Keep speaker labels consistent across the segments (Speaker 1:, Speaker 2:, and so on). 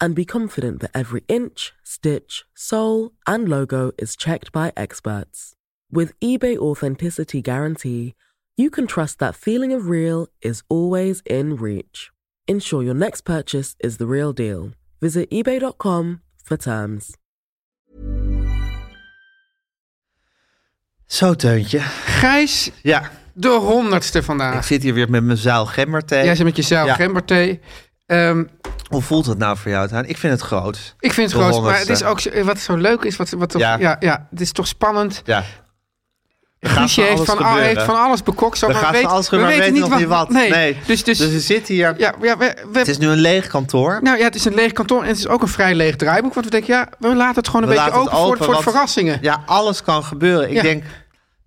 Speaker 1: and be confident that every inch, stitch, sole, and logo is checked by experts. With eBay Authenticity Guarantee, you can trust that feeling of real is always in reach. Ensure your next purchase is the real deal. Visit eBay.com for terms.
Speaker 2: Zo, Teuntje.
Speaker 3: Gijs,
Speaker 2: Ja,
Speaker 3: de honderdste
Speaker 2: ik
Speaker 3: vandaag.
Speaker 2: zit hier weer met mijn zaal gemmerthee.
Speaker 3: Jij zit met jezelf,
Speaker 2: Ja.
Speaker 3: gemberthee. Ehm,
Speaker 2: Hoe voelt het nou voor jou, Taan? Ik vind het groot.
Speaker 3: ik vind
Speaker 2: De
Speaker 3: het groot, maar het
Speaker 2: honderdste.
Speaker 3: is ook zo- wat zo leuk is, wat, wat toch,
Speaker 2: Ja.
Speaker 3: ja. Ja, het is toch spannend.
Speaker 2: Ja. Er gaat
Speaker 3: Guusje heeft,
Speaker 2: alles
Speaker 3: van al,
Speaker 2: gebeuren.
Speaker 3: heeft van alles bekokst,
Speaker 2: Er
Speaker 3: maar,
Speaker 2: gaat
Speaker 3: weet,
Speaker 2: van alles
Speaker 3: we
Speaker 2: gebeuren,
Speaker 3: weten
Speaker 2: maar
Speaker 3: niet
Speaker 2: we
Speaker 3: wat.
Speaker 2: weten nog niet wat.
Speaker 3: Nee.
Speaker 2: Nee.
Speaker 3: Dus, dus,
Speaker 2: Dus we zitten hier.
Speaker 3: ja, ja, we, we-
Speaker 2: Het is nu een leeg kantoor.
Speaker 3: nou ja, het is een leeg kantoor en het is ook een vrij leeg draaiboek. Want we denken, ja, we laten het gewoon een
Speaker 2: We
Speaker 3: beetje
Speaker 2: laten het
Speaker 3: open, voor,
Speaker 2: open,
Speaker 3: voor
Speaker 2: want-
Speaker 3: verrassingen. Ja.
Speaker 2: Ja, alles kan gebeuren. Ik
Speaker 3: Ja.
Speaker 2: denk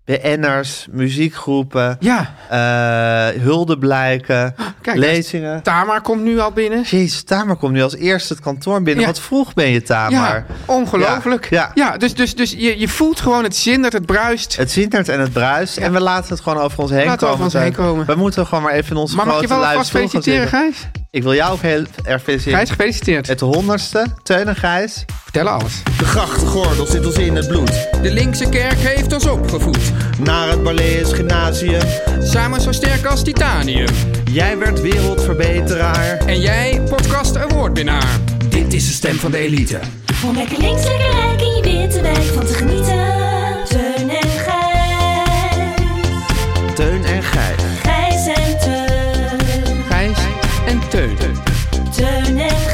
Speaker 2: BN'ers, muziekgroepen, eh, huldeblijken,
Speaker 3: Ah, Kijk,
Speaker 2: lezingen.
Speaker 3: Tamar komt nu al binnen.
Speaker 2: Jezus, Tamar komt nu als eerste het kantoor binnen.
Speaker 3: Ja.
Speaker 2: Wat vroeg ben je, Tamar.
Speaker 3: Ja, ongelooflijk.
Speaker 2: Ja,
Speaker 3: Ja,
Speaker 2: ja.
Speaker 3: dus, dus, dus je, je voelt gewoon het zindert, het bruist.
Speaker 2: Het zindert en het bruist. En we laten het gewoon over ons heen
Speaker 3: Laten we
Speaker 2: komen.
Speaker 3: over ons heen
Speaker 2: Teun.
Speaker 3: komen.
Speaker 2: We moeten gewoon maar even in onze
Speaker 3: Maar mag
Speaker 2: grote
Speaker 3: je wel
Speaker 2: luie
Speaker 3: alvast
Speaker 2: stoel gaan
Speaker 3: feliciteren,
Speaker 2: zitten.
Speaker 3: Gijs?
Speaker 2: Ik wil jou ook heel erg feliciteren.
Speaker 3: Gijs, gefeliciteerd.
Speaker 2: Het honderdste, Teun en Gijs.
Speaker 3: Vertel alles.
Speaker 4: De grachtgordel zit ons in het bloed.
Speaker 5: De linkse kerk heeft ons opgevoed,
Speaker 4: Naar het Balees Gymnasium.
Speaker 5: samen zo sterk als titanium.
Speaker 4: Jij werd wereldverbeteraar.
Speaker 5: En jij, podcast awardwinnaar. Dit is de stem van de elite.
Speaker 6: Om lekker links, lekker rijk in je witte wijk van te genieten. Teun en Gijs.
Speaker 4: Teun en Gijs.
Speaker 6: Gijs en Teun.
Speaker 5: Gijs en Teun.
Speaker 6: Teun en Gijs.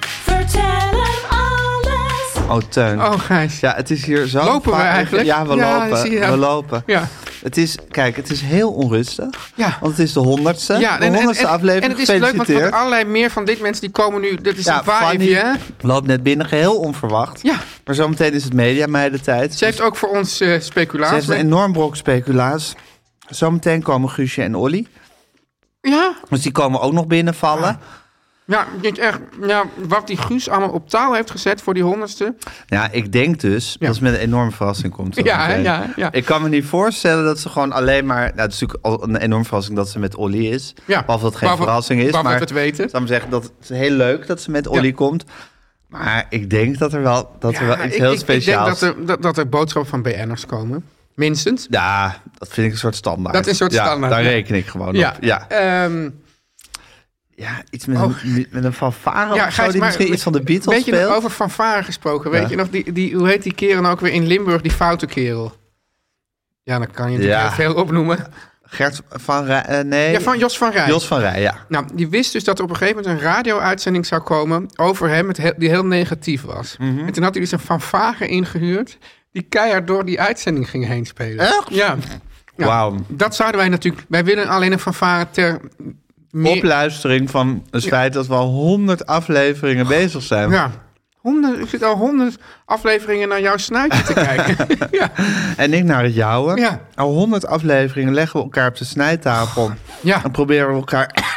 Speaker 6: Vertel hem alles.
Speaker 2: Oh, Teun.
Speaker 3: Oh, Gijs.
Speaker 2: Ja, het is hier zo...
Speaker 3: Lopen we
Speaker 2: vaak-
Speaker 3: eigenlijk?
Speaker 2: Ja, we
Speaker 3: Ja,
Speaker 2: lopen.
Speaker 3: zie je.
Speaker 2: We lopen.
Speaker 3: Ja.
Speaker 2: Het is, kijk, het is heel onrustig.
Speaker 3: Ja.
Speaker 2: Want het is de honderdste.
Speaker 3: Ja,
Speaker 2: de honderdste aflevering.
Speaker 3: en het is leuk, want, want
Speaker 2: Gefeliciteerd.
Speaker 3: allerlei meer van dit mensen die komen nu. Dit is een
Speaker 2: Fanny
Speaker 3: vibe, hè?
Speaker 2: loopt net binnen, geheel onverwacht.
Speaker 3: Ja.
Speaker 2: Maar zometeen is het media tijd.
Speaker 3: Ze heeft ook voor ons eh
Speaker 2: Ze
Speaker 3: speculatie.
Speaker 2: heeft een enorm brok speculaas. Zometeen komen Guusje en Olly.
Speaker 3: Ja?
Speaker 2: Dus die komen ook nog binnenvallen.
Speaker 3: Ja, dit echt, ja, wat die Guus allemaal op taal heeft gezet voor die honderdste.
Speaker 2: Ja, ik denk dus dat het met een enorme verrassing komt. zo
Speaker 3: Ja, hè,
Speaker 2: meteen.
Speaker 3: ja, ja.
Speaker 2: Ik kan me niet voorstellen dat ze gewoon alleen maar... Nou, het is natuurlijk al een enorme verrassing dat ze met Olly is.
Speaker 3: Ja.
Speaker 2: Behalve dat het geen
Speaker 3: Behalve-
Speaker 2: verrassing is.
Speaker 3: behalve
Speaker 2: maar
Speaker 3: dat we het weten.
Speaker 2: Ik zou maar zeggen, dat het is heel leuk dat ze met Olly komt. Maar ik denk dat er wel, dat er wel
Speaker 3: Ja,
Speaker 2: iets
Speaker 3: ik-
Speaker 2: heel
Speaker 3: ik, ik denk
Speaker 2: speciaals...
Speaker 3: dat er, dat, dat er boodschappen van BN'ers komen. Minstens.
Speaker 2: Ja, dat vind ik een soort standaard.
Speaker 3: Dat is een soort
Speaker 2: Ja,
Speaker 3: standaard,
Speaker 2: daar
Speaker 3: ja.
Speaker 2: reken ik gewoon
Speaker 3: Ja.
Speaker 2: op. Ja.
Speaker 3: Ehm,
Speaker 2: ja, iets met,
Speaker 3: Oh.
Speaker 2: een, met een fanfare
Speaker 3: ja,
Speaker 2: of zo,
Speaker 3: Gijs,
Speaker 2: die
Speaker 3: maar-
Speaker 2: misschien iets van de Beatles
Speaker 3: Weet je nog
Speaker 2: speelt.
Speaker 3: over fanfare gesproken? Weet
Speaker 2: Ja.
Speaker 3: je nog, die, die, hoe heet die kerel nou ook weer in Limburg, die foute kerel? Ja, dan kan je natuurlijk
Speaker 2: Ja.
Speaker 3: heel veel opnoemen.
Speaker 2: Gert van Rij... eh, nee,
Speaker 3: Ja, van Jos van Rijn.
Speaker 2: Jos van Rij, ja.
Speaker 3: Nou, die wist dus dat er op een gegeven moment een radio-uitzending zou komen over hem, met he- die heel negatief was.
Speaker 2: Mhm.
Speaker 3: En toen had hij dus een fanfare ingehuurd, die keihard door die uitzending ging heen spelen.
Speaker 2: Echt?
Speaker 3: Ja. Ja,
Speaker 2: Wauw.
Speaker 3: Dat zouden wij natuurlijk... Wij willen alleen een fanfare ter... meer-
Speaker 2: Opluistering van het feit dat we al honderd afleveringen bezig zijn.
Speaker 3: Ja. Honderd, ik zit al honderd afleveringen naar jouw snuitje te kijken. ja.
Speaker 2: En ik naar het jouwe.
Speaker 3: Ja.
Speaker 2: Al honderd afleveringen leggen we elkaar op de snijtafel.
Speaker 3: ja.
Speaker 2: En proberen we elkaar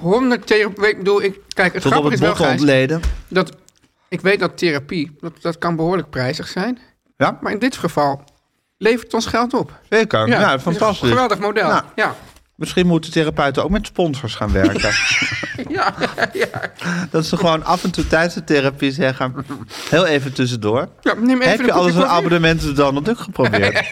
Speaker 3: 100 therapie. Ik bedoel, ik, kijk, het
Speaker 2: tot op
Speaker 3: grappige
Speaker 2: het
Speaker 3: is wel,
Speaker 2: bot te
Speaker 3: Gijs,
Speaker 2: ontleden.
Speaker 3: dat ik weet dat therapie, dat, dat kan behoorlijk prijzig zijn.
Speaker 2: Ja.
Speaker 3: Maar in dit geval levert het ons geld op.
Speaker 2: Zeker. Ja, fantastisch.
Speaker 3: Geweldig model.
Speaker 2: Nou.
Speaker 3: Ja.
Speaker 2: Misschien moeten therapeuten ook met sponsors gaan werken.
Speaker 3: Ja.
Speaker 2: dat ze gewoon af en toe tijdens de therapie zeggen... heel even tussendoor.
Speaker 3: ja, neem even
Speaker 2: Heb
Speaker 3: een
Speaker 2: je
Speaker 3: kopje
Speaker 2: alles een
Speaker 3: koffie.
Speaker 2: abonnement op Donald Duck geprobeerd?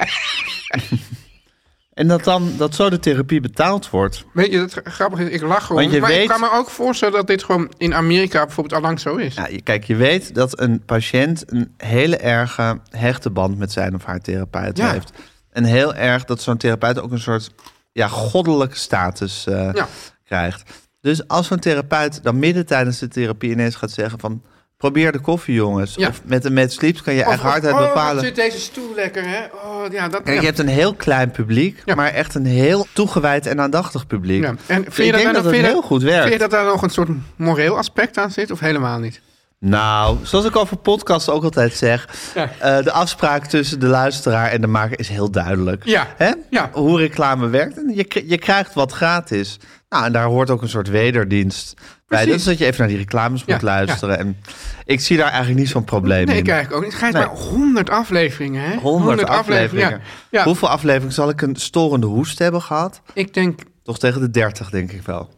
Speaker 2: En dat dan dat zo de therapie betaald wordt.
Speaker 3: Weet je, dat grappig is, ik lach gewoon.
Speaker 2: Want je
Speaker 3: Maar ik
Speaker 2: weet-
Speaker 3: kan me ook voorstellen dat dit gewoon in Amerika bijvoorbeeld allang zo is.
Speaker 2: Ja, je- kijk, je weet dat een patiënt een hele erge hechte band met zijn of haar therapeut
Speaker 3: Ja.
Speaker 2: heeft. En heel erg dat zo'n therapeut ook een soort ja, goddelijke status eh,
Speaker 3: Ja.
Speaker 2: krijgt. Dus als zo'n therapeut dan midden tijdens de therapie ineens gaat zeggen van... probeer de koffie, jongens.
Speaker 3: Ja.
Speaker 2: Of met een met sleeps kan je
Speaker 3: Of-
Speaker 2: eigen hardheid
Speaker 3: oh, wat
Speaker 2: bepalen.
Speaker 3: zit deze stoel lekker, hè? Oh, ja, dat,
Speaker 2: Kijk,
Speaker 3: ja.
Speaker 2: je hebt een heel klein publiek,
Speaker 3: Ja.
Speaker 2: maar echt een heel toegewijd en aandachtig publiek.
Speaker 3: Ja. En vind
Speaker 2: Dus
Speaker 3: je
Speaker 2: ik
Speaker 3: dat nou
Speaker 2: denk
Speaker 3: dan-
Speaker 2: dat het
Speaker 3: vind je
Speaker 2: heel
Speaker 3: dat-
Speaker 2: goed
Speaker 3: Vind je
Speaker 2: werkt.
Speaker 3: dat daar nog een soort moreel aspect aan zit of helemaal niet?
Speaker 2: Nou, zoals ik over podcasts ook altijd zeg,
Speaker 3: Ja.
Speaker 2: eh, de afspraak tussen de luisteraar en de maker is heel duidelijk.
Speaker 3: Ja.
Speaker 2: Hè?
Speaker 3: Ja.
Speaker 2: Hoe reclame werkt en je, kri- je krijgt wat gratis. Nou, en daar hoort ook een soort wederdienst bij.
Speaker 3: Precies.
Speaker 2: Dus dat je even naar die reclames
Speaker 3: Ja,
Speaker 2: moet luisteren. En ik zie daar eigenlijk niet zo'n probleem
Speaker 3: Nee,
Speaker 2: in.
Speaker 3: ik eigenlijk ook niet. Gijs,
Speaker 2: Nee.
Speaker 3: maar 100 afleveringen, hè?
Speaker 2: 100 afleveringen.
Speaker 3: Ja. ja.
Speaker 2: Hoeveel afleveringen zal ik een storende hoest hebben gehad?
Speaker 3: Ik denk,
Speaker 2: Toch tegen de 30, denk ik wel.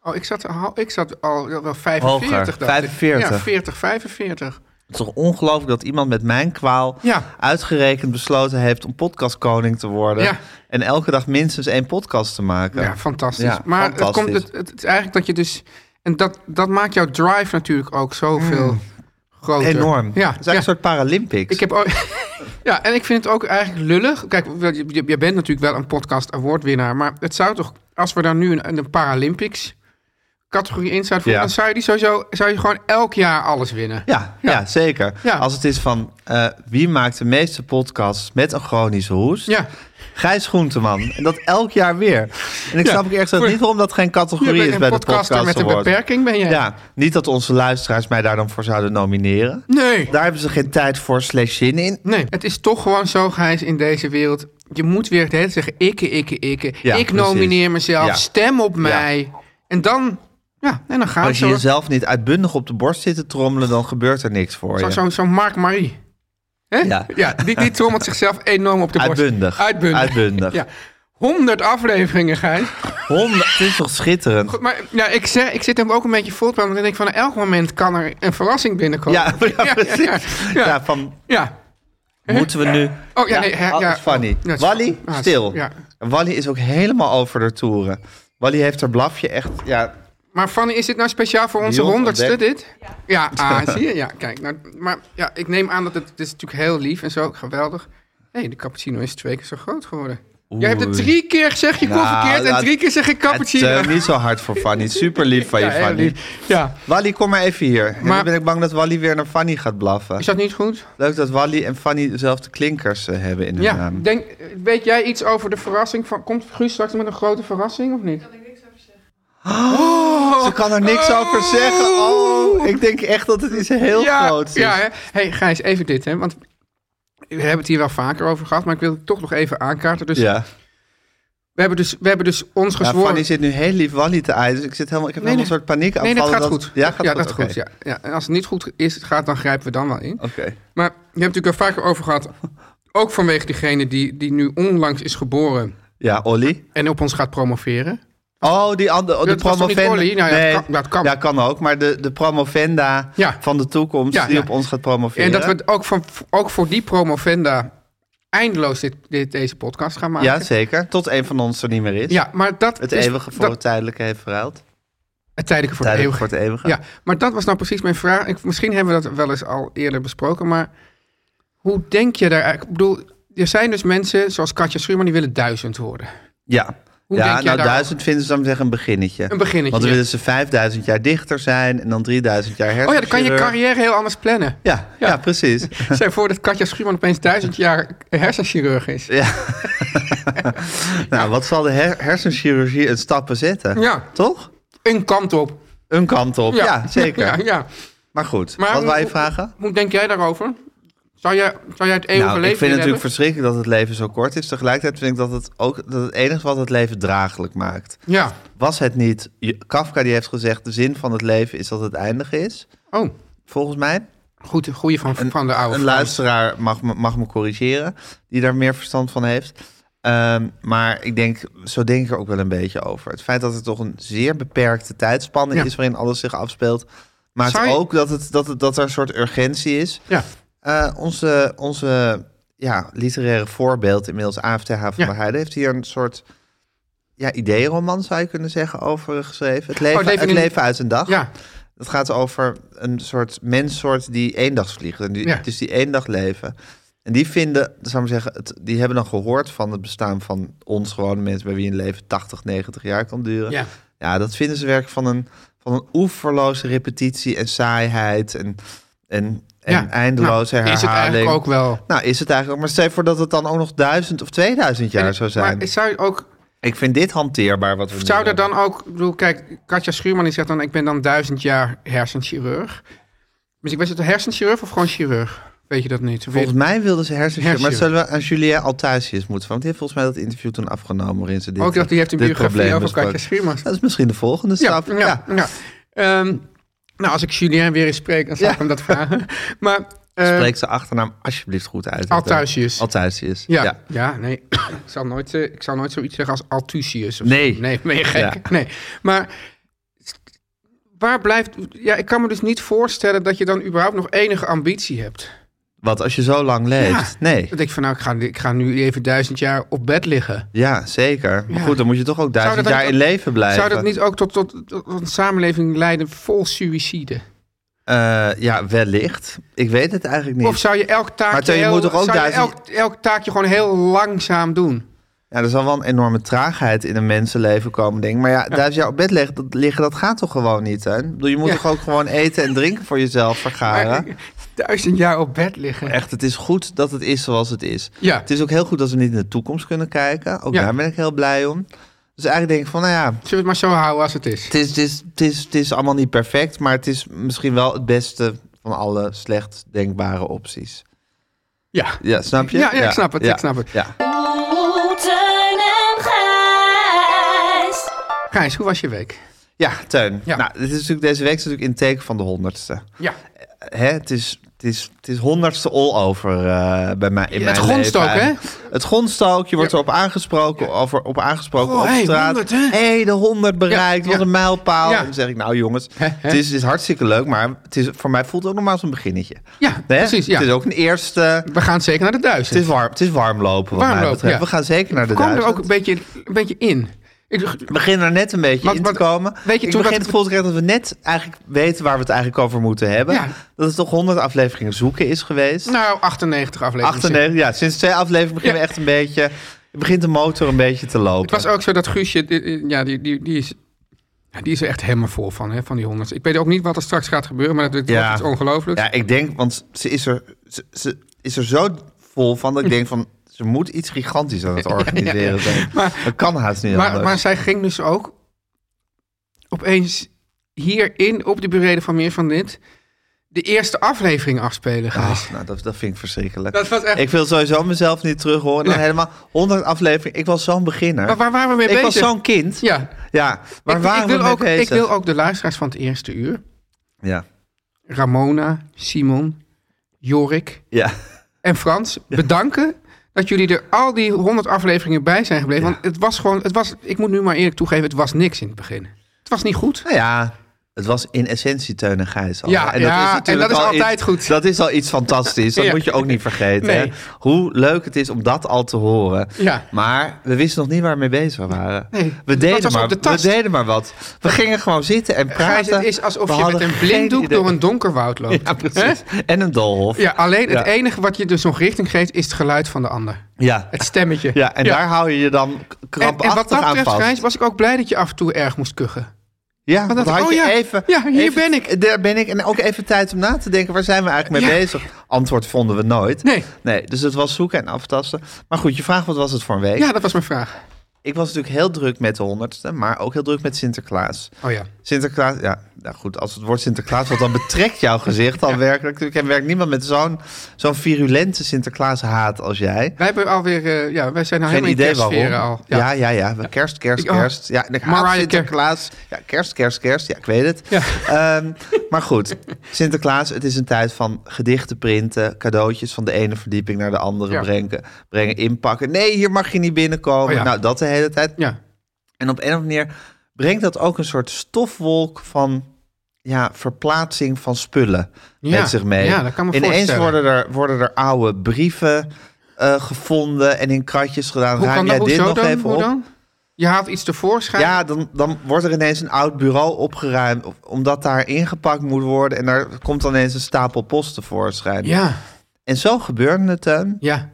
Speaker 3: oh, ik, zat, al- ik zat al wel 45.
Speaker 2: Hoger,
Speaker 3: dacht ik.
Speaker 2: 45.
Speaker 3: Ja, 40, 45.
Speaker 2: Het is toch ongelooflijk dat iemand met mijn kwaal
Speaker 3: Ja.
Speaker 2: uitgerekend besloten heeft om podcastkoning te worden.
Speaker 3: Ja.
Speaker 2: En elke dag minstens één podcast te maken.
Speaker 3: Ja, fantastisch.
Speaker 2: Ja,
Speaker 3: maar
Speaker 2: fantastisch.
Speaker 3: Het, komt, het, het is eigenlijk dat je dus... En dat, dat maakt jouw drive natuurlijk ook zoveel groter.
Speaker 2: Mm. Enorm.
Speaker 3: Ja,
Speaker 2: het is eigenlijk
Speaker 3: ja.
Speaker 2: een soort Paralympics.
Speaker 3: Ik heb ook, ja, en ik vind het ook eigenlijk lullig. Kijk, je, je- je bent natuurlijk wel een podcast awardwinnaar, maar het zou toch, als we daar nu een, een Paralympics categorie in zouden voeren,
Speaker 2: Ja.
Speaker 3: dan zou je die sowieso, zou je gewoon elk jaar alles winnen.
Speaker 2: ja, ja. zeker.
Speaker 3: Ja.
Speaker 2: Als het is van eh, wie maakt de meeste podcasts met een chronische hoest?
Speaker 3: Ja.
Speaker 2: Gijs Groenteman. En dat elk jaar weer. En ik
Speaker 3: Ja,
Speaker 2: snap ook eerst
Speaker 3: voor-
Speaker 2: niet waarom dat geen
Speaker 3: Je
Speaker 2: categorie
Speaker 3: bent
Speaker 2: is
Speaker 3: een
Speaker 2: bij de podcast
Speaker 3: podcaster met een
Speaker 2: Award.
Speaker 3: beperking, ben jij?
Speaker 2: Ja, niet dat onze luisteraars mij daar dan voor zouden nomineren.
Speaker 3: Nee. Nou,
Speaker 2: Daar hebben ze geen tijd voor slash zin in.
Speaker 3: Nee, het is toch gewoon zo, Gijs, in deze wereld. Je moet weer het hele zeggen, ikke, ikke, ikke.
Speaker 2: Ja,
Speaker 3: ik
Speaker 2: precies.
Speaker 3: nomineer mezelf,
Speaker 2: Ja.
Speaker 3: stem op mij. En dan, ja, en dan gaat
Speaker 2: Als je
Speaker 3: zo, zo,
Speaker 2: jezelf niet uitbundig op de borst zit te trommelen, dan gebeurt er niks voor je.
Speaker 3: zo, zo Mark Marie. Hè?
Speaker 2: Ja.
Speaker 3: ja die, die trommelt zichzelf enorm op de borst.
Speaker 2: Uitbundig.
Speaker 3: Uitbundig.
Speaker 2: Uitbundig.
Speaker 3: Ja. 100 afleveringen, Gijs.
Speaker 2: Honderd- het is toch schitterend?
Speaker 3: Maar ja, ik, zeg, ik zit hem ook een beetje vol te praten, want ik denk van elk moment kan er een verrassing binnenkomen.
Speaker 2: Ja, ja, precies. Ja,
Speaker 3: Ja, ja.
Speaker 2: van
Speaker 3: ja.
Speaker 2: moeten we nu...
Speaker 3: Oh ja, nee, hè,
Speaker 2: Ah,
Speaker 3: ja.
Speaker 2: dat is Fanny.
Speaker 3: Ja, het is-
Speaker 2: Wally,
Speaker 3: ja, het is-
Speaker 2: stil.
Speaker 3: Ja.
Speaker 2: En Wally is ook helemaal over de toeren. Wally heeft haar blafje echt... Ja,
Speaker 3: Maar Fanny, is dit nou speciaal voor onze
Speaker 2: Beyond
Speaker 3: honderdste,
Speaker 2: ontdekt.
Speaker 3: dit? Ja. ah, zie je? Ja, kijk. Nou, maar ja, ik neem aan dat het, het is natuurlijk heel lief en zo, geweldig. Hé, de cappuccino is twee keer zo groot geworden. Jij hebt het
Speaker 2: Oei.
Speaker 3: drie keer zeg je koffie
Speaker 2: Nou,
Speaker 3: verkeerd en
Speaker 2: laat-
Speaker 3: drie keer zeg ik cappuccino.
Speaker 2: het, eh, niet zo hard voor Fanny. Super lief van
Speaker 3: ja,
Speaker 2: je,
Speaker 3: heel
Speaker 2: Fanny.
Speaker 3: lief. Ja.
Speaker 2: Wally, kom maar even hier. En
Speaker 3: Maar-
Speaker 2: nu ben ik bang dat Wally weer naar Fanny gaat blaffen.
Speaker 3: Is dat niet goed?
Speaker 2: Leuk dat Wally en Fanny dezelfde klinkers eh, hebben in hun
Speaker 3: Ja,
Speaker 2: naam.
Speaker 3: denk, weet jij iets over de verrassing? Van, komt Guus straks met een grote verrassing of niet? Oh.
Speaker 2: Ze kan er niks over zeggen. Oh, ik denk echt dat het iets heel groots is.
Speaker 3: Ja, hè. hey, Gijs, even dit, hè? Want we hebben het hier wel vaker over gehad, maar ik wil het toch nog even aankaarten. Dus
Speaker 2: Ja.
Speaker 3: we hebben dus, we hebben dus ons
Speaker 2: Ja,
Speaker 3: gezworen.
Speaker 2: Fanny zit nu heel lief Wally te aaien, dus ik, zit helemaal, ik heb
Speaker 3: Nee,
Speaker 2: helemaal een soort paniek
Speaker 3: nee, dat gaat
Speaker 2: dat-
Speaker 3: goed.
Speaker 2: Ja, gaat
Speaker 3: ja,
Speaker 2: goed.
Speaker 3: dat goed. Ja, ja. En als het niet goed is, gaat, dan grijpen we dan wel in.
Speaker 2: Oké.
Speaker 3: Maar je hebt natuurlijk wel vaker over gehad, ook vanwege diegene die, die nu onlangs is geboren
Speaker 2: Ja, Olly.
Speaker 3: en op ons gaat promoveren.
Speaker 2: Oh, die andere, oh, de
Speaker 3: Dat was toch niet
Speaker 2: promovenda.
Speaker 3: Olly? Nou ja,
Speaker 2: nee,
Speaker 3: dat kan- dat kan.
Speaker 2: Ja, kan ook. Maar de, de promovenda
Speaker 3: Ja.
Speaker 2: van de toekomst
Speaker 3: Ja,
Speaker 2: die
Speaker 3: ja.
Speaker 2: op ons gaat promoveren.
Speaker 3: En dat we het ook, van, ook voor die promovenda eindeloos dit, dit, deze podcast gaan maken.
Speaker 2: Ja, zeker. Tot een van ons er niet meer is.
Speaker 3: Ja, maar dat
Speaker 2: Het
Speaker 3: is-
Speaker 2: eeuwige voor
Speaker 3: dat-
Speaker 2: het tijdelijke heeft verruild.
Speaker 3: het tijdelijke voor het
Speaker 2: Tijdelijk
Speaker 3: eeuwige.
Speaker 2: voor het eeuwige.
Speaker 3: Ja, maar dat was nou precies mijn vraag. Ik, misschien hebben we dat wel eens al eerder besproken, maar hoe denk je daar eigenlijk? Ik bedoel, er zijn dus mensen zoals Katja Schuurman die willen duizend worden.
Speaker 2: Ja.
Speaker 3: Hoe
Speaker 2: ja,
Speaker 3: denk jij
Speaker 2: nou,
Speaker 3: daarover?
Speaker 2: duizend vinden ze dan zeggen een beginnetje.
Speaker 3: Een beginnetje,
Speaker 2: Want dan
Speaker 3: ja.
Speaker 2: willen ze 5000 jaar dichter zijn en dan 3000 jaar
Speaker 3: Oh ja, dan kan je
Speaker 2: hersenchirurg.
Speaker 3: carrière heel anders plannen.
Speaker 2: Ja, ja. precies.
Speaker 3: Stel je voor dat Katja Schuurman opeens duizend jaar hersenchirurg is.
Speaker 2: nou, wat zal de her- hersenchirurgie een stappen zetten?
Speaker 3: Ja.
Speaker 2: Toch?
Speaker 3: Een kant op.
Speaker 2: Een kant op. Ja, zeker.
Speaker 3: Ja, ja.
Speaker 2: Maar goed,
Speaker 3: Maar
Speaker 2: wat
Speaker 3: hoe-
Speaker 2: wij vragen?
Speaker 3: Hoe denk jij daarover? Zou jij, zou jij het eeuwige
Speaker 2: Nou,
Speaker 3: leven
Speaker 2: ik vind het
Speaker 3: willen
Speaker 2: natuurlijk verschrikkelijk dat het leven zo kort is. Tegelijkertijd vind ik dat het ook dat het enige wat het leven draaglijk maakt.
Speaker 3: hebben?
Speaker 2: Was het niet, je- Kafka die heeft gezegd, de zin van het leven is dat het eindig is.
Speaker 3: Ja. Oh,
Speaker 2: Volgens mij.
Speaker 3: goed, goeie van, van de oude
Speaker 2: Een
Speaker 3: Frans.
Speaker 2: luisteraar mag me, mag me corrigeren, die daar meer verstand van heeft. Ehm, maar ik denk, zo denk ik er ook wel een beetje over. Het feit dat het toch een zeer beperkte tijdspanne
Speaker 3: Ja.
Speaker 2: is waarin alles zich afspeelt, maakt
Speaker 3: Zou je-
Speaker 2: ook dat, het, dat, het, dat er een soort urgentie is.
Speaker 3: Ja.
Speaker 2: Eh, onze, onze ja, literaire voorbeeld, inmiddels AFTH van
Speaker 3: Ja.
Speaker 2: der Heijden, heeft hier een soort ja, ideeënroman, zou je kunnen zeggen, over geschreven. Het leven,
Speaker 3: Oh, David
Speaker 2: het
Speaker 3: in-
Speaker 2: leven uit een dag.
Speaker 3: Ja,
Speaker 2: Dat gaat over een soort menssoort die eendagsvliegt. En die,
Speaker 3: Ja.
Speaker 2: Dus die één dag leven. En die vinden, zou ik maar zeggen, het, die hebben dan gehoord van het bestaan van ons gewone mensen bij wie een leven 80, 90 jaar kan duren.
Speaker 3: Ja.
Speaker 2: Ja, dat vinden ze werk van een, van een oeverloze repetitie en saaiheid en, en, en
Speaker 3: ja.
Speaker 2: eindeloze
Speaker 3: Nou,
Speaker 2: herhaling.
Speaker 3: Is het eigenlijk ook wel.
Speaker 2: Nou, is het eigenlijk ook. Maar stel je voor dat het dan ook nog duizend of 2000 jaar
Speaker 3: En-
Speaker 2: zou zijn.
Speaker 3: Maar zou je ook
Speaker 2: Ik vind dit hanteerbaar wat we nu
Speaker 3: Zou er
Speaker 2: doen.
Speaker 3: dan ook, ik bedoel, kijk, Katja Schuurman die zegt dan, ik ben dan duizend jaar hersenchirurg. Dus Misschien was het een hersenchirurg of gewoon chirurg? Weet je dat niet? Of
Speaker 2: Volgens
Speaker 3: weet-
Speaker 2: mij wilden ze hersenchirurg. Maar dat
Speaker 3: Hersenchirurg.
Speaker 2: zullen we aan Julien Althuisius moeten. Want die heeft volgens mij dat interview toen afgenomen waarin ze dit
Speaker 3: Ook dat Oh, die heeft een
Speaker 2: dit
Speaker 3: biografie
Speaker 2: probleem
Speaker 3: over Katja
Speaker 2: besproken.
Speaker 3: Schuurman.
Speaker 2: Dat is misschien de volgende
Speaker 3: Ja,
Speaker 2: stap.
Speaker 3: ja, ja. Ehm, nou, als ik Julien weer eens spreek, dan zal ik hem dat vragen. Maar eh,
Speaker 2: Spreek zijn achternaam alsjeblieft goed uit. eh,
Speaker 3: Althuisius.
Speaker 2: Althuisius.
Speaker 3: Ja, ja. nee. ik, zal nooit, eh, ik zal nooit zoiets zeggen als Althusius. Of
Speaker 2: Nee.
Speaker 3: zo. Nee, ben je gek?
Speaker 2: Ja.
Speaker 3: Nee. Maar waar blijft... Ja, ik kan me dus niet voorstellen dat je dan überhaupt nog enige ambitie hebt.
Speaker 2: Wat als je zo lang leeft?
Speaker 3: Ja.
Speaker 2: Nee.
Speaker 3: Dat ik van nou, ik ga, ik ga nu even duizend jaar op bed liggen.
Speaker 2: Ja, zeker. Maar
Speaker 3: Ja.
Speaker 2: goed, dan moet je toch ook duizend
Speaker 3: dan
Speaker 2: jaar
Speaker 3: niet
Speaker 2: in
Speaker 3: ook-
Speaker 2: leven blijven.
Speaker 3: Zou dat niet ook tot, tot, tot een samenleving leiden vol suïcide?
Speaker 2: Eh, ja, wellicht. Ik weet het eigenlijk niet.
Speaker 3: Of zou je elk taakje,
Speaker 2: Maar Teun, je
Speaker 3: heel-
Speaker 2: moet toch ook
Speaker 3: zou je
Speaker 2: duizend-
Speaker 3: elk, elk taakje gewoon heel langzaam doen?
Speaker 2: Ja, er zal wel een enorme traagheid in een mensenleven komen, denk ik. Maar ja, duizend jaar op bed liggen, dat, liggen, dat gaat toch gewoon niet, hè? Ik bedoel, je moet
Speaker 3: Ja.
Speaker 2: toch ook gewoon eten en drinken voor jezelf vergaren?
Speaker 3: Maar, eh, duizend jaar op bed liggen.
Speaker 2: Echt, het is goed dat het is zoals het is.
Speaker 3: Ja.
Speaker 2: Het is ook heel goed dat we niet in de toekomst kunnen kijken. Ook
Speaker 3: Ja.
Speaker 2: daar ben ik heel blij om. Dus eigenlijk denk ik van, nou ja,
Speaker 3: Zullen we het maar zo houden als het is?
Speaker 2: het is, het, is, het, is, het is allemaal niet perfect, maar het is misschien wel het beste van alle slecht denkbare opties.
Speaker 3: Ja.
Speaker 2: Ja, snap je?
Speaker 3: Ja, ja, ik snap het, ik snap het.
Speaker 2: Ja.
Speaker 6: Oeh, Oh, Teun en Gijs.
Speaker 3: Gijs, hoe was je week?
Speaker 2: ja, Teun.
Speaker 3: Ja.
Speaker 2: Nou, dit is natuurlijk, deze week is natuurlijk in teken van de honderdste.
Speaker 3: Ja.
Speaker 2: Hè, het, is, het, is, het is honderdste all over eh, bij mij in
Speaker 3: het
Speaker 2: mijn
Speaker 3: gonst
Speaker 2: leven
Speaker 3: ook, hè?
Speaker 2: eigenlijk. Het gonst ook. Je wordt
Speaker 3: Ja.
Speaker 2: erop aangesproken, over, op aangesproken
Speaker 3: Oh,
Speaker 2: op
Speaker 3: hey,
Speaker 2: straat.
Speaker 3: 100, hè?
Speaker 2: hey, de 100 bereikt.
Speaker 3: Ja,
Speaker 2: Wat
Speaker 3: ja.
Speaker 2: een mijlpaal.
Speaker 3: Ja.
Speaker 2: En dan zeg ik, nou jongens,
Speaker 3: Hè, hè?
Speaker 2: Het, is, het is hartstikke leuk, maar het is, voor mij voelt het ook nog maar als een beginnetje.
Speaker 3: Ja,
Speaker 2: Hè?
Speaker 3: precies. Ja.
Speaker 2: Het is ook een eerste.
Speaker 3: We gaan zeker naar de
Speaker 2: Het is
Speaker 3: duizend.
Speaker 2: warm, het is warm lopen wat
Speaker 3: Warm
Speaker 2: mij
Speaker 3: lopen,
Speaker 2: betreft.
Speaker 3: ja.
Speaker 2: We gaan zeker naar de
Speaker 3: Ik kwam er
Speaker 2: duizend.
Speaker 3: ook een beetje, een beetje in. Ik,
Speaker 2: We beginnen er net een beetje
Speaker 3: Want-
Speaker 2: in
Speaker 3: want-
Speaker 2: te komen.
Speaker 3: weet je,
Speaker 2: ik
Speaker 3: toen
Speaker 2: begin
Speaker 3: dat-
Speaker 2: het voelt dat we net eigenlijk weten waar we het eigenlijk over moeten hebben.
Speaker 3: Ja.
Speaker 2: Dat het toch 100 afleveringen zoeken is geweest.
Speaker 3: nou, 98 afleveringen.
Speaker 2: 98, ja, sinds twee afleveringen beginnen
Speaker 3: Ja.
Speaker 2: we echt een beetje. Het begint de motor een beetje te
Speaker 3: Het
Speaker 2: lopen.
Speaker 3: was ook zo dat Guusje, die- die- ja, die, die, die, is, ja, die is er echt helemaal vol van, hè, van die honderd. Ik weet ook niet wat er straks gaat gebeuren, maar dat wordt
Speaker 2: Ja.
Speaker 3: iets ongelooflijks.
Speaker 2: Ja, ik denk, want ze is er, ze, ze is er zo vol van dat ik denk van. Ze moet iets gigantisch aan het organiseren zijn.
Speaker 3: Maar-
Speaker 2: dat kan haast niet
Speaker 3: maar,
Speaker 2: anders.
Speaker 3: maar zij ging dus ook opeens hierin, op de bereden van meer van dit, de eerste aflevering afspelen. Gijs.
Speaker 2: Ach, nou, dat, dat vind ik verschrikkelijk.
Speaker 3: Dat was echt...
Speaker 2: Ik wil sowieso mezelf niet terug horen. En dan
Speaker 3: Nee.
Speaker 2: helemaal 100 afleveringen. Ik was zo'n beginner.
Speaker 3: Maar waar waren we mee
Speaker 2: ik
Speaker 3: bezig?
Speaker 2: was zo'n kind. Ja,
Speaker 3: Ja,
Speaker 2: waar
Speaker 3: ik,
Speaker 2: waren
Speaker 3: ik wil
Speaker 2: we mee
Speaker 3: ook,
Speaker 2: bezig?
Speaker 3: Ik wil ook de luisteraars van het eerste uur,
Speaker 2: Ja.
Speaker 3: Ramona, Simon, Jorik
Speaker 2: Ja.
Speaker 3: en Frans, bedanken dat jullie er al die 100 afleveringen bij zijn gebleven. Want het was gewoon, het was, ik moet nu maar eerlijk toegeven, het was niks in het begin. Het was niet goed.
Speaker 2: Nou ja, het was in essentie Teun en Gijs al.
Speaker 3: Ja, ja,
Speaker 2: natuurlijk
Speaker 3: en dat is
Speaker 2: al
Speaker 3: altijd
Speaker 2: iets-
Speaker 3: goed.
Speaker 2: Dat is al iets fantastisch. Dat
Speaker 3: Ja.
Speaker 2: moet je ook niet vergeten.
Speaker 3: Nee.
Speaker 2: hè. Hoe leuk het is om dat al te horen.
Speaker 3: Ja.
Speaker 2: Maar we wisten nog niet waar we mee bezig waren.
Speaker 3: Nee,
Speaker 2: we,
Speaker 3: dat
Speaker 2: deden
Speaker 3: was
Speaker 2: maar,
Speaker 3: op de
Speaker 2: we
Speaker 3: tast.
Speaker 2: deden maar wat. We gingen gewoon zitten en praten.
Speaker 3: Gijs, het is
Speaker 2: We
Speaker 3: alsof je met
Speaker 2: hadden
Speaker 3: een
Speaker 2: geen
Speaker 3: blinddoek
Speaker 2: idee.
Speaker 3: door een donker woud loopt.
Speaker 2: Ja, precies.
Speaker 3: Hè?
Speaker 2: En een doolhof.
Speaker 3: Ja, alleen het
Speaker 2: Ja.
Speaker 3: enige wat je dus nog richting geeft is het geluid van de ander.
Speaker 2: Ja.
Speaker 3: Het stemmetje.
Speaker 2: Ja, en daar hou je je dan k-
Speaker 3: En- en,
Speaker 2: krampachtig
Speaker 3: wat dat
Speaker 2: aan
Speaker 3: betreft,
Speaker 2: vast.
Speaker 3: Gijs, was ik ook blij dat je af en toe erg moest kuchen.
Speaker 2: Ja,
Speaker 3: Want
Speaker 2: want
Speaker 3: dat-
Speaker 2: had
Speaker 3: oh
Speaker 2: je
Speaker 3: ja,
Speaker 2: even...
Speaker 3: ja, hier
Speaker 2: even-
Speaker 3: ben ik.
Speaker 2: Daar ben ik. En ook even tijd om na te denken, waar zijn we eigenlijk mee
Speaker 3: Ja.
Speaker 2: bezig? Antwoord vonden we nooit.
Speaker 3: Nee.
Speaker 2: Nee, dus het was zoeken en aftasten. Maar goed, je vraag wat was het voor een week?
Speaker 3: Ja, dat was mijn vraag.
Speaker 2: Ik was natuurlijk heel druk met de honderdste, maar ook heel druk met Sinterklaas.
Speaker 3: Oh ja.
Speaker 2: Sinterklaas, ja, nou goed, als het woord Sinterklaas, want dan betrekt jouw gezicht dan werkelijk. Ik werkt niemand met zo'n zo'n virulente Sinterklaas haat als jij.
Speaker 3: Wij hebben alweer, eh, ja, wij zijn nou
Speaker 2: Geen
Speaker 3: helemaal
Speaker 2: idee
Speaker 3: in
Speaker 2: waarom.
Speaker 3: kerstsferen al.
Speaker 2: Ja, ja, ja. we- Kerst, kerst,
Speaker 3: Ik- oh.
Speaker 2: kerst. Ja, en ik haat
Speaker 3: Mariah Carey.
Speaker 2: Sinterklaas. Ja, kerst, kerst, kerst. Ja, ik weet het.
Speaker 3: Ja.
Speaker 2: Ehm, maar goed, Sinterklaas, het is een tijd van gedichten printen, cadeautjes van de ene verdieping naar de andere
Speaker 3: Ja.
Speaker 2: brengen, brengen, inpakken. Nee, hier mag je niet binnenkomen.
Speaker 3: Oh ja.
Speaker 2: Nou, dat de hele tijd.
Speaker 3: ja.
Speaker 2: En op een of andere manier brengt dat ook een soort stofwolk van ja, verplaatsing van spullen
Speaker 3: Ja,
Speaker 2: met zich mee.
Speaker 3: ja, dat kan me
Speaker 2: Ineens
Speaker 3: voorstellen.
Speaker 2: worden er, worden er oude brieven eh, gevonden en in kratjes gedaan.
Speaker 3: Hoe
Speaker 2: Ruim
Speaker 3: kan
Speaker 2: jij
Speaker 3: dat?
Speaker 2: dit
Speaker 3: Hoezo
Speaker 2: nog
Speaker 3: dan?
Speaker 2: even
Speaker 3: Hoe
Speaker 2: op?
Speaker 3: dan? Je haalt iets tevoorschijn.
Speaker 2: Ja, dan, dan wordt er ineens een oud bureau opgeruimd. of- Omdat daar ingepakt moet worden. En daar komt dan ineens een stapel post tevoorschijn.
Speaker 3: Ja,
Speaker 2: En zo gebeurde het, Teun,
Speaker 3: ja.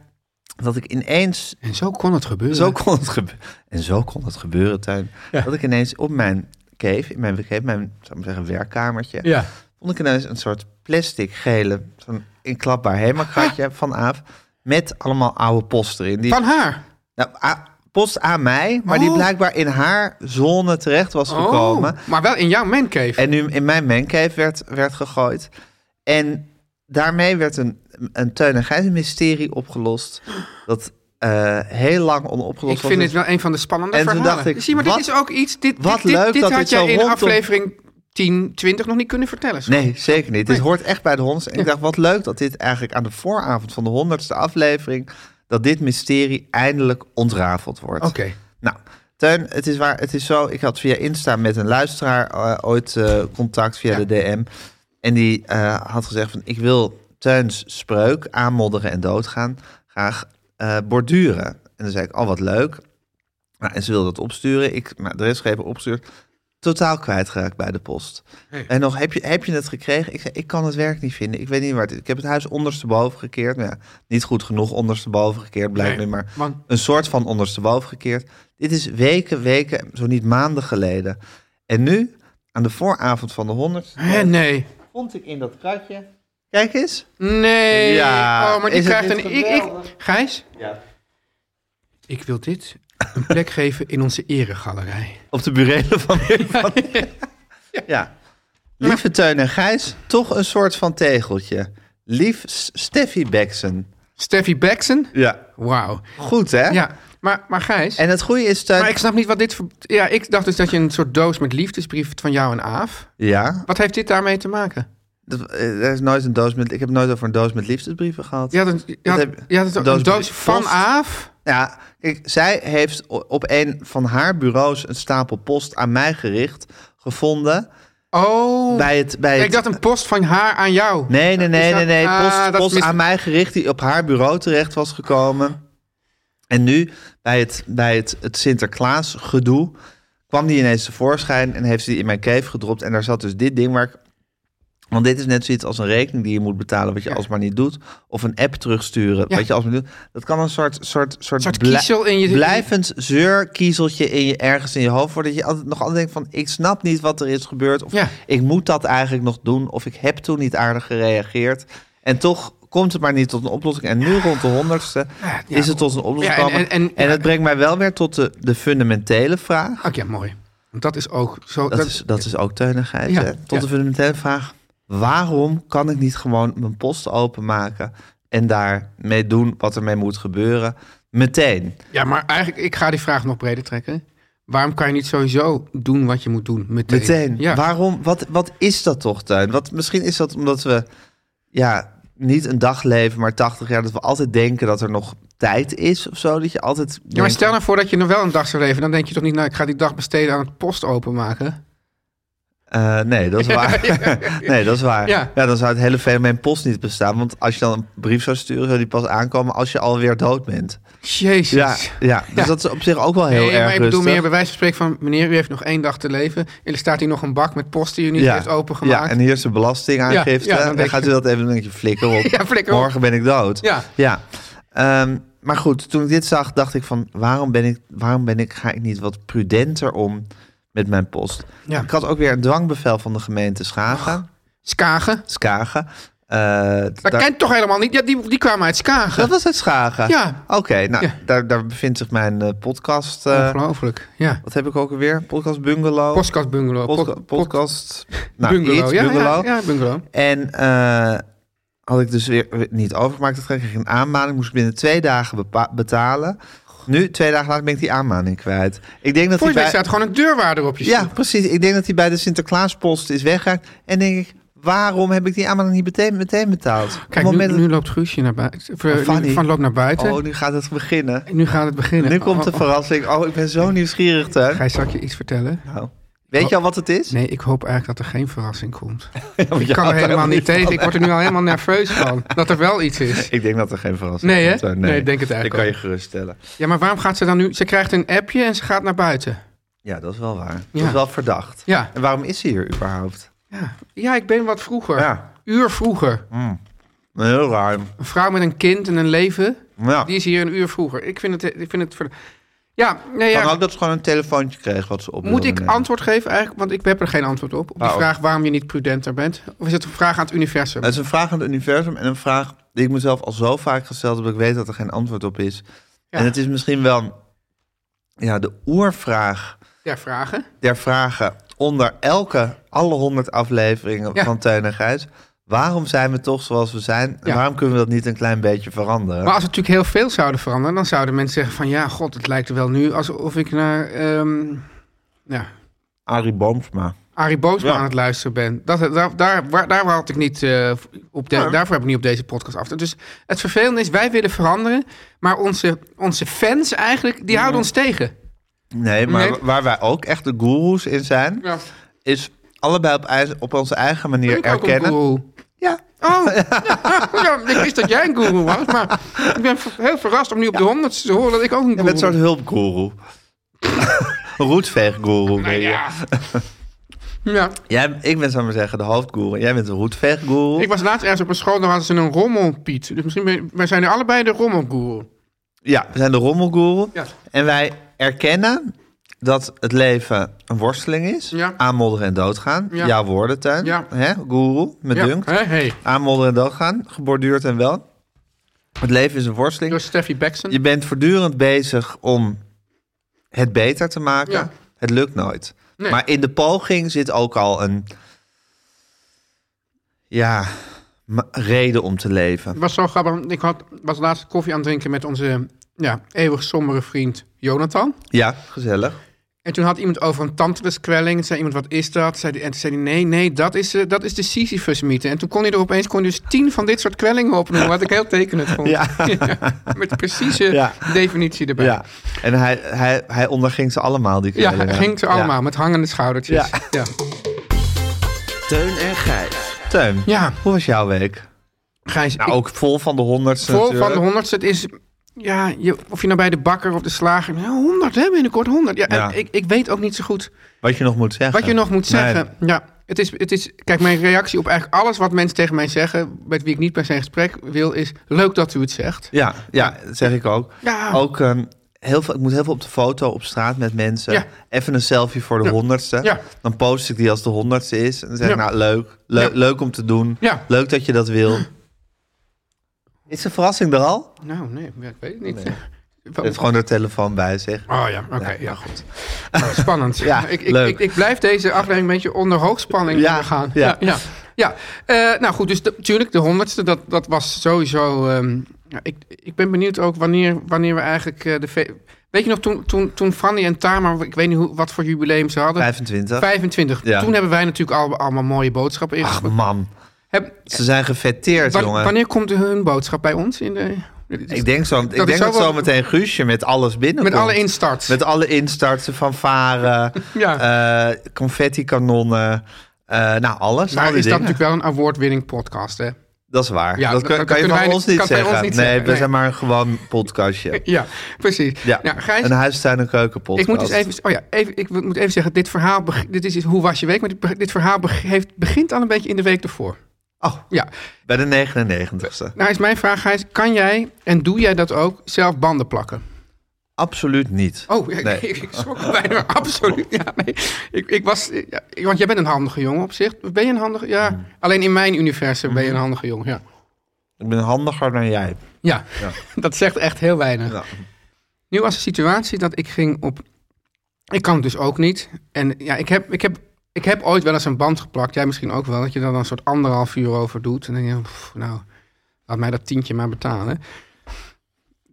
Speaker 2: dat ik ineens...
Speaker 3: En zo kon het gebeuren.
Speaker 2: Zo kon het gebeuren. En zo kon het gebeuren, Teun. Dat ik ineens op mijn cave, in mijn, cave, mijn zou ik maar zeggen, werkkamertje...
Speaker 3: Ja.
Speaker 2: vond ik ineens een soort plastic gele... zo'n inklapbaar hemelkratje van Aaf... met allemaal oude post erin. Die,
Speaker 3: Van haar.
Speaker 2: nou, a- post aan mij, maar die
Speaker 3: Oh.
Speaker 2: blijkbaar in haar zone terecht was gekomen...
Speaker 3: Oh, maar wel in jouw mancave.
Speaker 2: En nu in mijn mancave werd, werd gegooid. En daarmee werd een, een Teun en Gijs mysterie opgelost. Dat eh, heel lang
Speaker 3: ik
Speaker 2: onopgelost was.
Speaker 3: vind het wel een van de spannende
Speaker 2: En toen
Speaker 3: verhalen.
Speaker 2: dacht ik,
Speaker 3: Zie, maar
Speaker 2: wat-
Speaker 3: dit is ook iets... Dit, dit-
Speaker 2: wat
Speaker 3: dit,
Speaker 2: leuk
Speaker 3: dit
Speaker 2: dat dit
Speaker 3: had
Speaker 2: zo
Speaker 3: jij in
Speaker 2: rondom-
Speaker 3: aflevering 10, 20 nog niet kunnen vertellen. schat.
Speaker 2: Nee, zeker niet. Dit hoort echt bij de honderdste. En ik dacht, wat leuk dat dit eigenlijk aan de vooravond van de honderdste aflevering... dat dit mysterie eindelijk ontrafeld wordt.
Speaker 3: Oké.
Speaker 2: Nou, Teun, het is, waar, het is zo. Ik had via Insta met een luisteraar eh, ooit eh, contact via de DM. En die eh, had gezegd van... ik wil Teuns spreuk aanmodderen en doodgaan graag eh, borduren. En dan zei ik, oh wat leuk. Nou, en ze wilde dat opsturen. Ik, nou, de restgever opstuurt. Totaal kwijtgeraakt bij de post. En nog, heb je, heb je het gekregen? Ik zei, ik kan het werk niet vinden. Ik weet niet waar het is. Ik heb het huis ondersteboven gekeerd. Nou, ja, niet goed genoeg ondersteboven gekeerd, blijkt
Speaker 3: Nee,
Speaker 2: nu maar.
Speaker 3: want-
Speaker 2: Een soort van ondersteboven gekeerd. Dit is weken, weken, zo niet maanden geleden. En nu, aan de vooravond van de 100,
Speaker 3: Hè, Eh, nee.
Speaker 2: vond ik in dat kratje. Kijk eens.
Speaker 3: Nee.
Speaker 2: Ja,
Speaker 3: oh, maar die
Speaker 2: is het
Speaker 3: krijgt
Speaker 2: niet
Speaker 3: een... Ik,
Speaker 2: geweldig?
Speaker 3: ik, Gijs,
Speaker 2: Ja.
Speaker 3: ik wil dit een plek geven in onze eregalerij.
Speaker 2: Op de burelen van Ja. Lieve Teun en Gijs, toch een soort van tegeltje. Lief S- Steffi Bexen.
Speaker 3: Steffi Baxen?
Speaker 2: Ja.
Speaker 3: Wauw.
Speaker 2: Goed, hè?
Speaker 3: Ja, maar, maar Gijs...
Speaker 2: En het goede is, Teun...
Speaker 3: Maar ik snap niet wat dit... voor- Ja, ik dacht dus dat je een soort doos met liefdesbrief van jou en Aaf...
Speaker 2: Ja,
Speaker 3: Wat heeft dit daarmee te maken?
Speaker 2: dat- eh, er is nooit een doos met... Ik heb nooit over een doos met liefdesbrieven gehad.
Speaker 3: Je had een, je
Speaker 2: Dat
Speaker 3: had,
Speaker 2: heb-
Speaker 3: je had een
Speaker 2: doos
Speaker 3: doos,
Speaker 2: met die
Speaker 3: van
Speaker 2: post.
Speaker 3: Aaf.
Speaker 2: Ja, kijk, zij heeft o- op een van haar bureaus een stapel post aan mij gericht gevonden.
Speaker 3: Oh,
Speaker 2: Bij het, bij het,
Speaker 3: ik dacht een post van haar aan jou.
Speaker 2: Nee, nee, nee,
Speaker 3: Oh. Is
Speaker 2: nee,
Speaker 3: dat-
Speaker 2: nee.
Speaker 3: Ah,
Speaker 2: Post,
Speaker 3: dat
Speaker 2: post
Speaker 3: mis-
Speaker 2: aan mij gericht die op haar bureau terecht was gekomen. En nu, bij het, bij het, het Sinterklaas gedoe, kwam die ineens tevoorschijn en heeft ze die in mijn cave gedropt. En daar zat dus dit ding waar ik... Want dit is net zoiets als een rekening die je moet betalen, wat je alsmaar niet doet. Of een app terugsturen,
Speaker 3: Ja.
Speaker 2: wat je alsmaar niet doet. Dat kan een soort, soort, soort,
Speaker 3: soort kiezel in je-
Speaker 2: blijvend zeurkiezeltje in je, ergens in je hoofd wordt. Dat je altijd, nog altijd denkt van, ik snap niet wat er is gebeurd. Of
Speaker 3: Ja.
Speaker 2: ik moet dat eigenlijk nog doen. Of ik heb toen niet aardig gereageerd. En toch komt het maar niet tot een oplossing. En nu rond de honderdste
Speaker 3: Ja, ja.
Speaker 2: is het tot een oplossing
Speaker 3: Ja, en-
Speaker 2: gekomen. en,
Speaker 3: en- en- ja.
Speaker 2: het brengt mij wel weer tot de, de fundamentele vraag.
Speaker 3: Oké, mooi. Want dat is ook zo.
Speaker 2: Dat, is, dat is ook teunigheid.
Speaker 3: Ja,
Speaker 2: hè? Tot
Speaker 3: ja.
Speaker 2: de fundamentele vraag. Waarom kan ik niet gewoon mijn post openmaken en daarmee doen wat ermee moet gebeuren? Meteen.
Speaker 3: Ja, maar eigenlijk, ik ga die vraag nog breder trekken. Waarom kan je niet sowieso doen wat je moet doen meteen?
Speaker 2: Meteen.
Speaker 3: Ja.
Speaker 2: Waarom? Wat, wat is dat toch, Tuin? Wat, misschien is dat omdat we ja, niet een dag leven, maar 80 jaar. Dat we altijd denken dat er nog tijd is of zo. Dat je altijd.
Speaker 3: Ja, maar
Speaker 2: denkt-
Speaker 3: stel nou voor dat je nog wel een dag zou leven. Dan denk je toch niet, nou, ik ga die dag besteden aan het post openmaken.
Speaker 2: Eh, nee, dat is waar. nee, dat is waar. Ja.
Speaker 3: Ja.
Speaker 2: dan zou het hele fenomeen post niet bestaan. Want als je dan een brief zou sturen, zou die pas aankomen als je alweer dood bent.
Speaker 3: Jezus.
Speaker 2: Ja, ja. dus dat is op zich ook wel heel
Speaker 3: nee,
Speaker 2: erg.
Speaker 3: maar ik bedoel
Speaker 2: rustig.
Speaker 3: meer bij wijze van spreken van... meneer, u heeft nog één dag te leven. En er staat hier nog een bak met post die u niet heeft opengemaakt.
Speaker 2: Ja, en hier is de belastingaangifte.
Speaker 3: Ja, ja, dan
Speaker 2: dan
Speaker 3: denk
Speaker 2: gaat u dat even doen. denk je, flikker op.
Speaker 3: Ja, flikker op.
Speaker 2: Morgen ben ik dood.
Speaker 3: Ja.
Speaker 2: ja. Ehm, maar goed, toen ik dit zag, dacht ik van... waarom, ben ik, waarom ben ik, ga ik niet wat prudenter om met mijn post?
Speaker 3: Ja.
Speaker 2: Ik had ook weer een dwangbevel van de gemeente Schagen.
Speaker 3: Skagen.
Speaker 2: Skagen. Eh,
Speaker 3: Dat
Speaker 2: daar-
Speaker 3: kent toch helemaal niet? Ja, die, die kwamen uit Skagen.
Speaker 2: dat was het Schagen?
Speaker 3: Ja.
Speaker 2: Oké, nou,
Speaker 3: Ja.
Speaker 2: daar, daar bevindt zich mijn eh, podcast... eh,
Speaker 3: Ongelooflijk, ja.
Speaker 2: wat heb ik ook alweer? Podcast Bungalow?
Speaker 3: Podcast bungalow.
Speaker 2: Podca-
Speaker 3: pod- pod-
Speaker 2: podcast... nou,
Speaker 3: bungalow.
Speaker 2: iets,
Speaker 3: ja,
Speaker 2: bungalow.
Speaker 3: Ja, ja, bungalow.
Speaker 2: En eh, had ik dus weer weer niet overgemaakt. Dat kreeg ik een aanmaning. Moest ik binnen twee dagen bepa- betalen. Nu, twee dagen later, ben ik die aanmaning kwijt. Ik denk dat
Speaker 3: Voor
Speaker 2: die
Speaker 3: je weet
Speaker 2: bij...
Speaker 3: staat gewoon een deurwaarder op je
Speaker 2: Ja,
Speaker 3: stoep.
Speaker 2: precies. Ik denk dat die bij de Sinterklaaspost is weggeraakt. En denk ik, waarom heb ik die aanmaning niet meteen, meteen betaald? Op het
Speaker 3: Kijk, nu,
Speaker 2: moment Oh,
Speaker 3: nu loopt Guusje naar buiten. Of, eh, nu-
Speaker 2: Fanny.
Speaker 3: Van loopt naar
Speaker 2: dat-
Speaker 3: buiten.
Speaker 2: Oh, nu gaat het beginnen.
Speaker 3: En nu gaat het beginnen. oh,
Speaker 2: Nu komt de Oh,
Speaker 3: verhaal.
Speaker 2: verrassing. Oh, ik ben zo nieuwsgierig, Teun.
Speaker 3: Gijs, zal ik je iets vertellen?
Speaker 2: Nou, Weet je al wat het is?
Speaker 3: Nee, ik hoop eigenlijk dat er geen verrassing komt.
Speaker 2: Want je
Speaker 3: Ik kan
Speaker 2: houdt
Speaker 3: er
Speaker 2: er
Speaker 3: helemaal niet
Speaker 2: van.
Speaker 3: tegen. Ik word er nu al helemaal nerveus van. Dat er wel iets is.
Speaker 2: Ik denk dat er geen verrassing
Speaker 3: Nee, hè?
Speaker 2: komt. hoor.
Speaker 3: Nee, ik denk het eigenlijk
Speaker 2: Dat kan
Speaker 3: ook.
Speaker 2: je geruststellen.
Speaker 3: Ja, maar waarom gaat ze dan nu... Ze krijgt een appje en ze gaat naar buiten.
Speaker 2: Ja, dat is wel waar. Dat
Speaker 3: Ja.
Speaker 2: is wel verdacht.
Speaker 3: Ja,
Speaker 2: En waarom is ze hier überhaupt?
Speaker 3: ja. ja ik ben wat vroeger.
Speaker 2: Ja, Hm.
Speaker 3: Uur vroeger.
Speaker 2: heel raar.
Speaker 3: Een vrouw met een kind en een leven,
Speaker 2: Ja.
Speaker 3: die is hier een uur vroeger. Ik vind het... Ik vind het ver- Ja, nee,
Speaker 2: Kan
Speaker 3: ja.
Speaker 2: ook dat ze gewoon een telefoontje kreeg wat ze op
Speaker 3: Moet
Speaker 2: wilde
Speaker 3: ik
Speaker 2: nemen.
Speaker 3: antwoord geven eigenlijk? Want ik heb er geen antwoord op. Op die
Speaker 2: Oh.
Speaker 3: vraag waarom je niet prudenter bent. Of is het een vraag aan het universum?
Speaker 2: Het is een vraag aan het universum en een vraag die ik mezelf al zo vaak gesteld heb. dat Ik weet dat er geen antwoord op is.
Speaker 3: Ja.
Speaker 2: En het is misschien wel ja, de oervraag
Speaker 3: Ja, vragen.
Speaker 2: der vragen onder elke, alle honderd afleveringen
Speaker 3: Ja.
Speaker 2: van Teun en Gijs. Waarom zijn we toch zoals we zijn? En
Speaker 3: Ja.
Speaker 2: waarom kunnen we dat niet een klein beetje veranderen?
Speaker 3: Maar als we natuurlijk heel veel zouden veranderen, dan zouden mensen zeggen van... Ja, god, het lijkt er wel nu alsof ik naar... ehm, ja,
Speaker 2: Arie Boomsma.
Speaker 3: Arie Boomsma
Speaker 2: Ja.
Speaker 3: aan het luisteren ben. Dat, daar, daar, waar, daar had ik niet eh, op de,
Speaker 2: Ja.
Speaker 3: Daarvoor heb ik niet op deze podcast af. Dus het vervelende is, wij willen veranderen. Maar onze, onze fans eigenlijk, die houden ons tegen.
Speaker 2: Nee, maar
Speaker 3: Nee.
Speaker 2: waar wij ook echt de goeroes in zijn,
Speaker 3: Ja.
Speaker 2: is allebei op, ei- op onze eigen manier
Speaker 3: Ik ook een
Speaker 2: erkennen.
Speaker 3: guru.
Speaker 2: ja,
Speaker 3: Oh, ja, ja, ik wist dat jij een guru was. Maar ik ben ver- heel verrast om nu op de honderdste te horen dat ik ook een
Speaker 2: je bent
Speaker 3: guru
Speaker 2: zo'n
Speaker 3: ben.
Speaker 2: hulpgoeroe. Roetveeggoeroe ben je.
Speaker 3: Nou Ja. ja.
Speaker 2: Jij, ik ben, zou maar zeggen, de hoofdgoeroe. Jij bent de roetveeggoeroe.
Speaker 3: Ik was laatst ergens op een school, daar hadden ze een rommelpiet. Dus misschien ben, wij zijn nu allebei de rommelguru.
Speaker 2: Ja, we zijn de rommelgoeroe.
Speaker 3: Ja.
Speaker 2: En wij erkennen dat het leven een worsteling is.
Speaker 3: Ja.
Speaker 2: Aanmodderen en doodgaan.
Speaker 3: Ja.
Speaker 2: Jouw woorden, Teun.
Speaker 3: Ja.
Speaker 2: Hè, goeroe, me
Speaker 3: Ja.
Speaker 2: dunkt.
Speaker 3: Hé, hey.
Speaker 2: Aanmodderen en doodgaan, geborduurd en wel. Het leven is een worsteling.
Speaker 3: Door Steffi Bexen.
Speaker 2: Je bent voortdurend bezig om het beter te maken.
Speaker 3: Ja.
Speaker 2: Het lukt nooit.
Speaker 3: Nee.
Speaker 2: Maar in de poging zit ook al een ja, ma- reden om te leven.
Speaker 3: Het was zo grappig. want Ik had, was laatst koffie aan het drinken met onze ja, eeuwig sombere vriend Jonathan.
Speaker 2: Ja, gezellig. en
Speaker 3: En toen had iemand over een tantaliskwelling. Zei iemand, wat is dat? Zei die, en toen zei hij, nee, nee, dat is, eh, dat is de Sisyphus-mythe. En toen kon hij er opeens kon hij dus tien van dit soort kwellingen opnoemen. Wat ik heel tekenend vond.
Speaker 2: Ja.
Speaker 3: Met de precieze
Speaker 2: Ja.
Speaker 3: definitie erbij. Ja,
Speaker 2: En hij, hij, hij onderging ze allemaal, die
Speaker 3: ja
Speaker 2: kwellingen.
Speaker 3: ging ze
Speaker 2: Ja.
Speaker 3: allemaal met hangende schoudertjes.
Speaker 2: Ja.
Speaker 3: Ja. Ja.
Speaker 4: Teun en Gijs.
Speaker 2: Teun, hoe was jouw week?
Speaker 3: Gijs,
Speaker 2: Nou,
Speaker 3: ik-
Speaker 2: ook vol van de honderdste
Speaker 3: Vol van
Speaker 2: natuurlijk.
Speaker 3: de honderdste. Het is, ja, je, of je nou bij de bakker of de slager... Nou, 100 hè, binnenkort 100. Ja, en
Speaker 2: Ja.
Speaker 3: Ik, ik weet ook niet zo goed
Speaker 2: Wat je nog moet zeggen.
Speaker 3: Wat je nog moet
Speaker 2: Nee.
Speaker 3: zeggen. Ja, het is, het is. Kijk, mijn reactie op eigenlijk alles wat mensen tegen mij zeggen. met wie ik niet per se in gesprek wil. is. Leuk dat u het zegt.
Speaker 2: Ja, ja, dat zeg ik ook.
Speaker 3: Ja.
Speaker 2: Ook ehm, heel veel, ik moet heel veel op de foto op straat met mensen.
Speaker 3: Ja.
Speaker 2: Even een selfie voor de
Speaker 3: Ja.
Speaker 2: honderdste.
Speaker 3: Ja.
Speaker 2: Dan post ik die als de honderdste is. En dan zeg ik,
Speaker 3: Ja.
Speaker 2: nou leuk, leuk,
Speaker 3: Ja.
Speaker 2: leuk om te doen.
Speaker 3: Ja.
Speaker 2: Leuk dat je dat wil. Is de verrassing er al?
Speaker 3: Nou, nee, ja, ik weet het niet.
Speaker 2: Je hebt gewoon de telefoon bij zich.
Speaker 3: Oh ja, oké, ja, goed. Nou, Spannend.
Speaker 2: Ja,
Speaker 3: ik, ik,
Speaker 2: leuk.
Speaker 3: Ik, ik blijf deze aflevering een beetje onder hoogspanning
Speaker 2: Ja,
Speaker 3: gaan.
Speaker 2: ja.
Speaker 3: Ja, ja. ja. Eh, nou goed, dus de- natuurlijk de honderdste, dat, dat was sowieso... ehm, ja, ik, ik ben benieuwd ook wanneer, wanneer we eigenlijk eh, de... ve- Weet je nog, toen, toen, toen Fanny en Tamar, ik weet niet hoe, wat voor jubileum ze hadden.
Speaker 2: 25.
Speaker 3: 25.
Speaker 2: Ja.
Speaker 3: Toen hebben wij natuurlijk al, allemaal mooie boodschappen
Speaker 2: Ach
Speaker 3: ingebracht.
Speaker 2: man,
Speaker 3: Heb-
Speaker 2: ze zijn gefetteerd,
Speaker 3: wa-
Speaker 2: jongen.
Speaker 3: Wanneer komt hun boodschap bij ons? In de,
Speaker 2: Dus Ik denk, zo, ik
Speaker 3: is
Speaker 2: denk
Speaker 3: zo
Speaker 2: dat
Speaker 3: wel-
Speaker 2: zo meteen Guusje met alles binnenkomt.
Speaker 3: met alle instarts.
Speaker 2: Met alle instarten, fanfaren,
Speaker 3: Ja.
Speaker 2: eh, confetti-kanonnen. eh, nou, alles.
Speaker 3: maar
Speaker 2: al die
Speaker 3: is dat
Speaker 2: dingen.
Speaker 3: natuurlijk wel een award-winning podcast, hè?
Speaker 2: Dat is waar.
Speaker 3: Ja,
Speaker 2: dat
Speaker 3: dat-
Speaker 2: kun-
Speaker 3: dat
Speaker 2: kan je
Speaker 3: kunnen
Speaker 2: van
Speaker 3: wij-
Speaker 2: ons niet
Speaker 3: kan van ons
Speaker 2: zeggen.
Speaker 3: niet
Speaker 2: nee,
Speaker 3: zeggen,
Speaker 2: we
Speaker 3: nee.
Speaker 2: zijn maar een gewoon podcastje.
Speaker 3: Ja, precies.
Speaker 2: Ja,
Speaker 3: Nou, Gijs,
Speaker 2: een huistuin- en keukenpodcast.
Speaker 3: ik moet dus even, oh ja, even, ik moet even zeggen, dit verhaal, beg- dit is, hoe was je week? Maar dit, be- dit verhaal beg- heeft, begint al een beetje in de week ervoor.
Speaker 2: Oh,
Speaker 3: Ja,
Speaker 2: bij de 99ste.
Speaker 3: nou is mijn vraag, Gijs, kan jij en doe jij dat ook zelf banden plakken?
Speaker 2: Absoluut niet.
Speaker 3: Oh, ja,
Speaker 2: Nee.
Speaker 3: ik, ik schrok er bijna, absoluut. Ja, nee. ik, ik was, ja, ik- want jij bent een handige jongen op zich. Ben je een handige? Ja,
Speaker 2: Hmm.
Speaker 3: alleen in mijn universum ben je een handige jongen, ja.
Speaker 2: Ik ben handiger dan jij.
Speaker 3: Ja, dat zegt echt heel weinig.
Speaker 2: Ja.
Speaker 3: Nu was de situatie dat ik ging op... Ik kan het dus ook niet. En ja, ik heb, ik heb, ik heb ooit wel eens een band geplakt. Jij misschien ook wel. Dat je daar dan een soort anderhalf uur over doet. En dan denk je, "Pff, nou, laat mij dat tientje maar betalen.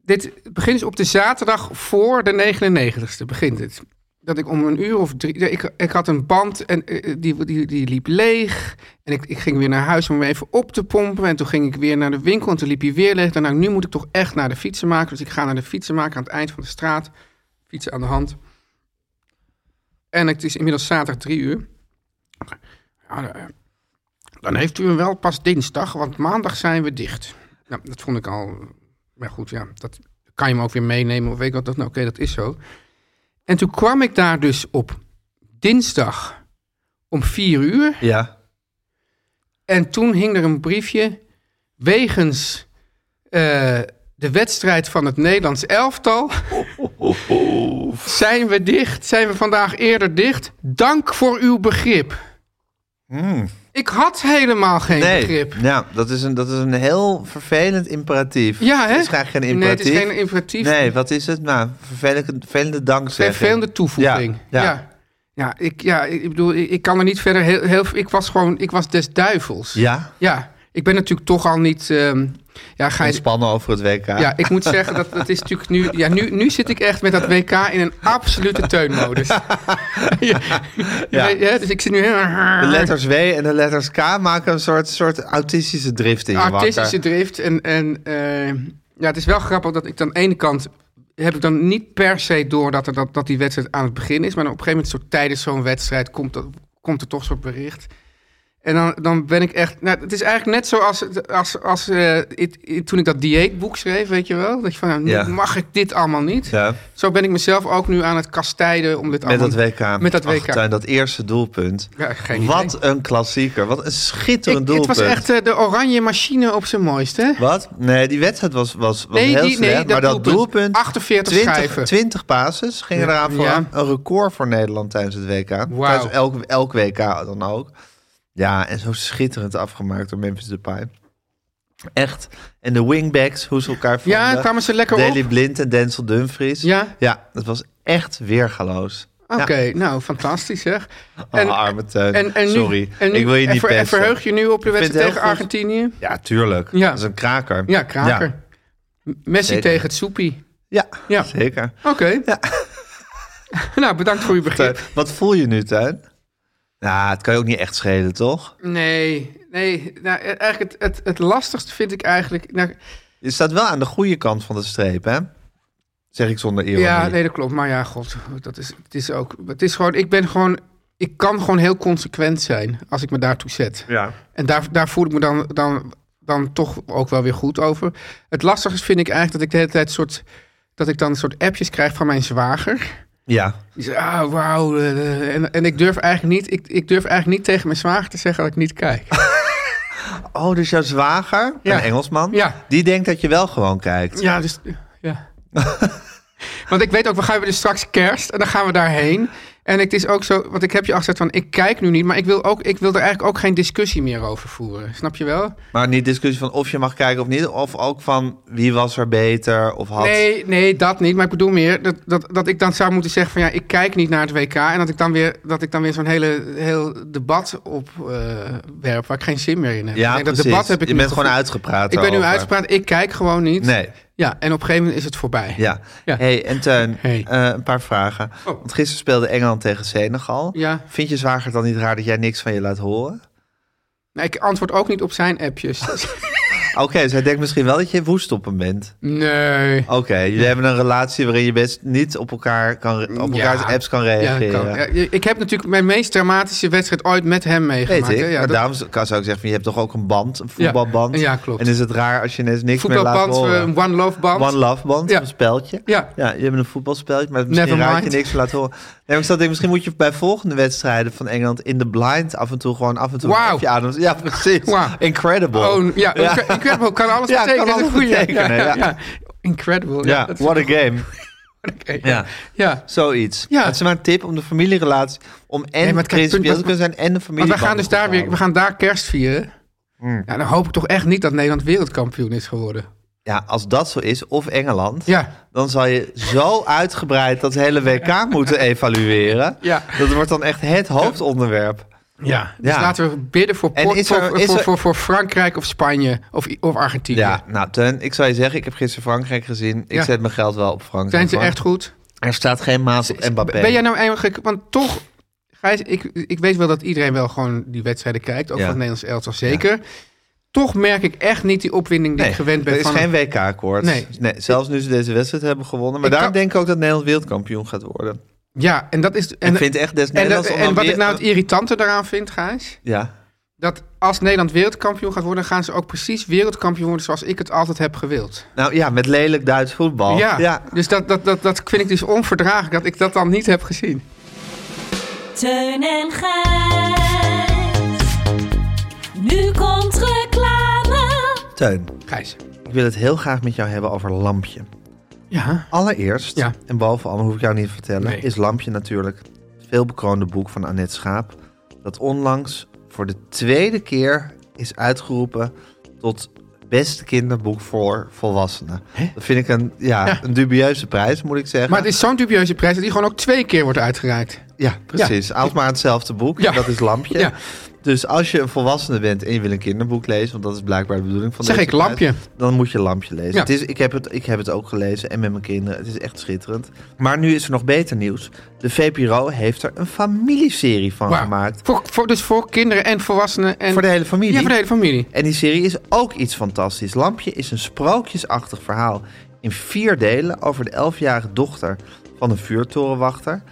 Speaker 3: Dit begint dus op de zaterdag voor de 99ste begint het. Dat ik om een uur of drie... ja, Ik, ik had een band en eh, die, die, die liep leeg. En ik, ik ging weer naar huis om hem even op te pompen. En toen ging ik weer naar de winkel en toen liep hij weer leeg. Daarna, nu moet ik toch echt naar de fietsenmaker. Dus ik ga naar de fietsenmaker aan het eind van de straat. Fietsen aan de hand. En het is inmiddels zaterdag drie uur. Ja, eh, dan heeft u hem wel pas dinsdag, want maandag zijn we dicht. Nou, dat vond ik al... Maar goed, ja, dat kan je me ook weer meenemen. Of weet ik wat, dat, nou, oké, dat is zo. En toen kwam ik daar dus op dinsdag om vier uur.
Speaker 2: Ja.
Speaker 3: En toen hing er een briefje wegens eh, de wedstrijd van het Nederlands elftal. Zijn we dicht? Zijn we vandaag eerder dicht? Dank voor uw begrip. Ik had helemaal geen
Speaker 2: Hmm. Nee.
Speaker 3: begrip.
Speaker 2: Ja, dat is, een, dat is een heel vervelend imperatief.
Speaker 3: Ja, hè?
Speaker 2: Het is graag geen
Speaker 3: Nee, het
Speaker 2: imperatief.
Speaker 3: is geen imperatief.
Speaker 2: Nee, wat is het? Nou, vervelende, vervelende dankzegging.
Speaker 3: Vervelende toevoeging.
Speaker 2: Ja,
Speaker 3: Ja,
Speaker 2: ja.
Speaker 3: ja. ja. ik, ja, ik ik bedoel, ik, ik kan er niet verder heel, heel... Ik was gewoon, ik was des duivels.
Speaker 2: Ja,
Speaker 3: Ja, ik ben natuurlijk toch al niet... ehm, ja, Gijs,
Speaker 2: ontspannen over het WK.
Speaker 3: Ja, ik moet zeggen, dat, dat is natuurlijk nu, ja, nu... Nu zit ik echt met dat WK in een absolute teunmodus. ja.
Speaker 2: Ja.
Speaker 3: weet je, hè, dus ik zit nu helemaal...
Speaker 2: De letters W en de letters K maken een soort, soort autistische drift in je
Speaker 3: Artistische
Speaker 2: wakker.
Speaker 3: drift. En, en eh, ja, het is wel grappig dat ik aan de ene kant... heb ik dan niet per se door dat, er, dat, dat die wedstrijd aan het begin is. Maar dan op een gegeven moment, zo tijdens zo'n wedstrijd, komt, dat, komt er toch zo'n bericht. En dan, dan ben ik echt... Nou, het is eigenlijk net zoals het- als, als, eh, het- het- toen ik dat dieetboek schreef, weet je wel? Dat je van, nou, nu
Speaker 2: Ja.
Speaker 3: mag ik dit allemaal niet?
Speaker 2: Ja,
Speaker 3: Zo ben ik mezelf ook nu aan het kastijden om dit
Speaker 2: met
Speaker 3: allemaal...
Speaker 2: dat WK.
Speaker 3: Met dat
Speaker 2: Ach,
Speaker 3: WK.
Speaker 2: Tuin, dat eerste doelpunt.
Speaker 3: Ja, geen idee.
Speaker 2: Wat een klassieker. Wat een schitterend
Speaker 3: Ik- het
Speaker 2: doelpunt.
Speaker 3: was echt eh, de oranje machine op zijn mooiste. hè?
Speaker 2: Wat? Nee, die wedstrijd was, was, was
Speaker 3: Nee,
Speaker 2: heel
Speaker 3: die- nee,
Speaker 2: slecht.
Speaker 3: dat
Speaker 2: maar dat doelpunt...
Speaker 3: doelpunt, 48
Speaker 2: 20,
Speaker 3: schijven.
Speaker 2: 20 bases gingen
Speaker 3: Ja.
Speaker 2: eraan vooraf.
Speaker 3: Ja.
Speaker 2: Een record voor Nederland tijdens het WK. Tijdens elk, elk WK dan ook. Ja, en zo schitterend afgemaakt door Memphis Depay. Echt. En de wingbacks, hoe ze elkaar vonden.
Speaker 3: Ja, kwamen ze lekker
Speaker 2: Daley
Speaker 3: op.
Speaker 2: Blind en Denzel Dumfries.
Speaker 3: Ja.
Speaker 2: Ja, dat was echt weergaloos.
Speaker 3: Oké,
Speaker 2: Ja.
Speaker 3: nou, fantastisch zeg.
Speaker 2: Oh, arme Teun.
Speaker 3: en, en nu,
Speaker 2: Sorry,
Speaker 3: en nu-
Speaker 2: ik wil je
Speaker 3: en
Speaker 2: niet
Speaker 3: ver- en
Speaker 2: pesten.
Speaker 3: verheug je nu op de
Speaker 2: Ik vind
Speaker 3: wedstrijd
Speaker 2: het
Speaker 3: tegen
Speaker 2: heel goed.
Speaker 3: Argentinië?
Speaker 2: Ja, tuurlijk.
Speaker 3: Ja.
Speaker 2: Dat is een kraker.
Speaker 3: Ja, kraker. Messi
Speaker 2: Zeker.
Speaker 3: tegen het soepie.
Speaker 2: Ja, ja.
Speaker 3: Ja.
Speaker 2: zeker.
Speaker 3: Oké. nou, bedankt voor uw
Speaker 2: Tuin,
Speaker 3: begrip.
Speaker 2: wat voel je nu, Tuin? Nou, het kan je ook niet echt schelen, toch?
Speaker 3: Nee, nee. Nou, eh, eigenlijk het, het, het lastigste vind ik eigenlijk... nou,
Speaker 2: Je staat wel aan de goede kant van de streep, hè? Zeg ik zonder ironie.
Speaker 3: ja, nee, dat klopt. Maar ja, god, dat is, het is ook... Het is gewoon, ik ben gewoon... Ik kan gewoon heel consequent zijn als ik me daartoe zet.
Speaker 2: Ja.
Speaker 3: En daar, daar voel ik me dan, dan, dan toch ook wel weer goed over. Het lastige is, vind ik eigenlijk dat ik de hele tijd soort. Dat ik dan een soort appjes krijg van mijn zwager.
Speaker 2: Ja.
Speaker 3: Die zegt, ah, wauw. eh, eh, En, en ik durf eigenlijk niet, ik, ik durf eigenlijk niet tegen mijn zwager te zeggen dat ik niet kijk.
Speaker 2: Oh, dus jouw zwager,
Speaker 3: Ja.
Speaker 2: een Engelsman,
Speaker 3: Ja.
Speaker 2: die denkt dat je wel gewoon kijkt.
Speaker 3: Ja, dus. Ja. want ik weet ook, we gaan dus straks kerst en dan gaan we daarheen. En het is ook zo, want ik heb je al gezegd van, ik kijk nu niet, maar ik wil, ook, ik wil er eigenlijk ook geen discussie meer over voeren. Snap je wel?
Speaker 2: Maar niet discussie van of je mag kijken of niet, of ook van wie was er beter of had.
Speaker 3: Nee, nee, dat niet. Maar ik bedoel meer dat, dat, dat ik dan zou moeten zeggen van ja, ik kijk niet naar het WK. En dat ik dan weer, dat ik dan weer zo'n hele heel debat opwerp werp waar ik geen zin meer in heb.
Speaker 2: Ja,
Speaker 3: Ik denk, dat
Speaker 2: precies.
Speaker 3: debat heb ik
Speaker 2: je
Speaker 3: nu
Speaker 2: bent gewoon
Speaker 3: gevoerd.
Speaker 2: uitgepraat.
Speaker 3: Ik ben nu
Speaker 2: daarover.
Speaker 3: uitgepraat, ik kijk gewoon niet.
Speaker 2: Nee.
Speaker 3: Ja, en op een gegeven moment is het voorbij.
Speaker 2: Ja.
Speaker 3: Ja.
Speaker 2: Hey, en Teun,
Speaker 3: Hey. Oh.
Speaker 2: eh, een paar vragen. Want gisteren speelde Engeland tegen Senegal.
Speaker 3: Ja.
Speaker 2: Vind je zwager dan niet raar dat jij niks van je laat horen?
Speaker 3: Nee, Nou, ik antwoord ook niet op zijn appjes.
Speaker 2: Oké, dus hij denkt misschien wel dat je woest op hem bent.
Speaker 3: nee.
Speaker 2: Oké, jullie hebben een relatie waarin je best niet op elkaar kan, re- op elkaars apps kan
Speaker 3: Ja,
Speaker 2: reageren.
Speaker 3: kan. Ja, ik heb natuurlijk mijn meest dramatische wedstrijd ooit met hem
Speaker 2: Weet
Speaker 3: meegemaakt.
Speaker 2: ik,
Speaker 3: hè. Ja,
Speaker 2: maar
Speaker 3: dat-
Speaker 2: daarom zou ik zeggen, van, je hebt toch ook een band, een voetbalband?
Speaker 3: Ja, klopt.
Speaker 2: En is het raar als je ineens niks meer laat
Speaker 3: voetbalband,
Speaker 2: horen?
Speaker 3: eh, One Love Band.
Speaker 2: One Love Band,
Speaker 3: Ja.
Speaker 2: een speltje.
Speaker 3: Ja.
Speaker 2: ja, je hebt een voetbalspeltje, maar misschien
Speaker 3: Never
Speaker 2: raad je
Speaker 3: mind.
Speaker 2: niks meer laten horen. Nee, maar ik zat te denken, misschien moet je bij volgende wedstrijden van Engeland in de blind af en toe gewoon af en toe
Speaker 3: Wauw.
Speaker 2: op je ademt. Ja, precies.
Speaker 3: Wauw.
Speaker 2: Incredible.
Speaker 3: Oh, ja, Incre- Incredible kan alles
Speaker 2: Ja, kan
Speaker 3: betekenen.
Speaker 2: alles
Speaker 3: Goeie.
Speaker 2: betekenen, ja.
Speaker 3: Incredible.
Speaker 2: ja,
Speaker 3: dat is-
Speaker 2: what a game.
Speaker 3: oké,
Speaker 2: Ja.
Speaker 3: ja. ja.
Speaker 2: Zoiets.
Speaker 3: Ja.
Speaker 2: Dat is maar een tip om de familierelatie, om en
Speaker 3: Nee, maar
Speaker 2: nee,
Speaker 3: het krijgt-
Speaker 2: principieel te kunnen zijn en de familie.
Speaker 3: Maar we gaan dus daar weer, we gaan daar kerst vieren.
Speaker 2: Mm.
Speaker 3: Ja, dan hoop ik toch echt niet dat Nederland wereldkampioen is geworden.
Speaker 2: Ja, als dat zo is, of Engeland,
Speaker 3: Ja.
Speaker 2: dan zal je zo uitgebreid dat hele WK moeten evalueren.
Speaker 3: Ja.
Speaker 2: Dat wordt dan echt het hoofdonderwerp.
Speaker 3: Ja. Dus
Speaker 2: Ja.
Speaker 3: laten we bidden voor,
Speaker 2: En
Speaker 3: Port-
Speaker 2: is er-
Speaker 3: voor,
Speaker 2: is
Speaker 3: voor,
Speaker 2: er-
Speaker 3: voor, voor Frankrijk of Spanje of, I- of Argentinië.
Speaker 2: Ja, nou Teun, ik zou je zeggen, ik heb gisteren Frankrijk gezien. Ik
Speaker 3: Ja.
Speaker 2: zet mijn geld wel op Frankrijk.
Speaker 3: Zijn ze
Speaker 2: hoor.
Speaker 3: echt goed?
Speaker 2: Er staat geen maat op Mbappé.
Speaker 3: Ben jij nou eigenlijk... Want toch, Gijs, ik, ik weet wel dat iedereen wel gewoon die wedstrijden kijkt. Ook
Speaker 2: Ja.
Speaker 3: van het Nederlands elftal zeker. Toch merk ik echt niet die opwinding die
Speaker 2: Nee,
Speaker 3: ik gewend ben
Speaker 2: er is
Speaker 3: van...
Speaker 2: geen WK-akkoord.
Speaker 3: Nee.
Speaker 2: zelfs nu ze deze wedstrijd hebben gewonnen. Maar
Speaker 3: Ik
Speaker 2: daarom
Speaker 3: kan-
Speaker 2: denk ik ook dat Nederland wereldkampioen gaat worden.
Speaker 3: Ja, en dat is. En,
Speaker 2: ik vind echt des
Speaker 3: en, dat-
Speaker 2: Nederlands om
Speaker 3: en
Speaker 2: dan
Speaker 3: wat ik
Speaker 2: weer-
Speaker 3: nou het irritante daaraan vind, Gijs.
Speaker 2: Ja.
Speaker 3: Dat als Nederland wereldkampioen gaat worden, gaan ze ook precies wereldkampioen worden zoals ik het altijd heb gewild.
Speaker 2: Nou ja, met lelijk Duits voetbal.
Speaker 3: Ja, dus dat, dat, dat, dat vind ik dus onverdraaglijk dat ik dat dan niet heb gezien.
Speaker 6: Teun en Gijs. Nu komt reclame.
Speaker 2: Teun,
Speaker 3: Gijs.
Speaker 2: ik wil het heel graag met jou hebben over Lampje.
Speaker 3: Ja.
Speaker 2: Allereerst,
Speaker 3: Ja.
Speaker 2: en bovenal hoef ik jou niet te vertellen,
Speaker 3: Nee.
Speaker 2: is Lampje natuurlijk het veelbekroonde boek van Annette Schaap. Dat onlangs voor de tweede keer is uitgeroepen tot beste kinderboek voor volwassenen. Dat vind ik een, ja,
Speaker 3: Ja.
Speaker 2: een dubieuze prijs, moet ik zeggen.
Speaker 3: Maar het is zo'n dubieuze prijs dat die gewoon ook twee keer wordt uitgereikt.
Speaker 2: Ja, precies. Altijd maar hetzelfde boek.
Speaker 3: Ja.
Speaker 2: Dat is Lampje.
Speaker 3: Ja.
Speaker 2: Dus als je een volwassene bent en je wil een kinderboek lezen, want dat is blijkbaar de bedoeling van
Speaker 3: Zeg
Speaker 2: deze
Speaker 3: ik Lampje.
Speaker 2: prijs, Dan moet je Lampje lezen.
Speaker 3: Ja.
Speaker 2: Het is, ik, heb het, ik heb het ook gelezen en met mijn kinderen. Het is echt schitterend. Maar nu is er nog beter nieuws. De VPRO heeft er een familieserie van
Speaker 3: Wauw.
Speaker 2: gemaakt.
Speaker 3: Voor, voor, dus voor kinderen en volwassenen. En,
Speaker 2: Oh, Voor de hele familie.
Speaker 3: Ja, voor de hele familie.
Speaker 2: En die serie is ook iets fantastisch. Lampje is een sprookjesachtig verhaal in vier delen over de elfjarige dochter van een vuurtorenwachter.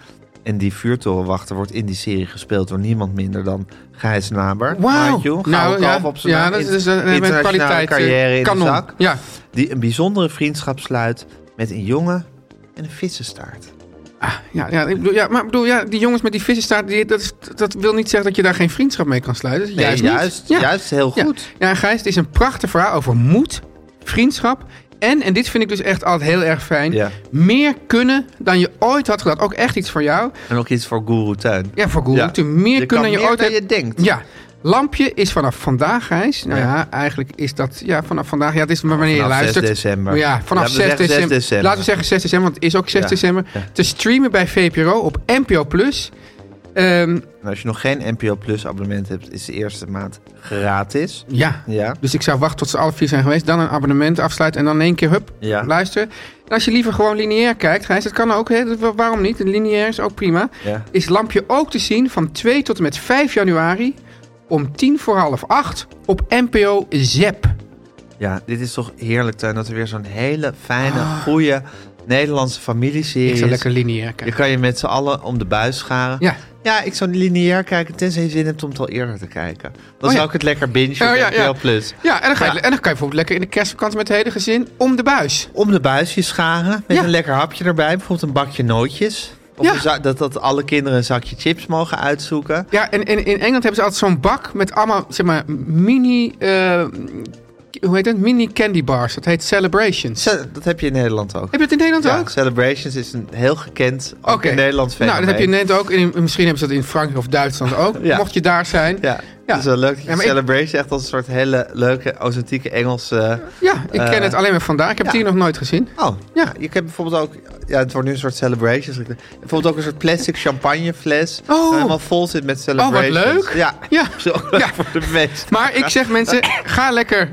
Speaker 2: En die vuurtorenwachter wordt in die serie gespeeld door niemand minder dan Gijs Naber.
Speaker 3: Wauw. Nou
Speaker 2: Mind you, gouden kalf op zijn
Speaker 3: ja,
Speaker 2: naam.
Speaker 3: dat is
Speaker 2: In-
Speaker 3: dus een
Speaker 2: internationale
Speaker 3: kwaliteit. eh,
Speaker 2: carrière in de
Speaker 3: kanon.
Speaker 2: zak.
Speaker 3: Ja.
Speaker 2: Die een bijzondere vriendschap sluit met een jongen en een vissenstaart.
Speaker 3: Ah, Ja, ja, ik bedoel, ja, maar ik bedoel, ja, die jongens met die vissenstaart, die, dat, is, dat wil niet zeggen dat je daar geen vriendschap mee kan sluiten. Dus
Speaker 2: Nee,
Speaker 3: juist, niet.
Speaker 2: juist,
Speaker 3: Ja.
Speaker 2: juist heel
Speaker 3: Ja.
Speaker 2: goed.
Speaker 3: Ja, en Gijs, het is een prachtig verhaal over moed, vriendschap en, en dit vind ik dus echt altijd heel erg fijn,
Speaker 2: Ja.
Speaker 3: meer kunnen dan je ooit had gedaan. Ook echt iets voor jou.
Speaker 2: En ook iets voor Guru Tuin.
Speaker 3: Ja, voor Google.
Speaker 2: Ja.
Speaker 3: Toen Meer
Speaker 2: Je kan
Speaker 3: kunnen dan je
Speaker 2: meer
Speaker 3: ooit
Speaker 2: dan
Speaker 3: hebt-
Speaker 2: je denkt.
Speaker 3: Ja. Lampje is vanaf vandaag, Gijs. Nou
Speaker 2: Ja.
Speaker 3: ja, eigenlijk is dat... Ja, vanaf vandaag. Ja, het is maar wanneer je
Speaker 2: Vanaf 6
Speaker 3: luistert.
Speaker 2: december.
Speaker 3: Ja, vanaf
Speaker 2: Laten we
Speaker 3: 6,
Speaker 2: zeggen 6
Speaker 3: december.
Speaker 2: december.
Speaker 3: Laten we zeggen 6 december, want het is ook 6
Speaker 2: Ja.
Speaker 3: december.
Speaker 2: Ja.
Speaker 3: Te streamen bij VPRO op NPO+. Plus. Ehm,
Speaker 2: En als je nog geen NPO Plus abonnement hebt, is de eerste maand gratis.
Speaker 3: ja.
Speaker 2: Ja.
Speaker 3: Dus ik zou wachten tot ze alle vier zijn geweest. Dan een abonnement afsluiten en dan in één keer, hup,
Speaker 2: Ja.
Speaker 3: luisteren. En als je liever gewoon lineair kijkt, Gijs, dat kan ook. Hè, dat- wa- waarom niet? Lineair is ook prima.
Speaker 2: Ja.
Speaker 3: Is Lampje ook te zien van 2 tot en met 5 januari om tien voor half acht op NPO ZEP.
Speaker 2: Ja, dit is toch heerlijk, Tuin, dat er weer zo'n hele fijne, goede Nederlandse familieserie
Speaker 3: Ah. Ik zou
Speaker 2: is.
Speaker 3: lekker lineair
Speaker 2: Je
Speaker 3: kijken.
Speaker 2: kan je met z'n allen om de buis scharen.
Speaker 3: Ja.
Speaker 2: Ja, ik zou lineair kijken, tenzij je zin hebt om het al eerder te kijken. Dan
Speaker 3: ja.
Speaker 2: zou ik het lekker bingen op
Speaker 3: Oh, ja, ja.
Speaker 2: NPO Plus.
Speaker 3: Ja, en dan, ga je,
Speaker 2: Ja.
Speaker 3: en dan kan je bijvoorbeeld lekker in de kerstvakantie met het hele gezin om de buis.
Speaker 2: Om de buisjes scharen, met
Speaker 3: Ja.
Speaker 2: een lekker hapje erbij. Bijvoorbeeld een bakje nootjes. Of
Speaker 3: Ja.
Speaker 2: een za- dat, dat alle kinderen een zakje chips mogen uitzoeken.
Speaker 3: Ja, en, en in Engeland hebben ze altijd zo'n bak met allemaal, zeg maar, mini, eh, hoe heet dat? Mini candy bars. Dat heet Celebrations.
Speaker 2: Ze- Dat heb je in Nederland ook.
Speaker 3: Heb je het in Nederland
Speaker 2: Ja,
Speaker 3: ook?
Speaker 2: Celebrations is een heel gekend, ook in Nederland
Speaker 3: Nou, dat heb je in
Speaker 2: fenomeen.
Speaker 3: Nederland ook. En in- misschien hebben ze dat in Frankrijk of Duitsland ook.
Speaker 2: Ja.
Speaker 3: Mocht je daar zijn.
Speaker 2: Ja, het is wel leuk dat je
Speaker 3: Ja, maar ik-
Speaker 2: Celebration echt als een soort hele leuke, authentieke Engelse...
Speaker 3: Ja, ik
Speaker 2: Eh,
Speaker 3: ken het alleen maar vandaar. Ik heb
Speaker 2: ja.
Speaker 3: het hier nog nooit gezien.
Speaker 2: Oh,
Speaker 3: Ja.
Speaker 2: ja. Je hebt bijvoorbeeld ook... Ja, het wordt nu een soort Celebrations. Bijvoorbeeld ook een soort plastic champagnefles...
Speaker 3: Oh.
Speaker 2: waar helemaal vol zit met Celebrations.
Speaker 3: leuk.
Speaker 2: Ja,
Speaker 3: Ja.
Speaker 2: zo leuk
Speaker 3: Ja.
Speaker 2: voor de meest.
Speaker 3: Maar ik zeg mensen, ga lekker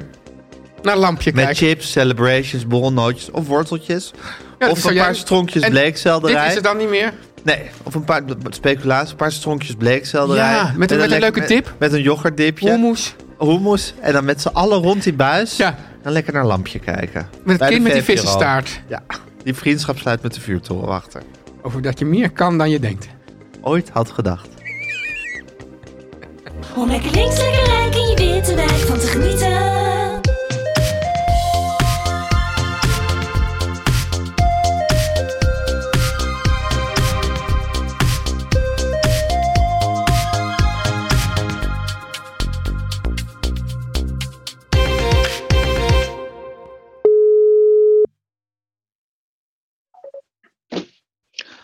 Speaker 3: naar Lampje
Speaker 2: Met
Speaker 3: kijken.
Speaker 2: chips, Celebrations, borrelnootjes of worteltjes.
Speaker 3: dat
Speaker 2: of
Speaker 3: zou
Speaker 2: een
Speaker 3: jij-
Speaker 2: paar stronkjes
Speaker 3: En
Speaker 2: bleekselderij.
Speaker 3: Dit is het dan niet meer.
Speaker 2: Nee, of een paar speculaas, een paar stronkjes bleekselderij.
Speaker 3: Ja, met een- met een
Speaker 2: lekker-
Speaker 3: leuke dip.
Speaker 2: Met, met een yoghurtdipje.
Speaker 3: Hummus.
Speaker 2: hummus. En dan met z'n allen rond die buis.
Speaker 3: Ja.
Speaker 2: En lekker naar lampje kijken.
Speaker 3: Met
Speaker 2: Bij
Speaker 3: het
Speaker 2: de
Speaker 3: kind met die
Speaker 2: VPRO.
Speaker 3: vissenstaart.
Speaker 2: Ja, die vriendschap sluit met de vuurtorenwachter.
Speaker 3: Over dat je meer kan dan je denkt.
Speaker 2: Ooit had gedacht.
Speaker 6: Om lekker links, lekker rijk in je witte wijk van te genieten.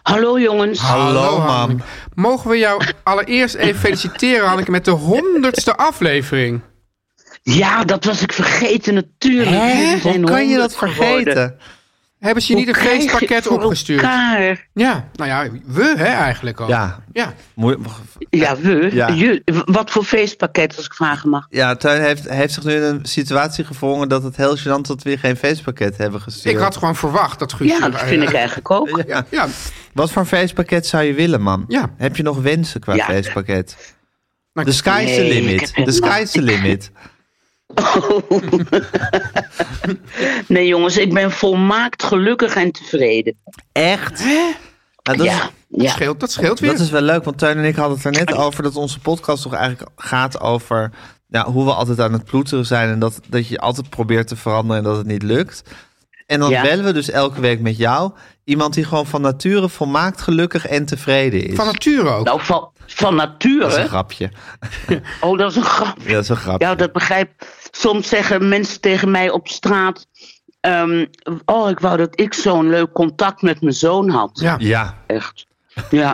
Speaker 7: Hallo jongens.
Speaker 2: Hallo, mam.
Speaker 3: Hanneke. Mogen we jou allereerst even feliciteren, Hanneke, met de honderdste aflevering.
Speaker 7: Ja, dat was ik vergeten natuurlijk. Jullie zijn
Speaker 2: Hoe kan je dat
Speaker 7: 100 geworden.
Speaker 2: vergeten?
Speaker 3: Hebben ze je
Speaker 7: Hoe
Speaker 3: niet een
Speaker 7: krijg je het
Speaker 3: feestpakket
Speaker 7: voor
Speaker 3: opgestuurd?
Speaker 7: elkaar?
Speaker 3: Ja, nou ja, we hè eigenlijk al.
Speaker 2: Ja,
Speaker 3: ja.
Speaker 2: moe-
Speaker 7: Ja, we.
Speaker 2: Ja.
Speaker 7: Je- wat voor feestpakket, als ik vragen mag?
Speaker 2: ja Tuin heeft, heeft zich nu in een situatie gevrongen dat het heel gênant dat we weer geen feestpakket hebben gestuurd.
Speaker 3: Ik had gewoon verwacht dat Guus... eh,
Speaker 7: Ja, dat vind ik eigenlijk ook.
Speaker 2: Ja.
Speaker 3: Ja,
Speaker 2: Wat voor feestpakket zou je willen, mam?
Speaker 3: Ja.
Speaker 2: Heb je nog wensen qua
Speaker 7: Ja.
Speaker 2: feestpakket?
Speaker 3: Nou,
Speaker 2: The sky is the
Speaker 7: Nee, ik
Speaker 2: limit.
Speaker 7: heb geen
Speaker 2: The sky
Speaker 7: man.
Speaker 2: is the limit.
Speaker 7: nee jongens, ik ben volmaakt gelukkig en tevreden.
Speaker 2: Echt? Nou, dat,
Speaker 7: Ja.
Speaker 2: is,
Speaker 3: Dat
Speaker 7: Ja.
Speaker 3: scheelt, dat scheelt weer.
Speaker 2: Dat is wel leuk, want Teun en ik hadden het er net over dat onze podcast toch eigenlijk gaat over nou, hoe we altijd aan het ploeteren zijn en dat, dat je altijd probeert te veranderen en dat het niet lukt. En dan
Speaker 7: Ja.
Speaker 2: bellen we dus elke week met jou iemand die gewoon van nature volmaakt gelukkig en tevreden is.
Speaker 3: Van nature ook.
Speaker 7: Nou, van, van
Speaker 2: dat is een
Speaker 7: nature.
Speaker 2: grapje.
Speaker 7: Oh, dat is een grap.
Speaker 2: Ja, dat is een grapje.
Speaker 7: Ja, dat begrijp Soms zeggen mensen tegen mij op straat. ehm, oh, ik wou dat ik zo'n leuk contact met mijn zoon had.
Speaker 3: Ja.
Speaker 2: Ja.
Speaker 7: Echt. Ja.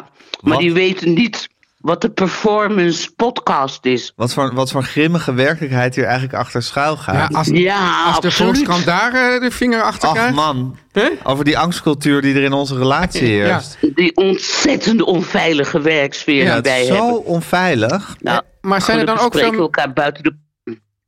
Speaker 7: Maar
Speaker 2: Wat?
Speaker 7: die weten niet wat de performance podcast is.
Speaker 2: Wat voor, wat voor grimmige werkelijkheid hier eigenlijk achter schuil
Speaker 3: Ja,
Speaker 2: gaat.
Speaker 3: als,
Speaker 7: Ja,
Speaker 3: als de
Speaker 7: absoluut.
Speaker 3: Volkskrant daar eh, de vinger achter
Speaker 2: Ach
Speaker 3: krijgt.
Speaker 2: man,
Speaker 3: Hè?
Speaker 2: over die angstcultuur die er in onze relatie
Speaker 3: Ja.
Speaker 2: heerst.
Speaker 7: Die ontzettend onveilige werksfeer
Speaker 3: Ja,
Speaker 7: die
Speaker 2: Het
Speaker 7: wij
Speaker 2: is zo
Speaker 7: hebben.
Speaker 2: onveilig.
Speaker 7: Nou,
Speaker 3: Maar zijn er dan ook
Speaker 7: gelukkig spreken we
Speaker 3: veel,
Speaker 7: elkaar buiten de...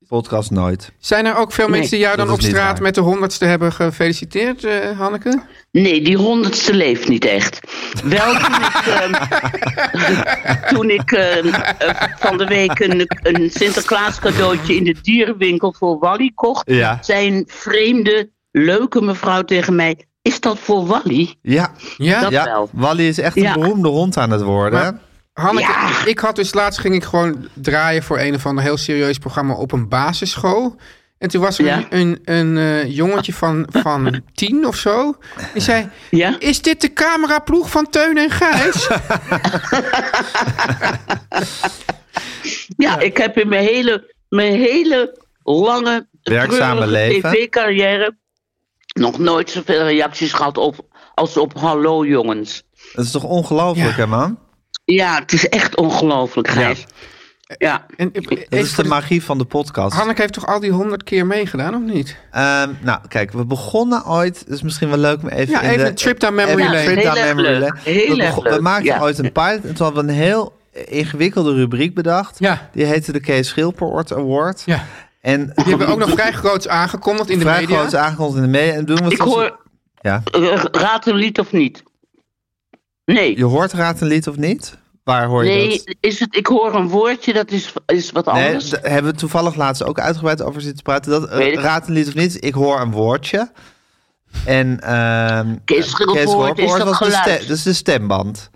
Speaker 2: Podcast nooit.
Speaker 3: zijn er ook veel mensen die jou
Speaker 2: dat
Speaker 3: dan op
Speaker 2: is niet
Speaker 3: straat
Speaker 2: waar.
Speaker 3: met de honderdste hebben gefeliciteerd, eh, Hanneke?
Speaker 7: Nee, die honderdste leeft niet echt. Wel toen ik, ehm, toen ik ehm, eh, van de week een, een Sinterklaas cadeautje in de dierenwinkel voor Wally kocht.
Speaker 2: Ja.
Speaker 7: Zijn vreemde, leuke mevrouw tegen mij. Is dat voor Wally?
Speaker 2: Ja,
Speaker 3: Ja?
Speaker 7: Dat-
Speaker 2: ja.
Speaker 7: wel.
Speaker 2: Wally is echt
Speaker 7: Ja.
Speaker 2: een beroemde hond aan het worden.
Speaker 3: Maar- Hanneke,
Speaker 7: Ja.
Speaker 3: ik had dus laatst ging ik gewoon draaien voor een of ander heel serieus programma op een basisschool. En toen was er
Speaker 7: Ja.
Speaker 3: een, een, eh, jongetje van, van tien of zo. Die zei,
Speaker 7: Ja?
Speaker 3: is dit de cameraploeg van Teun en Gijs?
Speaker 7: Ja, ik heb in mijn hele, mijn hele lange,
Speaker 2: Werkzame
Speaker 7: treurige
Speaker 2: leven.
Speaker 7: tv-carrière nog nooit zoveel reacties gehad op, als op Hallo jongens.
Speaker 2: dat is toch ongelooflijk,
Speaker 3: Ja.
Speaker 2: hè, man?
Speaker 7: Ja, het is echt ongelooflijk, Gijs. Ja.
Speaker 3: en,
Speaker 2: Dat
Speaker 3: even
Speaker 2: is
Speaker 3: voor
Speaker 2: de
Speaker 3: de-
Speaker 2: magie van de podcast.
Speaker 3: Hanneke heeft toch al die honderd keer meegedaan, of niet?
Speaker 2: Ehm, nou, kijk, we begonnen ooit. Het is misschien wel leuk om even.
Speaker 3: Ja,
Speaker 2: in
Speaker 3: even
Speaker 2: de-
Speaker 3: een trip down memory
Speaker 2: even een
Speaker 3: lane.
Speaker 2: trip down
Speaker 7: Heel erg
Speaker 2: memory
Speaker 7: leuk.
Speaker 2: lane.
Speaker 7: Heel
Speaker 2: we,
Speaker 7: erg
Speaker 2: begon- we
Speaker 7: leuk,
Speaker 2: maakten
Speaker 7: ja.
Speaker 2: ooit een pilot. En toen hadden we een heel ingewikkelde rubriek bedacht.
Speaker 3: Ja.
Speaker 2: Die heette de Kees Schilperoort Award.
Speaker 3: Ja.
Speaker 2: En
Speaker 3: Die hebben we ook nog vrij groots aangekondigd in de
Speaker 2: vrij
Speaker 3: media.
Speaker 2: groot aangekondigd in de media. En doen we het
Speaker 7: Ik
Speaker 2: zoals-
Speaker 7: hoor,
Speaker 2: Ja.
Speaker 7: eh, raad een lied of niet? Nee.
Speaker 2: Je hoort Raad een lied of niet? Waar hoor je
Speaker 7: nee,
Speaker 2: dat?
Speaker 7: is het, ik hoor een woordje, dat is, is wat
Speaker 2: Nee,
Speaker 7: anders.
Speaker 2: daar hebben we toevallig laatst ook uitgebreid over zitten praten. Dat, eh,
Speaker 7: Weet ik.
Speaker 2: raad een lied of niet, ik hoor een woordje. En ehm
Speaker 7: Kees
Speaker 2: eh,
Speaker 7: Schilperoort is dat
Speaker 2: was de,
Speaker 7: geluid.
Speaker 2: dat is de stemband.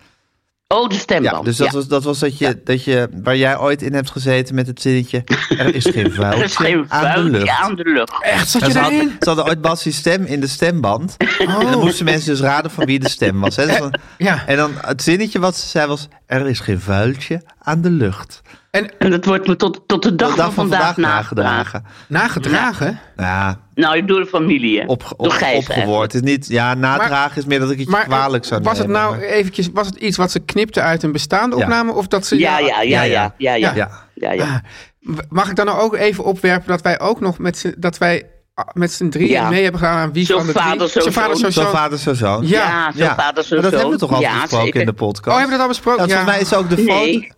Speaker 7: oh, de stemband.
Speaker 2: Ja, dus dat, Was, dat was dat je, dat je, waar jij ooit in hebt gezeten met het zinnetje... Er is geen
Speaker 7: er
Speaker 2: vuiltje,
Speaker 7: is geen
Speaker 2: aan de
Speaker 7: vuiltje
Speaker 2: lucht.
Speaker 7: aan de lucht.
Speaker 3: Echt, zat
Speaker 2: En
Speaker 3: je
Speaker 2: ze, hadden,
Speaker 3: daarin? Oh.
Speaker 2: ze hadden ooit Bassie's stem in de stemband. En dan moesten mensen dus raden van wie de stem was. Hè? Dus dan-
Speaker 3: Ja.
Speaker 2: en dan het zinnetje wat ze zei was... Er is geen vuiltje aan de lucht.
Speaker 7: En dat wordt me tot, tot de dag,
Speaker 2: De dag
Speaker 7: van vandaag, nagevraagd.
Speaker 2: nagedragen.
Speaker 3: Nagedragen?
Speaker 2: Ja,
Speaker 7: Nou, door de familie, hè?
Speaker 2: op,
Speaker 7: door
Speaker 2: op,
Speaker 7: Gijs eigenlijk.
Speaker 2: opgewoord. Het is niet, ja, nadragen is meer dat ik het je
Speaker 3: Maar eh,
Speaker 2: kwalijk zou
Speaker 3: was het
Speaker 2: nemen.
Speaker 3: nou eventjes, was het iets wat ze knipte uit een bestaande
Speaker 2: Ja.
Speaker 3: opname? Of dat ze,
Speaker 7: Ja, ja, ja, ja, ja, ja, ja,
Speaker 2: Ja.
Speaker 7: ja, ja.
Speaker 3: Ah, Mag ik dan nou ook even opwerpen dat wij ook nog met z'n, dat wij ah, met z'n drieën
Speaker 7: Ja.
Speaker 3: mee hebben gedaan aan wie
Speaker 7: Zo
Speaker 3: van de
Speaker 7: vader,
Speaker 3: drie?
Speaker 7: zo
Speaker 3: Zo vader, zo
Speaker 7: zoon.
Speaker 2: Zo
Speaker 3: zoon. Oh,
Speaker 2: vader, zo zoon.
Speaker 3: Ja.
Speaker 7: zo vader, zo
Speaker 2: Maar dat
Speaker 7: zoon.
Speaker 2: hebben we toch al
Speaker 7: Ja,
Speaker 2: besproken
Speaker 7: zeker.
Speaker 2: in de podcast?
Speaker 3: Oh, hebben we dat al besproken?
Speaker 2: Ja,
Speaker 3: Ja.
Speaker 2: Volgens mij is ook de foto...
Speaker 7: Nee.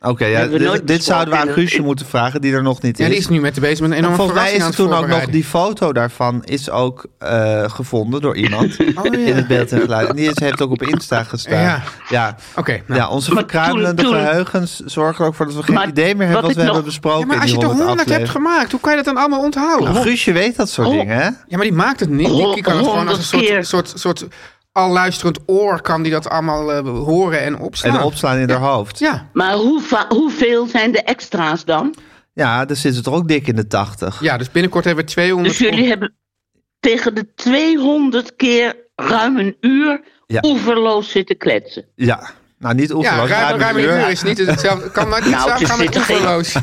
Speaker 2: Oké, ja,
Speaker 7: Hebben we nooit
Speaker 2: dit, dit zouden we aan
Speaker 7: besproken.
Speaker 2: Guusje moeten vragen, die er nog niet is.
Speaker 3: Ja, die is nu met de bezig met een enorme
Speaker 2: Volgens mij is
Speaker 3: verrassing
Speaker 2: er
Speaker 3: aan
Speaker 2: toen
Speaker 3: het
Speaker 2: ook nog die foto daarvan is ook eh, gevonden door iemand in het beeld en geluid. En die is, heeft ook op Insta gestaan.
Speaker 3: Oh, Ja.
Speaker 2: ja.
Speaker 3: Oké, nou.
Speaker 2: ja onze
Speaker 7: Maar
Speaker 2: verkruimelende
Speaker 7: toen- toen-
Speaker 2: geheugens zorgen er ook voor dat we geen
Speaker 7: Maar
Speaker 2: idee meer hebben
Speaker 7: wat
Speaker 2: wat
Speaker 7: ik
Speaker 2: we hebben
Speaker 7: nog-
Speaker 2: besproken.
Speaker 3: Ja, maar
Speaker 2: in
Speaker 3: als je
Speaker 2: die
Speaker 3: de
Speaker 2: 100
Speaker 3: honderd hebt
Speaker 2: afleveringen.
Speaker 3: gemaakt, hoe kan je dat dan allemaal onthouden?
Speaker 2: Nou, Guusje weet dat soort dingen, hè?
Speaker 3: Ja, maar die maakt het niet. Die, die kan het gewoon als een soort,
Speaker 7: Honderd
Speaker 3: soort, soort alluisterend oor kan die dat allemaal eh, horen en opslaan.
Speaker 2: En opslaan in haar hoofd.
Speaker 3: Ja.
Speaker 7: Maar hoe va- hoeveel zijn de extra's dan?
Speaker 2: Ja, daar zitten ze toch ook dik in de 80.
Speaker 3: ja, dus binnenkort hebben we 200...
Speaker 7: Dus jullie hebben tegen de 200 keer ruim een uur
Speaker 2: Ja.
Speaker 7: oeverloos zitten kletsen.
Speaker 2: Ja. Nou, niet
Speaker 3: Ja,
Speaker 2: oefenen.
Speaker 3: ruim, ruim een uur is niet hetzelfde. Kan maar niet
Speaker 7: Nou,
Speaker 3: samen
Speaker 7: het
Speaker 3: gaan
Speaker 7: zit
Speaker 3: met
Speaker 7: er geen-
Speaker 3: oeverloos.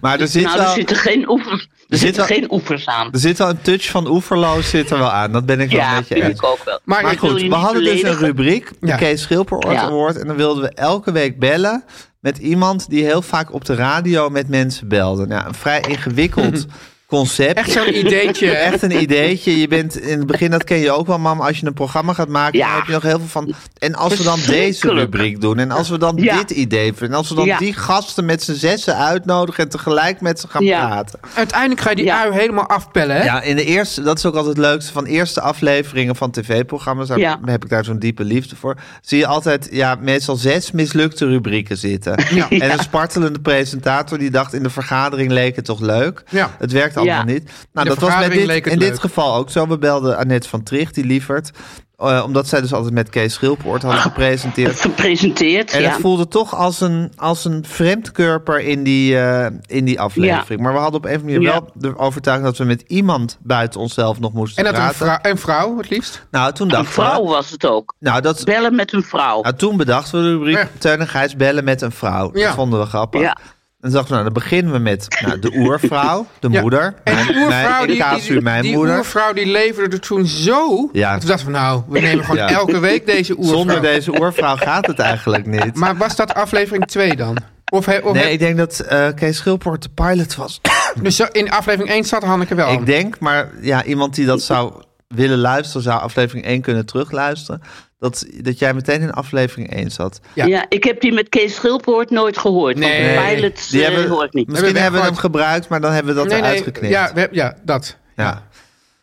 Speaker 2: Maar er zit,
Speaker 7: nou, er
Speaker 2: wel,
Speaker 7: zitten geen oevers, er zitten
Speaker 2: wel-
Speaker 7: geen oevers aan.
Speaker 2: er zit wel een touch van oeverloos zit er wel aan. Dat ben ik wel
Speaker 7: Ja,
Speaker 2: met je
Speaker 7: vind
Speaker 2: eens.
Speaker 7: ik ook wel.
Speaker 3: Maar
Speaker 2: Maar
Speaker 3: ik
Speaker 2: goed, we hadden dus een rubriek, de
Speaker 3: Ja.
Speaker 2: Kees Schilperoort
Speaker 7: Ja.
Speaker 2: Award. En dan wilden we elke week bellen met iemand die heel vaak op de radio met mensen belde. Nou, een vrij ingewikkeld concept.
Speaker 3: Echt zo'n ideetje. hè?
Speaker 2: Echt een ideetje. Je bent in het begin, dat ken je ook wel, mam. Als je een programma gaat maken,
Speaker 7: Ja.
Speaker 2: dan heb je nog heel veel van. En als we dan deze
Speaker 7: Verschrikkelijk.
Speaker 2: rubriek doen, en als we dan
Speaker 7: Ja.
Speaker 2: dit idee vinden, en als we dan
Speaker 7: Ja.
Speaker 2: die gasten met z'n zessen uitnodigen en tegelijk met ze gaan
Speaker 7: Ja.
Speaker 2: praten.
Speaker 3: Uiteindelijk ga je die
Speaker 7: Ja.
Speaker 3: ui helemaal afpellen, hè?
Speaker 2: Ja, in de eerste, dat is ook altijd het leukste van eerste afleveringen van tv-programma's. Daar
Speaker 7: Ja.
Speaker 2: heb ik daar zo'n diepe liefde voor. Zie je altijd, ja, meestal zes mislukte rubrieken zitten.
Speaker 3: Ja.
Speaker 2: En een spartelende presentator die dacht in de vergadering leek het toch leuk.
Speaker 3: Ja.
Speaker 2: Het werkt allemaal
Speaker 7: Ja.
Speaker 2: niet. Nou,
Speaker 3: de
Speaker 2: dat was met
Speaker 3: vergadering
Speaker 2: dit,
Speaker 3: leek het
Speaker 2: in dit
Speaker 3: leuk.
Speaker 2: geval ook zo. We belden Annette van Tricht, die lievert. eh, omdat zij dus altijd met Kees Schilpoort had gepresenteerd.
Speaker 7: Gepresenteerd,
Speaker 2: En
Speaker 7: ja.
Speaker 2: het voelde toch als een, als een vreemdkörper in die, eh, in die aflevering. Maar we hadden op een of andere manier
Speaker 7: Ja.
Speaker 2: wel de overtuiging dat we met iemand buiten onszelf nog moesten
Speaker 3: En dat een
Speaker 2: praten.
Speaker 3: vrouw, een vrouw het liefst.
Speaker 2: nou, toen
Speaker 7: Een
Speaker 2: dachten
Speaker 7: vrouw
Speaker 2: we.
Speaker 7: was het ook.
Speaker 2: Nou, dat, is-
Speaker 7: Bellen met een vrouw.
Speaker 2: nou, toen bedachten we de rubriek
Speaker 3: Ja.
Speaker 2: Teun en Gijs bellen met een vrouw. Dat
Speaker 3: Ja.
Speaker 2: vonden we grappig.
Speaker 7: Ja.
Speaker 2: En toen dachten we, nou, dan beginnen we met nou, de oervrouw, de
Speaker 3: Ja.
Speaker 2: moeder.
Speaker 3: En die
Speaker 2: Mijn-
Speaker 3: oervrouw,
Speaker 2: mijn,
Speaker 3: die,
Speaker 2: in casu
Speaker 3: die,
Speaker 2: mijn
Speaker 3: die
Speaker 2: moeder.
Speaker 3: oervrouw die leverde er toen zo.
Speaker 2: Ja.
Speaker 3: Toen dachten we nou, we nemen gewoon
Speaker 2: Ja.
Speaker 3: elke week deze oervrouw.
Speaker 2: Zonder deze oervrouw gaat het eigenlijk niet.
Speaker 3: Maar was dat aflevering 2 dan? Of, he- of
Speaker 2: nee,
Speaker 3: heb-
Speaker 2: ik denk dat eh, Kees Schilpoort de pilot was.
Speaker 3: dus zo- in aflevering 1 zat Hanneke wel.
Speaker 2: Ik denk, maar ja, iemand die dat zou willen luisteren, zou aflevering 1 kunnen terugluisteren. Dat, dat jij meteen in aflevering 1 zat.
Speaker 3: Ja.
Speaker 7: Ja. ik heb die met Kees Schilpoort nooit gehoord.
Speaker 3: Nee.
Speaker 7: Want de pilots
Speaker 2: Die
Speaker 7: eh,
Speaker 2: hebben,
Speaker 7: hoor ik niet.
Speaker 2: Misschien
Speaker 3: Hebben we
Speaker 2: hebben we hem
Speaker 3: weggegooid.
Speaker 2: gebruikt, maar dan hebben we dat eruit geknipt.
Speaker 3: ja, we, ja, dat.
Speaker 2: Ja.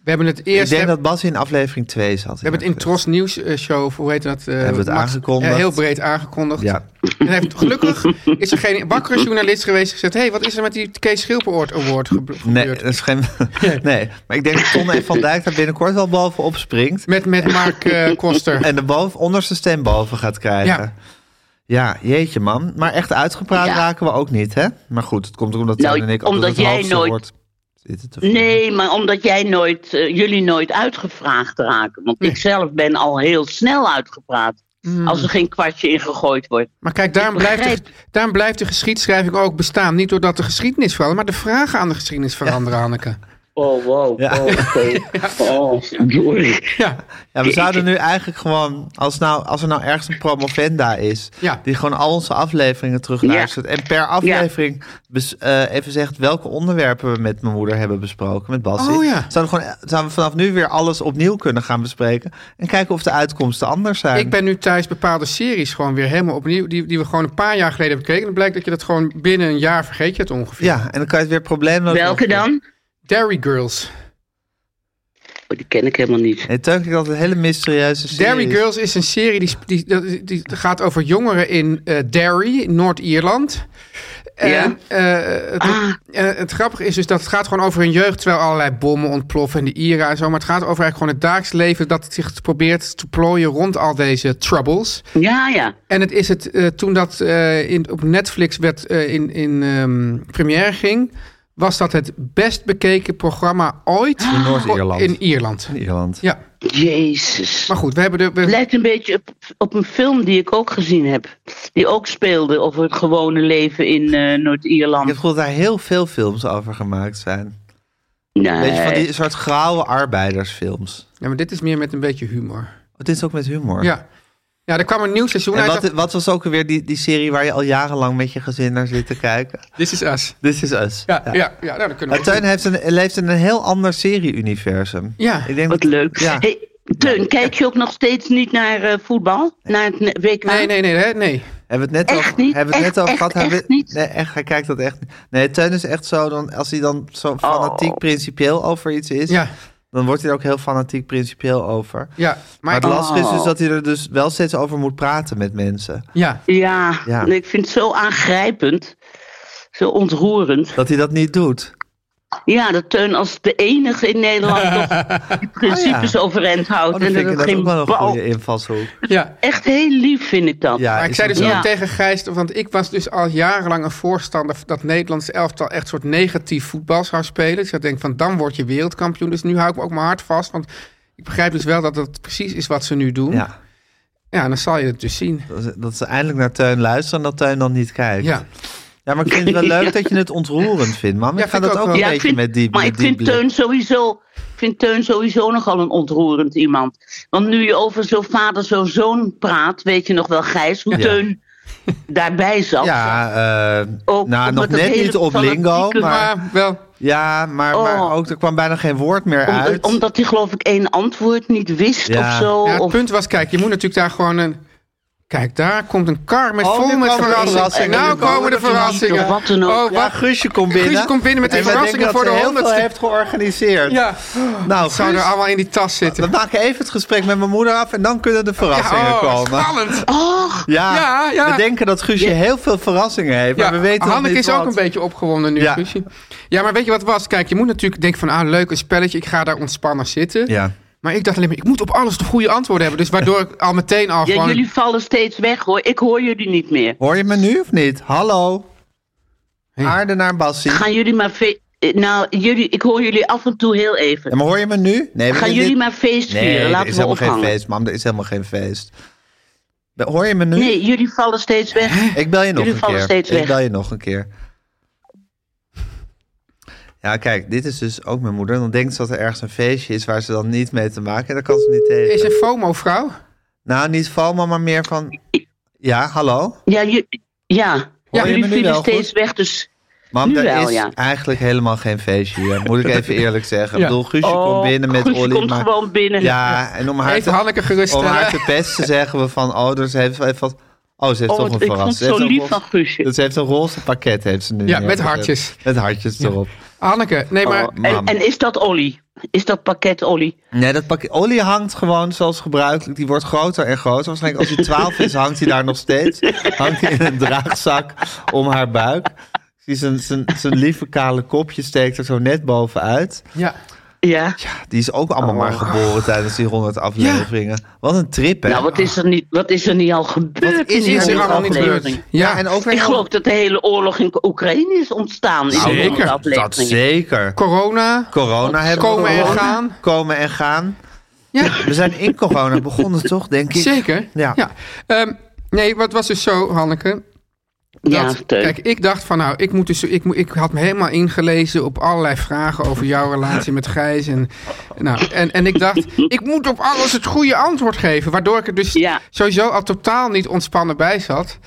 Speaker 3: We hebben het
Speaker 2: Ik
Speaker 3: eerst.
Speaker 2: denk
Speaker 3: heb-
Speaker 2: dat Bas in aflevering 2 zat.
Speaker 3: we hebben het in Tros Nieuws eh, Show, of hoe heet dat? eh,
Speaker 2: Hebben we het aangekondigd.
Speaker 3: eh, heel breed aangekondigd.
Speaker 2: Ja.
Speaker 3: En heeft, gelukkig is er geen wakkere journalist geweest die gezegd... hé, hey, wat is er met die Kees Schilperoort Award gebe-
Speaker 2: Nee,
Speaker 3: gebeurd?
Speaker 2: dat is geen, nee, maar ik denk dat Ton en Van Dijk daar binnenkort wel bovenop springt.
Speaker 3: Met, met Mark eh, Koster.
Speaker 2: En de boven, onderste stem boven gaat krijgen.
Speaker 3: Ja.
Speaker 2: Ja. jeetje man. Maar echt uitgepraat
Speaker 7: Ja.
Speaker 2: raken we ook niet, hè? Maar goed, het komt ook omdat
Speaker 7: Nou,
Speaker 2: Teun en ik altijd
Speaker 7: omdat
Speaker 2: het
Speaker 7: jij
Speaker 2: hoogste
Speaker 7: nooit-
Speaker 2: woord zitten te voeren.
Speaker 7: Nee, maar omdat jij nooit, eh, jullie nooit uitgevraagd raken. Want ik zelf ben al heel snel uitgepraat.
Speaker 2: Mm.
Speaker 7: Als er geen kwartje in gegooid wordt.
Speaker 3: Maar kijk, daarom
Speaker 7: Ik
Speaker 3: blijft, de,
Speaker 7: begrijp-
Speaker 3: daarom blijft de geschiedschrijving ook bestaan. Niet doordat de geschiedenis verandert, maar de vragen aan de geschiedenis veranderen, Hanneke.
Speaker 7: Oh, wow.
Speaker 2: Ja.
Speaker 7: Oh, oké. oh, sorry.
Speaker 3: Ja,
Speaker 2: Ja, we zouden nu eigenlijk gewoon, als, nou, als er nou ergens een promovenda is,
Speaker 3: Ja.
Speaker 2: die gewoon al onze afleveringen terugluistert en per aflevering bes- eh, even zegt welke onderwerpen we met mijn moeder hebben besproken, met Bassie.
Speaker 3: Oh ja.
Speaker 2: zouden, we gewoon, eh, zouden we vanaf nu weer alles opnieuw kunnen gaan bespreken en kijken of de uitkomsten anders zijn.
Speaker 3: ik ben nu thuis bepaalde series gewoon weer helemaal opnieuw... die, die we gewoon een paar jaar geleden hebben gekeken. Dan blijkt dat je dat gewoon binnen een jaar vergeet je het ongeveer.
Speaker 2: Ja, en dan kan je het weer probleemloos...
Speaker 7: Welke dan?
Speaker 3: Dairy Girls.
Speaker 7: Oh, die ken ik helemaal niet.
Speaker 2: Nee, Teun ik dat een hele mysterieuze serie.
Speaker 3: Derry Girls is een serie die, sp- die, die, die gaat over jongeren in eh Derry, Noord-Ierland. En,
Speaker 7: Ja.
Speaker 3: eh, het,
Speaker 7: Ah.
Speaker 3: eh, het grappige is dus dat het gaat gewoon over hun jeugd, terwijl allerlei bommen ontploffen en de Ieren en zo. Maar het gaat over eigenlijk gewoon het dagelijks leven dat het zich probeert te plooien rond al deze troubles.
Speaker 7: Ja, ja.
Speaker 3: En het is het, eh, toen dat eh, in, op Netflix werd, eh, in, in ehm, première ging, was dat het best bekeken programma ooit
Speaker 2: In Noord-Ierland.
Speaker 3: Oh, in Ierland.
Speaker 2: Ierland.
Speaker 3: Ja,
Speaker 7: Jezus.
Speaker 3: maar goed, we hebben de... we-
Speaker 7: Het lijkt een beetje op, op een film die ik ook gezien heb. Die ook speelde over het gewone leven in eh,
Speaker 2: Ik
Speaker 7: Noord-Ierland.
Speaker 2: heb het gevoel dat daar heel veel films over gemaakt zijn.
Speaker 7: Nee.
Speaker 2: Weet je, van die soort grauwe arbeidersfilms.
Speaker 3: Ja, maar dit is meer met een beetje humor.
Speaker 2: Het is ook met humor.
Speaker 3: Ja. Ja, er kwam een nieuw seizoen
Speaker 2: En
Speaker 3: uit.
Speaker 2: wat, wat was ook weer die, die serie waar je al jarenlang met je gezin naar zit te kijken?
Speaker 3: This is Us.
Speaker 2: This is Us.
Speaker 3: Ja, ja. ja, nou, dan kunnen
Speaker 2: Maar
Speaker 3: we...
Speaker 2: Teun heeft een, leeft in een heel ander serie-universum.
Speaker 3: Ja.
Speaker 2: Ik denk
Speaker 7: Wat
Speaker 2: dat-
Speaker 7: leuk.
Speaker 2: Ja.
Speaker 7: Hey, Teun, kijk je ook nog steeds niet naar eh, voetbal? Naar het ne- WK?
Speaker 3: Nee, nee, nee, nee, nee.
Speaker 2: Hebben we het net
Speaker 7: Echt
Speaker 2: over,
Speaker 7: niet?
Speaker 2: hebben we het
Speaker 7: Echt,
Speaker 2: net over
Speaker 7: echt,
Speaker 2: gehad? Hebben
Speaker 7: echt
Speaker 2: we-
Speaker 7: niet?
Speaker 2: Nee, echt, hij kijkt dat echt niet. Nee, Teun is echt zo, dan, als hij dan zo fanatiek
Speaker 7: Oh.
Speaker 2: principieel over iets is,
Speaker 3: Ja,
Speaker 2: dan wordt hij er ook heel fanatiek principieel over.
Speaker 3: ja.
Speaker 2: Maar
Speaker 3: Maar,
Speaker 2: het lastige is dus
Speaker 7: Oh.
Speaker 2: dat hij er dus wel steeds over moet praten met mensen.
Speaker 3: ja.
Speaker 7: Ja,
Speaker 2: Ja.
Speaker 7: Nee, ik vind het zo aangrijpend. Zo ontroerend.
Speaker 2: Dat hij dat niet doet. Oh,
Speaker 7: Ja, dat Teun als de enige in Nederland toch die principes overeind houdt.
Speaker 2: Oh, dan vind
Speaker 7: en dat
Speaker 2: ik
Speaker 7: er
Speaker 2: dat ook
Speaker 7: geen
Speaker 2: wel een
Speaker 7: bal...
Speaker 2: goede invalshoek.
Speaker 3: ja.
Speaker 7: Echt heel lief vind ik dat.
Speaker 2: Ja,
Speaker 3: Maar ik
Speaker 2: is
Speaker 3: zei
Speaker 2: dat
Speaker 3: dus ook
Speaker 2: wel.
Speaker 7: Ja.
Speaker 3: tegen Gijs, want ik was dus al jarenlang een voorstander dat Nederlands elftal echt soort negatief voetbal zou spelen. Dus ik denk van dan word je wereldkampioen. Dus nu hou ik me ook mijn hart vast, want ik begrijp dus wel dat dat precies is wat ze nu doen.
Speaker 2: Ja,
Speaker 3: ja en dan zal je het dus zien.
Speaker 2: dat ze- dat ze eindelijk naar Teun luisteren en dat Teun dan niet kijkt.
Speaker 3: Ja.
Speaker 2: Ja, maar ik vind het wel leuk dat je het ontroerend vindt, man. ik
Speaker 3: Ja,
Speaker 2: ga
Speaker 3: vind ik
Speaker 2: dat ook
Speaker 3: ook
Speaker 2: een
Speaker 3: wel.
Speaker 7: Ja,
Speaker 2: beetje
Speaker 7: ik vind-
Speaker 2: met die
Speaker 7: maar
Speaker 2: met
Speaker 7: ik
Speaker 2: die
Speaker 7: vind
Speaker 2: blik.
Speaker 7: Teun sowieso, ik vind Teun sowieso nogal een ontroerend iemand. Want nu je over zo'n vader, zo'n zoon praat, weet je nog wel, Gijs, hoe
Speaker 2: Ja.
Speaker 7: Teun daarbij zat.
Speaker 2: Ja, eh,
Speaker 7: Ook
Speaker 2: nou,
Speaker 7: met
Speaker 2: nog
Speaker 7: dat
Speaker 2: net
Speaker 7: hele
Speaker 2: niet op
Speaker 7: fanatieke-
Speaker 2: lingo, maar,
Speaker 3: Maar wel,
Speaker 2: ja, maar, maar
Speaker 7: Oh.
Speaker 2: ook, er kwam bijna geen woord meer
Speaker 7: Om-
Speaker 2: uit.
Speaker 7: omdat hij geloof ik één antwoord niet wist
Speaker 2: Ja.
Speaker 7: of zo.
Speaker 3: ja, het
Speaker 7: of,
Speaker 3: punt was, kijk, je moet natuurlijk daar gewoon een... Kijk, daar komt een kar met
Speaker 2: Oh, nu
Speaker 3: vol
Speaker 2: komen
Speaker 3: met
Speaker 2: de
Speaker 3: verrassingen.
Speaker 2: verrassingen.
Speaker 3: Nou
Speaker 2: Nu komen
Speaker 3: komen de
Speaker 2: de verrassingen.
Speaker 3: verrassingen.
Speaker 7: Wat dan ook.
Speaker 3: Oh,
Speaker 2: Ja,
Speaker 3: wacht.
Speaker 2: Guusje komt binnen.
Speaker 3: Guusje komt binnen met die
Speaker 2: En wij denken
Speaker 3: verrassingen voor
Speaker 2: dat
Speaker 3: de
Speaker 2: ze heel veel
Speaker 3: honderdste.
Speaker 2: heeft georganiseerd.
Speaker 3: Ja,
Speaker 2: Nou,
Speaker 3: het zou
Speaker 2: Guus,
Speaker 3: er allemaal in die tas
Speaker 2: we
Speaker 3: zitten.
Speaker 2: maken even het gesprek met mijn moeder af en dan kunnen de verrassingen
Speaker 3: ja, oh,
Speaker 2: komen.
Speaker 3: spannend.
Speaker 7: Ah,
Speaker 2: Ja,
Speaker 3: Ja, ja.
Speaker 2: we denken dat Guusje heel veel verrassingen heeft, maar
Speaker 3: Ja,
Speaker 2: we weten nog
Speaker 3: Hanneke
Speaker 2: niet
Speaker 3: is ook
Speaker 2: wat.
Speaker 3: een beetje opgewonden nu,
Speaker 2: Ja.
Speaker 3: Guusje. Ja, maar weet je wat het was? Kijk, je moet natuurlijk denken van, ah, leuk, een spelletje. Ik ga daar ontspannen zitten.
Speaker 2: Ja.
Speaker 3: Maar ik dacht alleen maar, ik moet op alles de goede antwoorden hebben. Dus waardoor ik al meteen al
Speaker 7: Ja,
Speaker 3: gewoon...
Speaker 7: jullie vallen steeds weg hoor. Ik hoor jullie niet meer.
Speaker 2: Hoor je me nu of niet? Hallo?
Speaker 3: Hey.
Speaker 2: Aarde naar Bassie.
Speaker 7: Gaan jullie maar... fe- eh, Nou, jullie, ik hoor jullie af en toe heel
Speaker 2: Ja,
Speaker 7: even.
Speaker 2: maar hoor je me nu? Nee, we
Speaker 7: Gaan
Speaker 2: doen
Speaker 7: jullie
Speaker 2: dit-
Speaker 7: maar feest
Speaker 2: Nee,
Speaker 7: vieren.
Speaker 2: er
Speaker 7: Laten
Speaker 2: is
Speaker 7: we
Speaker 2: helemaal geen
Speaker 7: ophangen.
Speaker 2: feest, mam. Er is helemaal geen feest. Hoor je me nu?
Speaker 7: Nee, jullie vallen steeds weg.
Speaker 2: Ik bel je nog
Speaker 7: Jullie
Speaker 2: een
Speaker 7: vallen
Speaker 2: keer.
Speaker 7: steeds
Speaker 2: Ik
Speaker 7: weg.
Speaker 2: bel je nog een keer. Ja, kijk, dit is dus ook mijn moeder. Dan denkt ze dat er ergens een feestje is waar ze dan niet mee te maken heeft. Daar kan ze niet tegen.
Speaker 3: Is een FOMO-vrouw?
Speaker 2: Nou, niet FOMO, maar meer van... Ja, hallo?
Speaker 7: Ja, ju- ja.
Speaker 2: Ja, je
Speaker 7: jullie
Speaker 2: me nu
Speaker 7: vielen
Speaker 2: wel
Speaker 7: steeds
Speaker 2: goed?
Speaker 7: weg. Dus
Speaker 2: Mam,
Speaker 7: Nu
Speaker 2: er
Speaker 7: wel,
Speaker 2: is
Speaker 7: ja.
Speaker 2: eigenlijk helemaal geen feestje hier. Moet ik even eerlijk zeggen.
Speaker 3: Ja.
Speaker 2: Ik bedoel, Guusje
Speaker 7: Oh,
Speaker 2: komt binnen met
Speaker 7: Guusje
Speaker 2: Olly.
Speaker 7: komt
Speaker 2: maar-
Speaker 7: gewoon binnen.
Speaker 2: Ja, en om haar,
Speaker 3: Heeft
Speaker 2: te,
Speaker 3: Hanneke gerust
Speaker 2: om haar
Speaker 3: stellen?
Speaker 2: te pesten zeggen we van... Oh, dus heeft, heeft wat... Oh, ze heeft
Speaker 7: Oh,
Speaker 2: toch een
Speaker 7: wat- ik vond
Speaker 2: verrassing.
Speaker 7: het
Speaker 2: Ze heeft
Speaker 7: zo
Speaker 2: een
Speaker 7: lief
Speaker 2: roze-
Speaker 7: van Guusje.
Speaker 2: Dat ze heeft een roze pakket, heeft ze nu.
Speaker 3: Ja, met
Speaker 2: neergezet.
Speaker 3: hartjes.
Speaker 2: Met hartjes erop.
Speaker 3: Hanneke, nee, maar...
Speaker 7: Oh, en,
Speaker 2: mam.
Speaker 7: en is dat Olly? Is dat pakket Olly?
Speaker 2: Nee, dat pakket olie hangt gewoon zoals gebruikelijk. Die wordt groter en groter. Waarschijnlijk als hij 12 is, hangt hij daar nog steeds. Hangt hij in een draagzak om haar buik. Ik Zie zijn, zijn, zijn lieve kale kopje steekt er zo net bovenuit.
Speaker 3: Ja.
Speaker 7: Ja.
Speaker 2: Die is ook
Speaker 3: Oh.
Speaker 2: allemaal maar geboren tijdens die 100 afleveringen. Wat een trip, hè?
Speaker 7: Nou, wat is er niet, wat is er niet al gebeurd?
Speaker 2: Wat is
Speaker 7: in die
Speaker 2: er
Speaker 3: Is er
Speaker 7: honderd
Speaker 3: allemaal niet gebeurd?
Speaker 7: afleveringen?
Speaker 2: ja,
Speaker 3: Ja,
Speaker 2: en ook weer...
Speaker 7: Ik geloof dat de hele oorlog in Oekraïne is ontstaan. in
Speaker 3: Nou,
Speaker 7: die honderd
Speaker 3: zeker.
Speaker 2: dat
Speaker 7: afleveringen.
Speaker 2: zeker.
Speaker 3: corona.
Speaker 2: Corona hebben we
Speaker 3: Komen en
Speaker 2: gewoon.
Speaker 3: gaan.
Speaker 2: Komen en gaan.
Speaker 3: Ja,
Speaker 2: We zijn in corona begonnen, toch, denk ik?
Speaker 3: zeker.
Speaker 2: Ja.
Speaker 3: ja. Ehm, nee, wat was dus zo, Hanneke?
Speaker 7: Ja,
Speaker 3: Dat-
Speaker 7: Teun.
Speaker 3: kijk, ik dacht van nou, ik, moet dus, ik, moet- ik had me helemaal ingelezen op allerlei vragen over jouw relatie met Gijs. En, nou, en, en ik dacht, ik moet op alles het goede antwoord geven. Waardoor ik er dus
Speaker 7: Ja.
Speaker 3: sowieso al totaal niet ontspannen bij zat.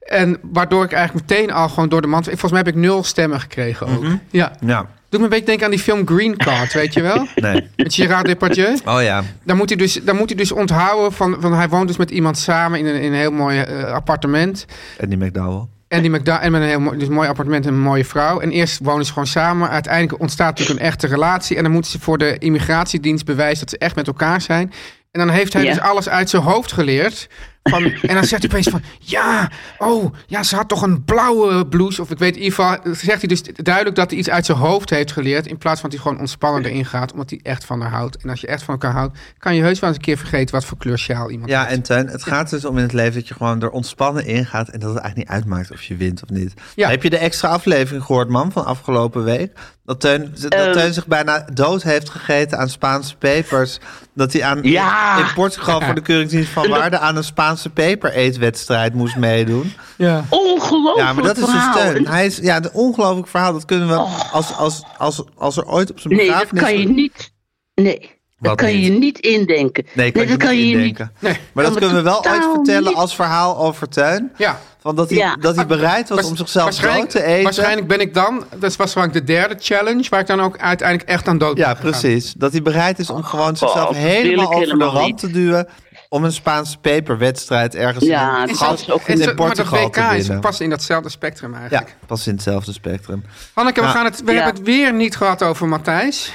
Speaker 3: En waardoor ik eigenlijk meteen al gewoon door de mand... Volgens mij heb ik nul stemmen gekregen ook. Ja.
Speaker 2: Ja,
Speaker 3: Doe me een beetje denken aan die film Green Card, weet je wel?
Speaker 2: Nou, nee.
Speaker 3: Met Gerard Depardieu.
Speaker 2: Oh ja.
Speaker 3: Dan moet hij dus, dan moet hij dus onthouden van, van... Hij woont dus met iemand samen in een, in een heel mooi eh, appartement.
Speaker 2: En die McDowell.
Speaker 3: En die McDa- en met een heel mooi, dus een mooi appartement en een mooie vrouw. En eerst wonen ze gewoon samen. Uiteindelijk ontstaat natuurlijk een echte relatie. En dan moeten ze voor de immigratiedienst bewijzen dat ze echt met elkaar zijn. En dan heeft hij
Speaker 7: Ja.
Speaker 3: dus alles uit zijn hoofd geleerd. Van, en dan zegt hij opeens van, ja, oh, ja, ze had toch een blauwe blouse. Of ik weet in ieder geval, zegt hij dus duidelijk dat hij iets uit zijn hoofd heeft geleerd. In plaats van dat hij gewoon ontspannen erin gaat, omdat hij echt van haar houdt. En als je echt van elkaar houdt, kan je heus wel eens een keer vergeten wat voor kleur sjaal iemand
Speaker 2: Ja,
Speaker 3: heeft.
Speaker 2: en Teun, het gaat dus om in het leven dat je gewoon er ontspannen in gaat en dat het eigenlijk niet uitmaakt of je wint of niet.
Speaker 3: Ja.
Speaker 2: Heb je de extra aflevering gehoord, man, van afgelopen week? Dat Teun, dat
Speaker 7: Ehm.
Speaker 2: Teun zich bijna dood heeft gegeten aan Spaanse pepers. Dat hij aan,
Speaker 7: Ja.
Speaker 2: in Portugal voor de Keuringsdienst van Waarde aan een Spaanse peper-eetwedstrijd moest meedoen.
Speaker 3: Ja.
Speaker 7: Ongelooflijk
Speaker 2: Ja, maar dat is dus
Speaker 7: verhaal. Oh.
Speaker 2: Teun. Hij is, ja, een ongelooflijk verhaal. Dat kunnen we, als, als, als, als er ooit op zijn
Speaker 7: Nee, dat
Speaker 2: begrafenis...
Speaker 7: kan je niet. Nee, dat
Speaker 2: Wat
Speaker 7: kan je
Speaker 2: niet?
Speaker 7: niet indenken.
Speaker 2: Nee, kan
Speaker 7: dat
Speaker 2: je niet indenken. Maar dat
Speaker 7: Kan me
Speaker 2: kunnen we wel ooit
Speaker 7: totaal
Speaker 2: vertellen
Speaker 7: niet.
Speaker 2: als verhaal over Teun.
Speaker 3: Ja.
Speaker 2: Van dat, hij,
Speaker 7: Ja.
Speaker 2: dat hij bereid was
Speaker 3: Waars-
Speaker 2: om zichzelf dood
Speaker 3: waarschijnlijk-
Speaker 2: te eten.
Speaker 3: Waarschijnlijk ben ik dan, dat was waarschijnlijk de derde challenge, waar ik dan ook uiteindelijk echt aan dood
Speaker 2: Ja,
Speaker 3: ben gegaan.
Speaker 2: precies. Dat hij bereid is om gewoon zichzelf
Speaker 7: dat Oh, wil
Speaker 2: helemaal
Speaker 7: ik
Speaker 2: over
Speaker 7: helemaal
Speaker 2: de rand
Speaker 7: niet.
Speaker 2: te duwen. Om een Spaanse peperwedstrijd ergens
Speaker 7: Ja,
Speaker 2: in,
Speaker 7: dat
Speaker 2: een
Speaker 7: is
Speaker 2: gat
Speaker 7: ook-
Speaker 2: in
Speaker 3: En zo- maar dat
Speaker 2: Portugal
Speaker 3: WK
Speaker 2: te
Speaker 3: is
Speaker 2: winnen.
Speaker 3: pas in datzelfde spectrum
Speaker 2: Ja,
Speaker 3: eigenlijk.
Speaker 2: pas in hetzelfde spectrum.
Speaker 3: Hanneke, we,
Speaker 2: Ja.
Speaker 3: gaan het, we
Speaker 7: Ja.
Speaker 3: hebben het weer niet gehad over Matthijs.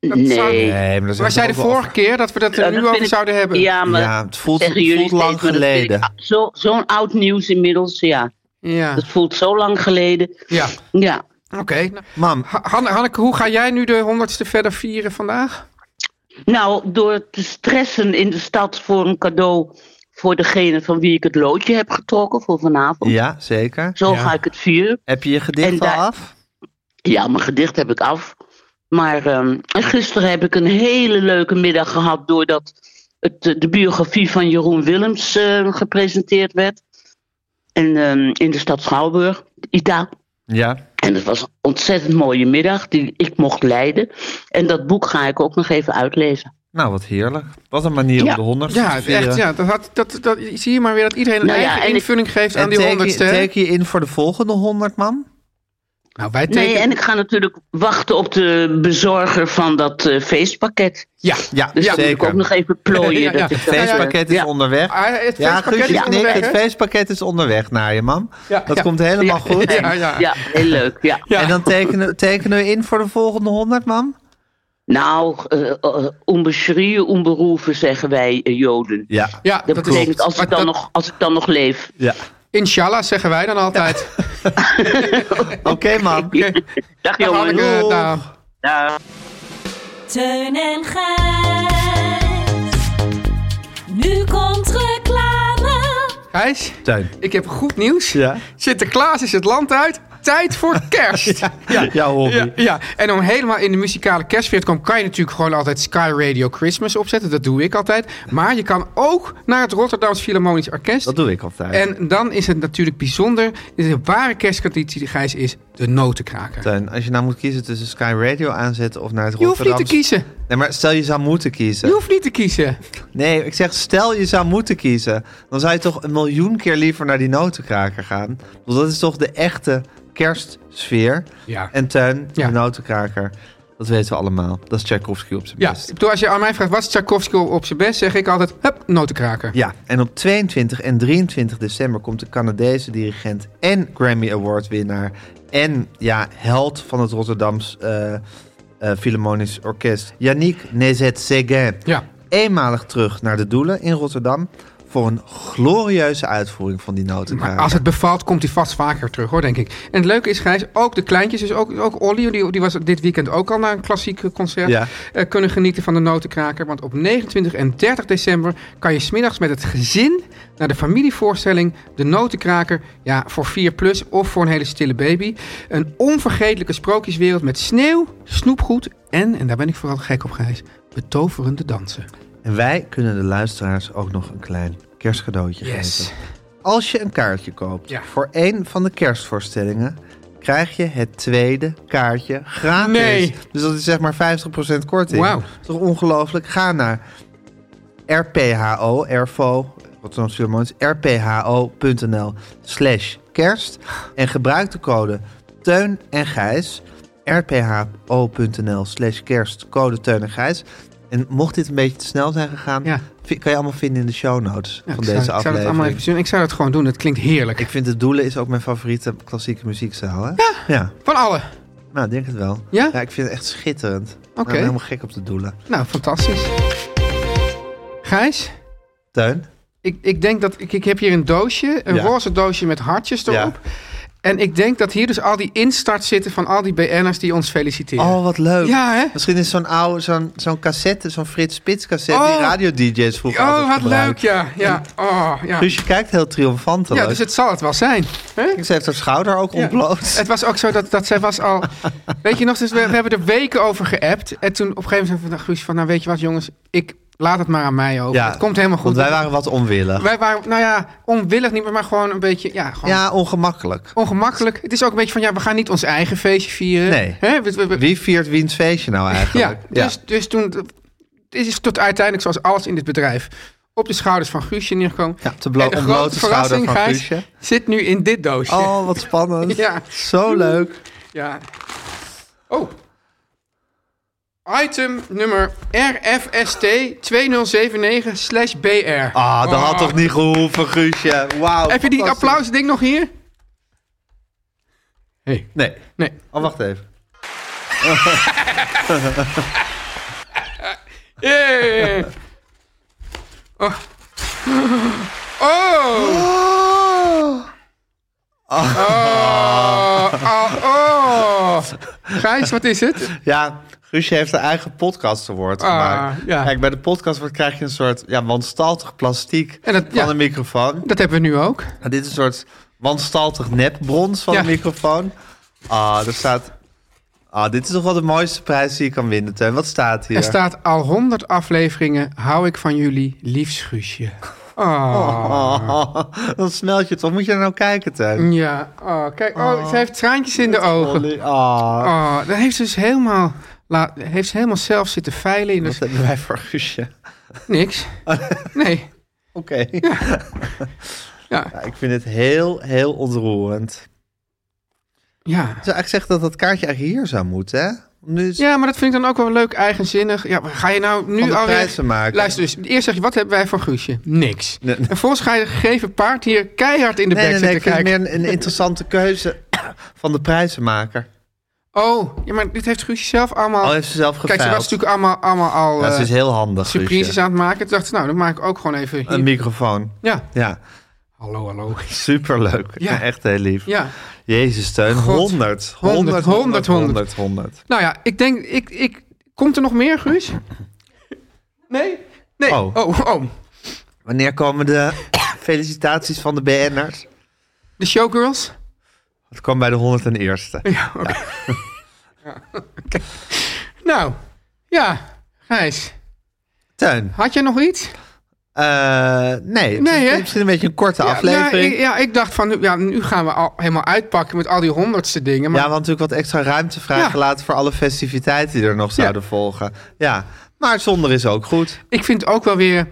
Speaker 3: Dat zou-
Speaker 7: Nee.
Speaker 2: Nee, maar dat zijn
Speaker 3: Wij zeiden
Speaker 2: toch wel
Speaker 3: vorige keer dat we dat er
Speaker 7: Ja, dat
Speaker 3: nu
Speaker 7: vind
Speaker 3: over
Speaker 7: ik-
Speaker 3: zouden hebben.
Speaker 7: Ja, maar
Speaker 2: Ja, het voelt,
Speaker 7: zeggen jullie
Speaker 2: voelt lang
Speaker 7: steeds, maar dat vind ik
Speaker 2: geleden.
Speaker 7: a- zo- Zo'n oud nieuws inmiddels, ja.
Speaker 3: ja.
Speaker 7: Dat voelt zo lang geleden.
Speaker 3: ja.
Speaker 7: Ja.
Speaker 3: oké. Nou,
Speaker 2: Mam,
Speaker 3: Ha- Han- Hanneke, hoe ga jij nu de honderdste verder vieren vandaag?
Speaker 7: Nou, door te stressen in de stad voor een cadeau voor degene van wie ik het loodje heb getrokken voor vanavond.
Speaker 2: ja, zeker.
Speaker 7: Zo
Speaker 3: Ja.
Speaker 7: ga ik het vieren.
Speaker 2: Heb je je
Speaker 7: Oh. En
Speaker 2: gedicht al
Speaker 7: daar-
Speaker 2: af?
Speaker 7: Ja, mijn gedicht heb ik af. Maar ehm, gisteren heb ik een hele leuke middag gehad doordat het, eh, de biografie van Jeroen Willems eh, gepresenteerd werd. En, ehm, in de stad Schouwburg, Ita.
Speaker 2: Ja.
Speaker 7: En het was een ontzettend mooie middag die ik mocht leiden. En dat boek ga ik ook nog even uitlezen.
Speaker 2: Nou, wat heerlijk. Wat een manier om
Speaker 7: Ja.
Speaker 2: de honderdste
Speaker 3: Ja,
Speaker 2: te vieren.
Speaker 3: echt. Ja, dat had, dat, dat, zie je maar weer dat iedereen een
Speaker 7: Nou ja,
Speaker 3: eigen
Speaker 7: en ik-
Speaker 3: invulling geeft aan
Speaker 2: En
Speaker 3: die
Speaker 2: teken je-
Speaker 3: honderdste.
Speaker 2: teken je in voor de volgende honderd, mam?
Speaker 3: Nou, wij tekenen...
Speaker 7: Nee, en ik ga natuurlijk wachten op de bezorger van dat eh, feestpakket.
Speaker 3: Ja,
Speaker 2: Ja,
Speaker 7: Dus dat moet ik
Speaker 2: zeker.
Speaker 7: ook nog even
Speaker 3: Ja,
Speaker 7: plooien.
Speaker 3: ja.
Speaker 7: Dat ik eh,
Speaker 2: Het feestpakket is
Speaker 3: Ja.
Speaker 2: onderweg.
Speaker 3: Ah, het
Speaker 2: ja,
Speaker 3: feestpakket
Speaker 2: Guusje
Speaker 3: is
Speaker 2: knikt,
Speaker 3: onderweg,
Speaker 2: Het
Speaker 3: hè?
Speaker 2: feestpakket is onderweg naar je, mam.
Speaker 3: Ja,
Speaker 2: dat
Speaker 3: ja.
Speaker 2: komt helemaal goed.
Speaker 3: Ja, ja.
Speaker 7: ja, heel leuk. Ja.
Speaker 3: Ja.
Speaker 2: En dan tekenen, tekenen we in voor de volgende 100, mam?
Speaker 7: Nou, eh eh, onbeschreven, onberoeven zeggen wij eh, Joden.
Speaker 2: Ja.
Speaker 3: Ja,
Speaker 7: Dat, betekent als
Speaker 3: Maar
Speaker 7: ik, dan
Speaker 3: dat-
Speaker 7: nog, als ik dan nog leef.
Speaker 2: ja.
Speaker 3: Inshallah zeggen wij dan altijd.
Speaker 2: Oké, mam.
Speaker 7: Dag
Speaker 3: Dag,
Speaker 7: jongen.
Speaker 3: Hanneke,
Speaker 2: doeg.
Speaker 3: dag.
Speaker 7: Dag.
Speaker 6: Teun en Gijs. Nu komt reclame.
Speaker 3: Gijs,
Speaker 2: Teun.
Speaker 3: ik heb goed nieuws.
Speaker 2: Ja.
Speaker 3: Sinterklaas is het land uit. Tijd voor kerst.
Speaker 2: Ja, jouw hobby.
Speaker 3: Ja, ja, en om helemaal in de muzikale kerstfeer te komen, kan je natuurlijk gewoon altijd Sky Radio Christmas opzetten. Dat doe ik altijd. Maar je kan ook naar het Rotterdamse Philharmonisch Orkest.
Speaker 2: Dat doe ik altijd.
Speaker 3: En dan is het natuurlijk bijzonder. Dit is een ware kersttraditie, die Gijs, is de notenkraker.
Speaker 2: Teun, als je nou moet kiezen tussen Sky Radio aanzetten of naar het
Speaker 3: Je hoeft niet te
Speaker 2: Rotterdamse...
Speaker 3: kiezen.
Speaker 2: Nee, maar stel je zou moeten kiezen.
Speaker 3: Je hoeft niet te kiezen.
Speaker 2: Nee, ik zeg stel je zou moeten kiezen. Dan zou je toch een miljoen keer liever naar die notenkraker gaan. Want dat is toch de echte kerstsfeer.
Speaker 3: Ja.
Speaker 2: En Teun,
Speaker 3: Ja.
Speaker 2: de notenkraker, dat weten we allemaal. Dat is Tchaikovsky op zijn
Speaker 3: Ja,
Speaker 2: best.
Speaker 3: ik bedoel, als je aan mij vraagt, wat is Tchaikovsky op zijn best? Zeg ik altijd, hup, notenkraker.
Speaker 2: Ja, en op 22 en 23 december komt de Canadese dirigent en Grammy Award winnaar en ja, held van het Rotterdams eh eh, Philharmonisch Orkest, Yannick Nezet-Seguin,
Speaker 3: Ja.
Speaker 2: eenmalig terug naar de Doelen in Rotterdam voor een glorieuze uitvoering van die
Speaker 3: Maar
Speaker 2: notenkraker.
Speaker 3: als het bevalt, komt hij vast vaker terug, hoor, denk ik. En het leuke is, Gijs, ook de kleintjes, dus ook, ook Olly, die, die was dit weekend ook al naar een klassiek concert,
Speaker 2: Ja.
Speaker 3: eh, kunnen genieten van de notenkraker. Want op 29 en 30 december kan je smiddags met het gezin naar de familievoorstelling De Notenkraker, ja, voor 4 plus of voor een hele stille baby. Een onvergetelijke sprookjeswereld met sneeuw, snoepgoed en, en daar ben ik vooral gek op, Gijs, betoverende dansen.
Speaker 2: En wij kunnen de luisteraars ook nog een klein kerstcadeautje
Speaker 3: Yes.
Speaker 2: geven. Als je een kaartje koopt
Speaker 3: Ja.
Speaker 2: voor één van de kerstvoorstellingen, krijg je het tweede kaartje gratis.
Speaker 3: Nee.
Speaker 2: Dus dat is zeg maar 50% korting.
Speaker 3: Wauw.
Speaker 2: Toch ongelooflijk? Ga naar RPHO, RFO, Rotterdam Philharmonisch, rpho.nl slash kerst en gebruik de code Teun en Gijs, rpho.nl slash kerst, code Teun en Gijs. En mocht dit een beetje te snel zijn gegaan,
Speaker 3: Ja.
Speaker 2: vi- kan je allemaal vinden in de show notes
Speaker 3: Ja,
Speaker 2: van
Speaker 3: ik zou-
Speaker 2: deze
Speaker 3: ik zou, dat allemaal
Speaker 2: aflevering.
Speaker 3: even zien. ik zou dat gewoon doen, het klinkt heerlijk.
Speaker 2: Ik vind de Doelen is ook mijn favoriete klassieke muziekzaal. Hè? Ja.
Speaker 3: Van alle.
Speaker 2: nou ik denk het wel.
Speaker 3: Ja?
Speaker 2: ik vind het echt schitterend. Ik
Speaker 3: Oké.
Speaker 2: ben helemaal gek op de Doelen.
Speaker 3: Nou, fantastisch. Gijs,
Speaker 2: Teun?
Speaker 3: ik, ik denk dat ik, ik heb hier een doosje, een
Speaker 2: Ja.
Speaker 3: roze doosje met hartjes erop. En ik denk dat hier dus al die instart zitten van al die BN'ers die ons feliciteren.
Speaker 2: Oh, wat leuk.
Speaker 3: ja, hè?
Speaker 2: Misschien is zo'n oude, zo'n zo'n cassette, zo'n Frits Spits cassette, die
Speaker 3: Oh.
Speaker 2: radio-dj's vroeger
Speaker 3: Oh,
Speaker 2: altijd
Speaker 3: wat leuk,
Speaker 2: gebruikten.
Speaker 3: ja. Ja, oh, ja.
Speaker 2: Dus je kijkt heel triomfantelijk.
Speaker 3: ja dus het zal het wel zijn. Hè?
Speaker 2: Ze heeft haar schouder ook
Speaker 3: Ja.
Speaker 2: ontbloot.
Speaker 3: Het was ook zo dat, dat zij was al... weet je nog, dus we, we hebben er weken over geappt. En toen op een gegeven moment zei Guus van... Nou, weet je wat, jongens, ik laat het maar aan mij over.
Speaker 2: Ja,
Speaker 3: het komt helemaal goed.
Speaker 2: Want wij waren wat onwillig.
Speaker 3: Wij waren, nou ja, onwillig niet meer, maar gewoon een beetje... Ja, gewoon
Speaker 2: Ja, ongemakkelijk.
Speaker 3: ongemakkelijk. Het is ook een beetje van, ja, we gaan niet ons eigen feestje vieren.
Speaker 2: Nee.
Speaker 3: Hè? We- we- we-
Speaker 2: Wie viert wiens feestje nou
Speaker 3: ja,
Speaker 2: eigenlijk?
Speaker 3: dus, dus toen... Het is tot uiteindelijk, zoals alles in dit bedrijf, op de schouders van Guusje neergekomen.
Speaker 2: Ja, op de blo-
Speaker 3: En de
Speaker 2: ontblote
Speaker 3: grote
Speaker 2: schouder
Speaker 3: verrassing,
Speaker 2: van
Speaker 3: Gijs,
Speaker 2: Guusje.
Speaker 3: zit nu in dit doosje.
Speaker 2: Oh, wat spannend.
Speaker 3: Ja.
Speaker 2: Zo leuk.
Speaker 3: Ja. Oh. Item nummer RFST 2079 BR.
Speaker 2: Ah, dat had toch niet gehoeven, Guusje. Wauw.
Speaker 3: Oh. Heb je die
Speaker 2: fantastisch.
Speaker 3: applausding nog hier? Hey.
Speaker 2: Nee.
Speaker 3: Nee.
Speaker 2: Oh, wacht even.
Speaker 3: Yeah. Oh. Oh.
Speaker 2: Oh.
Speaker 3: Oh. Oh. oh. Gijs, wat is het?
Speaker 2: Ja, Guusje heeft haar eigen podcast award
Speaker 3: Ah,
Speaker 2: gemaakt.
Speaker 3: ja.
Speaker 2: Kijk, bij de podcast award krijg je een soort ja, wanstaltig plastiek
Speaker 3: En dat-
Speaker 2: van
Speaker 3: ja.
Speaker 2: een microfoon.
Speaker 3: Dat hebben we nu ook.
Speaker 2: En dit is een soort wanstaltig nepbrons van
Speaker 3: Ja.
Speaker 2: een microfoon. Ah, er staat... Ah, dit is toch wel de mooiste prijs die je kan winnen, Teun. Wat staat hier?
Speaker 3: Er staat al 100 afleveringen. Hou ik van jullie, liefst Guusje. Oh.
Speaker 2: Oh, dan smelt je toch. Moet je er nou kijken, Teun?
Speaker 3: Ja, oh, kijk, oh, ze heeft traantjes in de ogen.
Speaker 2: Olly, ah.
Speaker 3: Oh, dat heeft ze dus helemaal, la, heeft ze helemaal zelf zitten veilen in
Speaker 2: Wat
Speaker 3: dus
Speaker 2: hebben wij voor Guusje?
Speaker 3: niks. Nee,
Speaker 2: Oké.
Speaker 3: ja.
Speaker 2: Ja, ik vind het heel, heel ontroerend.
Speaker 3: Ja.
Speaker 2: zou eigenlijk zeggen dat dat kaartje eigenlijk hier zou moeten, hè? Nu is
Speaker 3: ja, maar dat vind ik dan ook wel leuk, eigenzinnig. Ja, maar ga je nou nu
Speaker 2: van de
Speaker 3: al
Speaker 2: prijs te maken.
Speaker 3: Luister dus, eerst zeg je, wat hebben wij voor Guusje? Niks.
Speaker 2: Nee.
Speaker 3: En vervolgens ga je een gegeven paard hier keihard in de
Speaker 2: nee,
Speaker 3: bek
Speaker 2: nee, nee,
Speaker 3: zitten
Speaker 2: ik vind het
Speaker 3: kijken.
Speaker 2: meer een, een interessante keuze van de prijzenmaker.
Speaker 3: Oh, ja, maar dit heeft Guusje zelf allemaal...
Speaker 2: Al heeft ze zelf
Speaker 3: Oh. Kijk,
Speaker 2: geveild.
Speaker 3: ze was natuurlijk allemaal, allemaal al
Speaker 2: Ja,
Speaker 3: eh,
Speaker 2: ze is heel handig.
Speaker 3: surprises
Speaker 2: Guusje.
Speaker 3: aan het maken. Toen dacht ik, nou, dan maak ik ook gewoon even hier.
Speaker 2: Een microfoon.
Speaker 3: ja.
Speaker 2: Ja,
Speaker 3: Hallo, hallo.
Speaker 2: superleuk.
Speaker 3: Ja.
Speaker 2: Ja. Echt heel lief.
Speaker 3: Ja.
Speaker 2: Jezus, Teun.
Speaker 3: God.
Speaker 2: 100. 100, 100,
Speaker 3: 100,
Speaker 2: 100, 100,
Speaker 3: Nou ja, ik denk, ik, ik, komt er nog meer, Guus? Nee? Nee.
Speaker 2: Oh.
Speaker 3: Oh, oh.
Speaker 2: Wanneer komen de felicitaties van de BN'ers?
Speaker 3: De showgirls?
Speaker 2: Het kwam bij de 101ste.
Speaker 3: Ja, oké. Oké. Nou, ja. Gijs,
Speaker 2: Teun.
Speaker 3: had jij nog iets?
Speaker 2: eh, nee, het
Speaker 3: Nee,
Speaker 2: is
Speaker 3: hè?
Speaker 2: misschien een beetje een korte
Speaker 3: Ja,
Speaker 2: aflevering.
Speaker 3: ik, ja, ik dacht van, ja, nu gaan we al helemaal uitpakken met al die honderdste dingen. Maar
Speaker 2: Ja, want natuurlijk wat extra ruimte vrijgelaten voor alle festiviteiten die er nog zouden volgen. Ja, maar zonder is ook goed.
Speaker 3: ik vind ook wel weer,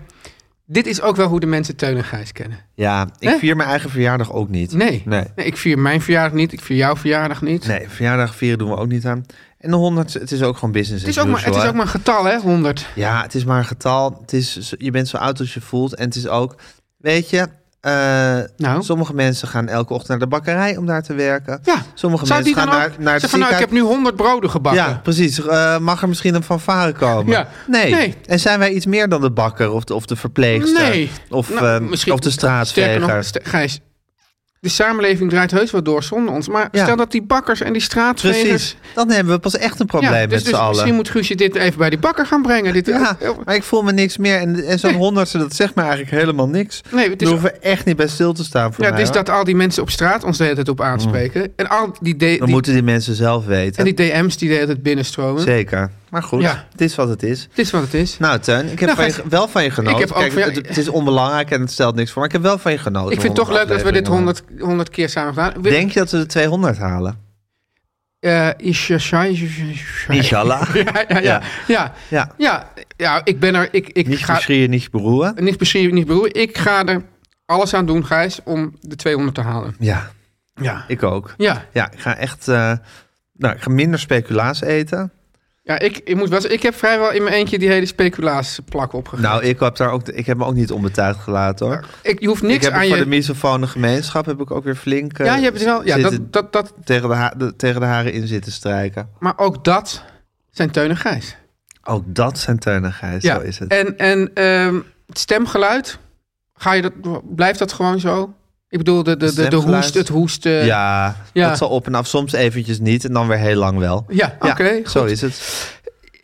Speaker 3: dit is ook wel hoe de mensen Teun en Gijs kennen.
Speaker 2: Ja, ik
Speaker 3: Hè?
Speaker 2: vier mijn eigen verjaardag ook niet.
Speaker 3: Nee.
Speaker 2: Nee,
Speaker 3: ik vier mijn verjaardag niet, ik vier jouw verjaardag niet.
Speaker 2: nee verjaardag vieren doen we ook niet aan. En de 100, het is ook gewoon business
Speaker 3: Het is
Speaker 2: as
Speaker 3: ook, maar, het
Speaker 2: usual,
Speaker 3: is
Speaker 2: hè?
Speaker 3: ook maar een getal, hè, 100.
Speaker 2: Ja, het is maar een getal. Het is, zo- je bent zo oud als je voelt. En het is ook, weet je, eh,
Speaker 3: Nou.
Speaker 2: sommige mensen gaan elke ochtend naar de bakkerij om daar te werken.
Speaker 3: Ja.
Speaker 2: Sommige
Speaker 3: Zou
Speaker 2: mensen
Speaker 3: die dan
Speaker 2: gaan
Speaker 3: ook
Speaker 2: naar, naar het
Speaker 3: zeggen van, nou,
Speaker 2: ziekenhuis.
Speaker 3: ik heb nu 100 broden gebakken.
Speaker 2: Ja, precies. Eh, mag er misschien een fanfare komen?
Speaker 3: Ja.
Speaker 2: Nee.
Speaker 3: Nee.
Speaker 2: En zijn wij iets meer dan de bakker of de, of de verpleegster?
Speaker 3: Nee.
Speaker 2: Of,
Speaker 3: Nou,
Speaker 2: eh,
Speaker 3: misschien-
Speaker 2: of de
Speaker 3: Sterker nog,
Speaker 2: straatveger?
Speaker 3: st- Gijs, de samenleving draait heus wel door zonder ons. Maar
Speaker 2: Ja.
Speaker 3: stel dat die bakkers en die straatvegers...
Speaker 2: Precies. Dan hebben we pas echt een probleem
Speaker 3: ja, dus,
Speaker 2: met
Speaker 3: dus
Speaker 2: z'n
Speaker 3: misschien
Speaker 2: allen.
Speaker 3: moet Guusje dit even bij die bakker gaan brengen. Dit,
Speaker 2: Ja, maar ik voel me niks meer. En, en zo'n
Speaker 3: Nee.
Speaker 2: honderdste, dat zegt me eigenlijk helemaal niks.
Speaker 3: Nee, het
Speaker 2: Daar
Speaker 3: is,
Speaker 2: hoeven we echt niet bij stil te staan voor
Speaker 3: ja,
Speaker 2: mij.
Speaker 3: het is
Speaker 2: hoor. Mm.
Speaker 3: dat al die mensen op straat ons de hele tijd op aanspreken. En al die, de-
Speaker 2: Dan
Speaker 3: die-
Speaker 2: moeten die mensen zelf weten.
Speaker 3: en die DM's die de hele tijd binnenstromen.
Speaker 2: Zeker. Maar goed,
Speaker 3: Ja.
Speaker 2: het is wat het is.
Speaker 3: Dit is wat het is.
Speaker 2: Nou, Teun, ik heb
Speaker 3: Nou,
Speaker 2: van je
Speaker 3: Gijs,
Speaker 2: ge- wel van je genoten.
Speaker 3: heb ook
Speaker 2: Kijk,
Speaker 3: van jou-
Speaker 2: het, het is onbelangrijk en het stelt niks voor. Maar ik heb wel van je genoten.
Speaker 3: ik vind het toch leuk dat we dit
Speaker 2: 100
Speaker 3: 100, 100 keer samen gedaan. We-
Speaker 2: afleveringen. Denk je dat we de 200 halen?
Speaker 3: eh, is je shy- is je- is je-
Speaker 2: Inshallah.
Speaker 3: Ja, ja, ja, ja.
Speaker 2: Ja.
Speaker 3: Ja, ja, ik ben er. Ik, ik
Speaker 2: Niet
Speaker 3: ga
Speaker 2: geschreeuwen, niet beroeren.
Speaker 3: niet misschien niet bedoel. Ik ga er alles aan doen, Gijs, om de 200 te halen.
Speaker 2: Ja,
Speaker 3: Ja.
Speaker 2: ik ook.
Speaker 3: Ja,
Speaker 2: Ja, ik ga echt... eh, nou, ik ga minder speculaas eten.
Speaker 3: ja ik, ik, moet wel, zeggen, ik heb vrijwel in mijn eentje die hele speculaas plak opgegaan.
Speaker 2: Nou, ik heb, daar ook, ik heb me ook niet onbetuigd gelaten, hoor.
Speaker 3: ik, je hoeft
Speaker 2: Nou, ik
Speaker 3: niks
Speaker 2: heb
Speaker 3: aan
Speaker 2: voor de
Speaker 3: je...
Speaker 2: misofone gemeenschap heb ik ook weer flink eh,
Speaker 3: Ja, je hebt het wel... Ja,
Speaker 2: zitten
Speaker 3: dat, dat, dat,
Speaker 2: tegen, de ha- de, tegen de haren in zitten strijken.
Speaker 3: maar ook dat zijn Teun en Gijs.
Speaker 2: Ook dat zijn Teun en Gijs,
Speaker 3: Ja.
Speaker 2: zo is het.
Speaker 3: En, en ehm, het stemgeluid, ga je dat, blijft dat gewoon zo? Ik bedoel, de, de, de, de
Speaker 2: Stemgeluid?
Speaker 3: hoest, het hoesten.
Speaker 2: ja,
Speaker 3: Eh, ja.
Speaker 2: dat zal op en af. Soms eventjes niet en dan weer heel lang wel.
Speaker 3: Ja, oké.
Speaker 2: Ja,
Speaker 3: goed.
Speaker 2: zo is het.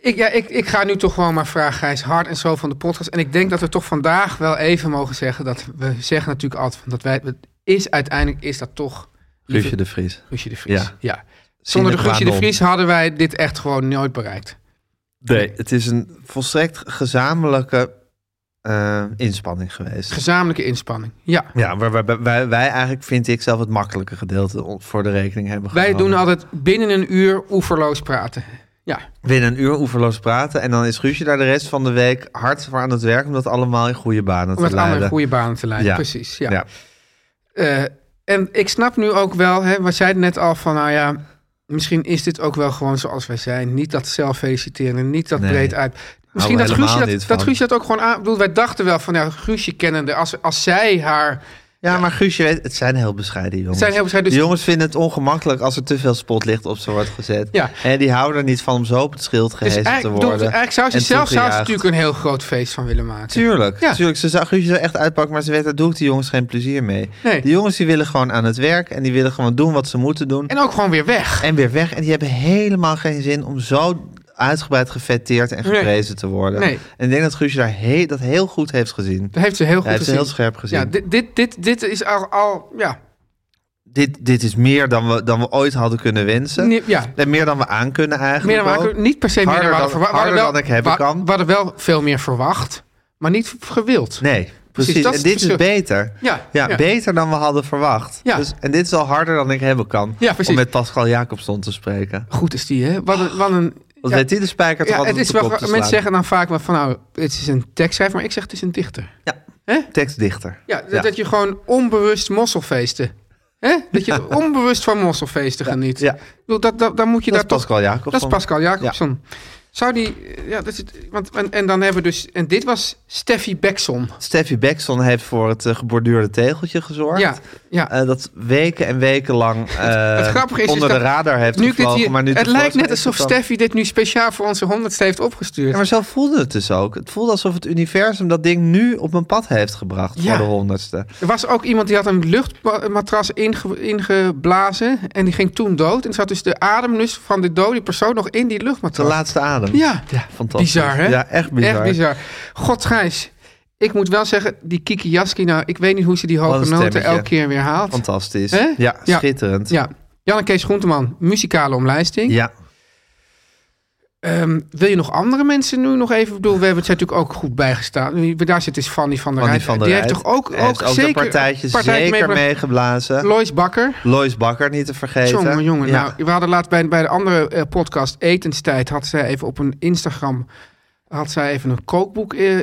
Speaker 3: Ik, ja, ik, ik ga nu toch gewoon maar vragen, Gijs, hard en zo van de podcast. En ik denk dat we toch vandaag wel even mogen zeggen dat we zeggen natuurlijk altijd van dat wij het is uiteindelijk is dat toch lieve
Speaker 2: Guusje de Vries.
Speaker 3: Guusje de Vries.
Speaker 2: Ja.
Speaker 3: Ja. Zonder
Speaker 2: Sine
Speaker 3: de
Speaker 2: qua
Speaker 3: Guusje de
Speaker 2: non.
Speaker 3: Vries hadden wij dit echt gewoon nooit bereikt.
Speaker 2: Nee, het is een volstrekt gezamenlijke eh, inspanning geweest.
Speaker 3: Gezamenlijke inspanning. Ja.
Speaker 2: ja, waar, waar- waar- wij, wij eigenlijk, vind ik zelf, het makkelijke gedeelte on- voor de rekening hebben
Speaker 3: Wij
Speaker 2: genomen.
Speaker 3: doen altijd binnen een uur oeverloos praten. Ja.
Speaker 2: Binnen een uur oeverloos praten. En dan is Guusje daar de rest van de week hard voor aan het werk... om dat allemaal in goede banen
Speaker 3: Om
Speaker 2: te
Speaker 3: het allemaal in
Speaker 2: leiden.
Speaker 3: goede banen te leiden.
Speaker 2: Ja.
Speaker 3: Precies. Ja.
Speaker 2: ja.
Speaker 3: Eh, en ik snap nu ook wel, hè, we zeiden net al van, nou ja, misschien is dit ook wel gewoon zoals wij zijn. Niet dat zelf feliciteren, niet dat
Speaker 2: Nee.
Speaker 3: breed uit. Misschien
Speaker 2: we
Speaker 3: dat
Speaker 2: helemaal
Speaker 3: Guusje
Speaker 2: niet
Speaker 3: dat, dat
Speaker 2: van.
Speaker 3: Guusje dat ook gewoon aan. ik bedoel, wij dachten wel van, ja, Guusje kennende, als, als zij haar.
Speaker 2: Ja, maar Guusje, weet, het zijn heel bescheiden jongens.
Speaker 3: Het zijn heel bescheiden,
Speaker 2: De
Speaker 3: dus-
Speaker 2: jongens vinden het ongemakkelijk als er te veel spotlicht op ze wordt gezet.
Speaker 3: Ja.
Speaker 2: En die houden er niet van om zo op het schild
Speaker 3: Dus
Speaker 2: gehezen
Speaker 3: eigenlijk,
Speaker 2: te
Speaker 3: bedoel,
Speaker 2: worden.
Speaker 3: eigenlijk zou ze
Speaker 2: en
Speaker 3: zelf zou ze
Speaker 2: toegejuicht.
Speaker 3: natuurlijk een heel groot feest van willen maken.
Speaker 2: Tuurlijk,
Speaker 3: Ja.
Speaker 2: tuurlijk. Ze zou Guusje er echt uitpakken, maar ze weet, daar doe ik die jongens geen plezier mee.
Speaker 3: Nee.
Speaker 2: Die jongens die willen gewoon aan het werk en die willen gewoon doen wat ze moeten doen. En,
Speaker 3: En ook gewoon weer weg.
Speaker 2: weer weg. En die hebben helemaal geen zin om zo uitgebreid gefetteerd en
Speaker 3: Nee.
Speaker 2: geprezen te worden.
Speaker 3: Nee.
Speaker 2: En ik denk dat Guusje daar he- dat heel goed heeft gezien.
Speaker 3: Dat heeft ze heel goed
Speaker 2: Hij heeft ze
Speaker 3: gezien.
Speaker 2: heel scherp gezien.
Speaker 3: Ja, dit, dit, dit, dit is al, al ja,
Speaker 2: dit, dit is meer dan we, dan we ooit hadden kunnen wensen.
Speaker 3: Nee, ja.
Speaker 2: En meer dan we aan kunnen eigenlijk.
Speaker 3: Meer dan we
Speaker 2: ook.
Speaker 3: eigenlijk- niet per se meer dan we
Speaker 2: Harder
Speaker 3: hadden
Speaker 2: dan-
Speaker 3: verwacht. We hadden
Speaker 2: harder
Speaker 3: wel-
Speaker 2: dan ik hebben
Speaker 3: we-
Speaker 2: kan.
Speaker 3: We hadden wel veel meer verwacht, maar niet gewild.
Speaker 2: Nee, precies.
Speaker 3: dat is
Speaker 2: en dit
Speaker 3: het
Speaker 2: is
Speaker 3: verschil.
Speaker 2: beter.
Speaker 3: Ja,
Speaker 2: Ja,
Speaker 3: ja.
Speaker 2: beter dan we hadden verwacht.
Speaker 3: Ja.
Speaker 2: Dus, en dit is al harder dan ik hebben kan.
Speaker 3: Ja, precies.
Speaker 2: Om met Pascal Jacobson te spreken.
Speaker 3: Goed is die, hè? Wat een. Wat een
Speaker 2: Want
Speaker 3: ja,
Speaker 2: Oh, weet hij de spijker toch
Speaker 3: ja,
Speaker 2: altijd
Speaker 3: het
Speaker 2: op
Speaker 3: is
Speaker 2: de
Speaker 3: wel,
Speaker 2: kop te
Speaker 3: mensen
Speaker 2: slaan?
Speaker 3: zeggen dan vaak wel van nou, het is een tekstschrijver, maar ik zeg het is een dichter.
Speaker 2: Ja,
Speaker 3: Hè?
Speaker 2: tekstdichter.
Speaker 3: Ja, dat,
Speaker 2: Ja.
Speaker 3: dat je gewoon onbewust mosselfeesten Hè? Dat je onbewust van mosselfeesten geniet.
Speaker 2: ja.
Speaker 3: Ik bedoel, dat, dat, dan moet je
Speaker 2: Dat is
Speaker 3: daar toch
Speaker 2: Pascal Jacobs.
Speaker 3: Dat is Pascal Jacobson. Zou die, ja, dat is, want, en, en dan hebben we dus, en dit was Steffi Bekson.
Speaker 2: Steffi Bekson heeft voor het eh, geborduurde tegeltje gezorgd.
Speaker 3: Ja, ja.
Speaker 2: Eh, dat weken en weken lang eh,
Speaker 3: het grappige is, is
Speaker 2: onder
Speaker 3: dat
Speaker 2: de radar heeft
Speaker 3: nu ik dit
Speaker 2: gevlogen.
Speaker 3: hier-
Speaker 2: maar nu
Speaker 3: het
Speaker 2: tevoorschijn
Speaker 3: lijkt net
Speaker 2: is
Speaker 3: alsof
Speaker 2: gekomen.
Speaker 3: Steffi dit nu speciaal voor onze honderdste heeft opgestuurd.
Speaker 2: Ja, maar zo voelde het dus ook. Het voelde alsof het universum dat ding nu op een pad heeft gebracht
Speaker 3: Ja.
Speaker 2: voor de honderdste.
Speaker 3: Er was ook iemand die had een luchtmatras inge- ingeblazen en die ging toen dood. En er zat dus de ademlus van de dode persoon nog in die
Speaker 2: De
Speaker 3: luchtmatras.
Speaker 2: laatste adem.
Speaker 3: Ja,
Speaker 2: fantastisch.
Speaker 3: Bizar, hè?
Speaker 2: Ja, echt bizar.
Speaker 3: Echt bizar. God, Gijs. Ik moet wel zeggen, die Kiki Jaski, nou, ik weet niet hoe ze die
Speaker 2: Wat
Speaker 3: hoge
Speaker 2: een
Speaker 3: noten
Speaker 2: stemmetje.
Speaker 3: elke keer weer haalt.
Speaker 2: Fantastisch.
Speaker 3: Hè?
Speaker 2: Ja,
Speaker 3: Ja.
Speaker 2: schitterend.
Speaker 3: Ja. Jan en Kees Groenteman, muzikale omlijsting.
Speaker 2: Ja.
Speaker 3: Ehm, wil je nog andere mensen nu nog even... Ik bedoel, we hebben het natuurlijk ook goed bijgestaan. Nu, Daar zit dus Fanny van der
Speaker 2: Annie
Speaker 3: Rijt.
Speaker 2: van der
Speaker 3: die
Speaker 2: Rijt.
Speaker 3: heeft toch ook,
Speaker 2: Hij heeft
Speaker 3: ook,
Speaker 2: ook
Speaker 3: zeker...
Speaker 2: een partijtje,
Speaker 3: partijtje
Speaker 2: zeker
Speaker 3: meegemaakt?
Speaker 2: meegeblazen.
Speaker 3: Lois Bakker.
Speaker 2: Lois Bakker niet te vergeten.
Speaker 3: Jongen, jongen.
Speaker 2: Ja.
Speaker 3: Nou, we hadden laatst bij, bij de andere eh, podcast Etenstijd... had zij even op een Instagram... had zij even een kookboek... eh,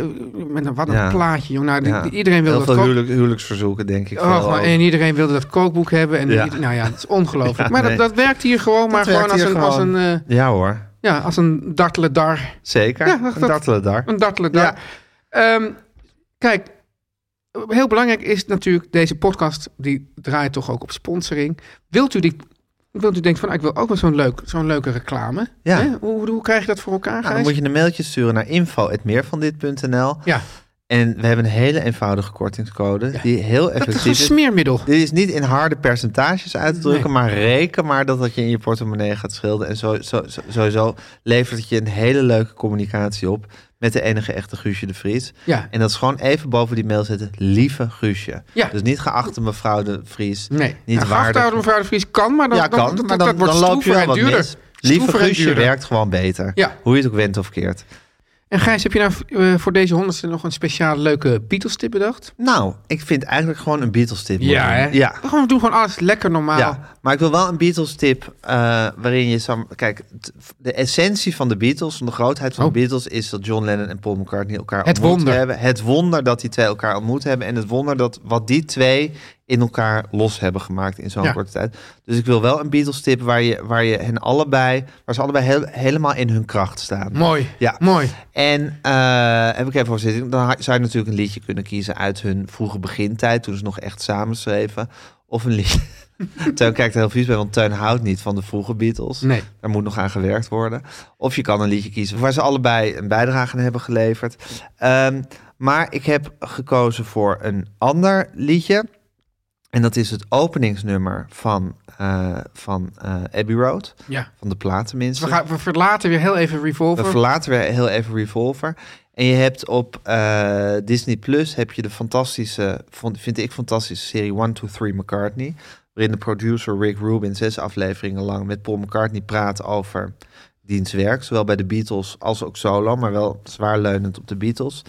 Speaker 3: met een, wat een
Speaker 2: Ja.
Speaker 3: plaatje, jongen. Nou, die-
Speaker 2: Ja.
Speaker 3: die- iedereen wilde
Speaker 2: Heel
Speaker 3: dat
Speaker 2: veel
Speaker 3: kook-
Speaker 2: huwelijk, huwelijksverzoeken, denk ik.
Speaker 3: Oh,
Speaker 2: vooral
Speaker 3: maar-
Speaker 2: ook.
Speaker 3: en iedereen wilde dat kookboek hebben. En
Speaker 2: Ja.
Speaker 3: ieder- nou ja, het is ongelooflijk. maar
Speaker 2: nee.
Speaker 3: dat, dat werkt hier gewoon, maar
Speaker 2: werkt
Speaker 3: gewoon als
Speaker 2: hier
Speaker 3: een, Als een
Speaker 2: gewoon.
Speaker 3: eh,
Speaker 2: Ja hoor,
Speaker 3: Ja, als een dartele dar.
Speaker 2: zeker.
Speaker 3: Ja, dat-
Speaker 2: Een
Speaker 3: dat-
Speaker 2: dartele daar.
Speaker 3: Een dartele dar. Ehm, kijk, heel belangrijk is natuurlijk deze podcast, die draait toch ook op sponsoring. Wilt u die... Wilt u denken van, ah, ik wil ook wel zo'n leuk, zo'n leuke reclame.
Speaker 2: Ja.
Speaker 3: Hè? Hoe, hoe krijg je dat voor elkaar,
Speaker 2: Nou,
Speaker 3: Gijs?
Speaker 2: dan moet je een mailtje sturen naar info.meervandit.nl.
Speaker 3: Ja,
Speaker 2: En we hebben een hele eenvoudige kortingscode die heel
Speaker 3: dat is
Speaker 2: effectief
Speaker 3: een
Speaker 2: is.
Speaker 3: smeermiddel.
Speaker 2: Dit is niet in harde percentages uit te drukken,
Speaker 3: Nee.
Speaker 2: maar reken maar dat dat je in je portemonnee gaat schilderen. En zo, zo, zo- sowieso levert het je een hele leuke communicatie op met de enige echte Guusje de Vries.
Speaker 3: Ja.
Speaker 2: En dat is gewoon even boven die mail zetten, lieve Guusje.
Speaker 3: Ja.
Speaker 2: Dus niet geachte mevrouw de Vries.
Speaker 3: Nee,
Speaker 2: Niet
Speaker 3: nou,
Speaker 2: waardig.
Speaker 3: gaafhouden, mevrouw de Vries kan, maar dan,
Speaker 2: ja,
Speaker 3: dan-
Speaker 2: kan,
Speaker 3: dat,
Speaker 2: maar
Speaker 3: dat
Speaker 2: dan,
Speaker 3: wordt
Speaker 2: dan loop je
Speaker 3: stroever
Speaker 2: wel
Speaker 3: en
Speaker 2: wat
Speaker 3: duurder.
Speaker 2: mis. Lieve
Speaker 3: Stroever en
Speaker 2: Guusje
Speaker 3: duurder.
Speaker 2: werkt gewoon beter.
Speaker 3: Ja.
Speaker 2: Hoe je het ook went of keert.
Speaker 3: En Gijs, heb je nou eh, voor deze honderdste nog een speciale leuke Beatles-tip bedacht?
Speaker 2: Nou, ik vind eigenlijk gewoon een Beatles tip.
Speaker 3: Ja, hè?
Speaker 2: Ja.
Speaker 3: Gewoon, we doen gewoon alles lekker normaal.
Speaker 2: Ja, maar ik wil wel een Beatles tip eh, waarin je... Sam, kijk, t- de essentie van de Beatles, van de grootheid van
Speaker 3: Oh.
Speaker 2: de Beatles... is dat John Lennon en Paul McCartney elkaar
Speaker 3: Het
Speaker 2: ontmoet
Speaker 3: wonder.
Speaker 2: hebben. Het wonder dat die twee elkaar ontmoet hebben. En het wonder dat wat die twee in elkaar los hebben gemaakt in zo'n
Speaker 3: Ja.
Speaker 2: korte tijd. Dus ik wil wel een Beatles tip waar, je, waar, je hen allebei, waar ze allebei heel- helemaal in hun kracht staan.
Speaker 3: Mooi,
Speaker 2: Ja.
Speaker 3: mooi.
Speaker 2: En eh, heb ik even voor zitten. Dan ha- zou je natuurlijk een liedje kunnen kiezen uit hun vroege begintijd, toen ze nog echt samen schreven. Of een liedje. Teun kijkt er heel vies bij, want Teun houdt niet van de vroege Beatles.
Speaker 3: Nee.
Speaker 2: Daar moet nog aan gewerkt worden. Of je kan een liedje kiezen waar ze allebei een bijdrage aan hebben geleverd. Ehm, maar ik heb gekozen voor een ander liedje. En dat is het openingsnummer van, eh, van eh, Abbey Road.
Speaker 3: Ja.
Speaker 2: Van de plaat tenminste.
Speaker 3: Dus We, gaan, we verlaten weer heel even Revolver.
Speaker 2: We verlaten weer heel even Revolver. En je hebt op eh, Disney Plus heb je de fantastische, vond- vind ik fantastische serie One, Two, Three McCartney. Waarin de producer Rick Rubin zes afleveringen lang met Paul McCartney praat over diens werk. Zowel bij de Beatles als ook solo, maar wel zwaar leunend op de Beatles.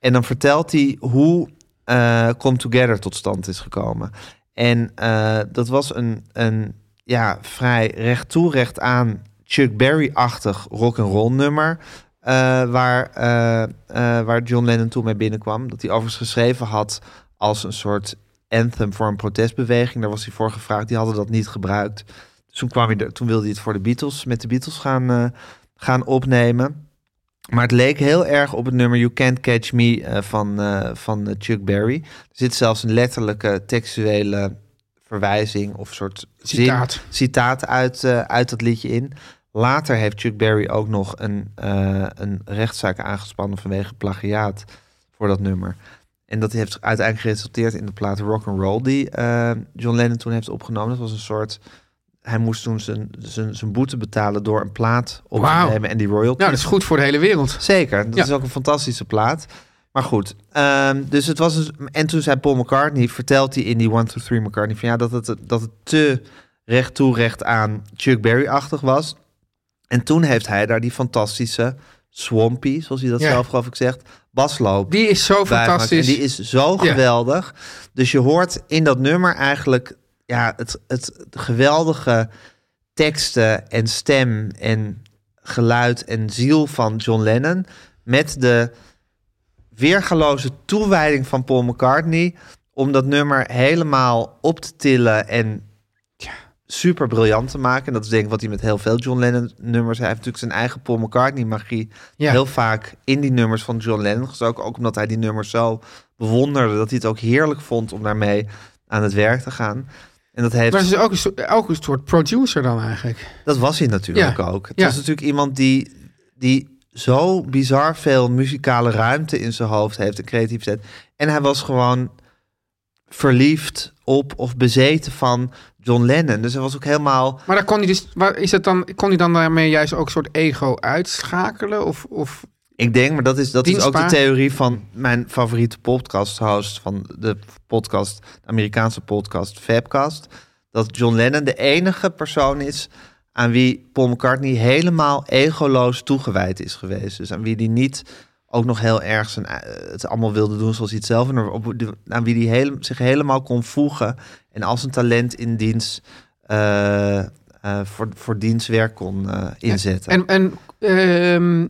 Speaker 2: En dan vertelt hij hoe eh, Come Together tot stand is gekomen. En eh, dat was een, een ja, vrij recht toe, recht aan Chuck Berry-achtig rock'n'roll nummer. eh, waar, eh, eh, waar John Lennon toen mee binnenkwam. Dat hij overigens geschreven had als een soort anthem voor een protestbeweging. Daar was hij voor gevraagd. Die hadden dat niet gebruikt. Dus toen, kwam hij er, toen wilde hij het voor de Beatles, met de Beatles gaan, eh, gaan opnemen. Maar het leek heel erg op het nummer You Can't Catch Me eh, van, eh, van eh, Chuck Berry. Er zit zelfs een letterlijke textuele verwijzing of soort zin-
Speaker 3: Citaat.
Speaker 2: citaat uit, eh, uit dat liedje in. Later heeft Chuck Berry ook nog een, eh, een rechtszaak aangespannen vanwege plagiaat voor dat nummer. En dat heeft uiteindelijk geresulteerd in de plaat Rock and Roll die eh, John Lennon toen heeft opgenomen. Dat was een soort. Hij moest toen zijn, zijn, zijn boete betalen door een plaat op
Speaker 3: Wauw.
Speaker 2: te nemen en die royalty.
Speaker 3: Nou, dat is goed voor de hele wereld.
Speaker 2: Zeker, dat
Speaker 3: Ja.
Speaker 2: is ook een fantastische plaat. Maar goed, ehm, dus het was een, en toen zei Paul McCartney, vertelt hij in die One, Two, Three McCartney van ja dat het, dat het te recht toe recht aan Chuck Berry-achtig was. En toen heeft hij daar die fantastische Swampy, zoals hij dat
Speaker 3: Ja.
Speaker 2: zelf geloof ik zegt, basloop
Speaker 3: Die is zo
Speaker 2: bijgemaakt.
Speaker 3: fantastisch.
Speaker 2: En die is zo
Speaker 3: Ja.
Speaker 2: geweldig. Dus je hoort in dat nummer eigenlijk ja, het, het geweldige teksten en stem en geluid en ziel van John Lennon. Met de weergaloze toewijding van Paul McCartney om dat nummer helemaal op te tillen en super briljant te maken. En dat is denk ik wat hij met heel veel John Lennon nummers. Hij heeft natuurlijk zijn eigen Paul McCartney magie
Speaker 3: Ja.
Speaker 2: heel vaak in die nummers van John Lennon gestoken. Ook omdat hij die nummers zo bewonderde dat hij het ook heerlijk vond om daarmee aan het werk te gaan. En dat heeft
Speaker 3: Maar ze is ook een, soort, ook een soort producer dan eigenlijk.
Speaker 2: dat was hij natuurlijk
Speaker 3: Ja,
Speaker 2: ook. Het
Speaker 3: ja.
Speaker 2: was natuurlijk iemand die, die zo bizar veel muzikale ruimte in zijn hoofd heeft en creativiteit. En hij was gewoon verliefd op of bezeten van John Lennon. Dus hij was ook helemaal...
Speaker 3: Maar daar kon hij dus, waar, is dat dan, kon hij dan daarmee juist ook een soort ego uitschakelen? Of, of
Speaker 2: Ik denk, maar dat is, dat is ook de
Speaker 3: Dienstbaar.
Speaker 2: theorie van mijn favoriete podcast-host van de podcast, de Amerikaanse podcast Fabcast. Dat John Lennon de enige persoon is aan wie Paul McCartney helemaal egoloos toegewijd is geweest. Dus aan wie die niet ook nog heel erg zijn, eh, het allemaal wilde doen zoals hij het zelf... en op de- aan wie die heel, zich helemaal kon voegen en als een talent in dienst... eh, eh, voor, voor dienstwerk kon eh, inzetten.
Speaker 3: En, en ehm,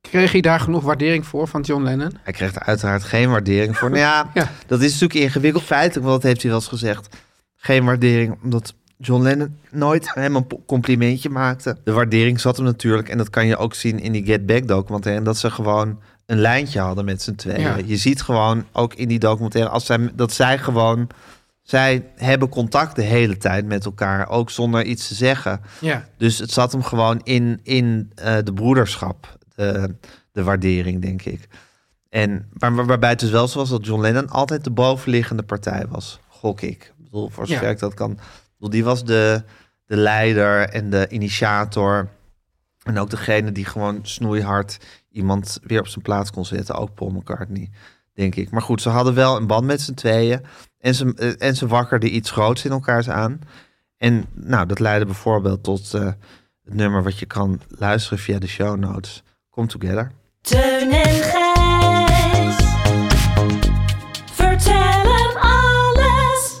Speaker 3: kreeg hij daar genoeg waardering voor van John Lennon?
Speaker 2: Hij kreeg er uiteraard geen waardering voor. Nou ja,
Speaker 3: Ja.
Speaker 2: dat is natuurlijk ingewikkeld feitelijk, want dat heeft hij wel eens gezegd. Geen waardering, omdat John Lennon nooit hem een po- complimentje maakte. De waardering zat hem natuurlijk, en dat kan je ook zien in die Get Back documentaire, en dat ze gewoon een lijntje hadden met z'n tweeën.
Speaker 3: Ja.
Speaker 2: Je ziet gewoon ook in die documentaire als zij, dat zij gewoon, zij hebben contact de hele tijd met elkaar, ook zonder iets te zeggen.
Speaker 3: Ja.
Speaker 2: Dus het zat hem gewoon in, in eh, de broederschap, de, de waardering, denk ik. En waar, waar- waarbij het dus wel zo was dat John Lennon altijd de bovenliggende partij was, gok ik. Ik bedoel, voor zover
Speaker 3: Ja.
Speaker 2: ik dat kan. Ik bedoel, die was de, de leider en de initiator. En ook degene die gewoon snoeihard iemand weer op zijn plaats kon zetten. Ook Paul McCartney, denk ik. Maar goed, ze hadden wel een band met z'n tweeën. En ze, eh, en ze wakkerden iets groots in elkaars aan. En nou, dat leidde bijvoorbeeld tot eh, het nummer wat je kan luisteren via de show notes. Come Together.
Speaker 6: Teun en Gijs. Vertel hem alles.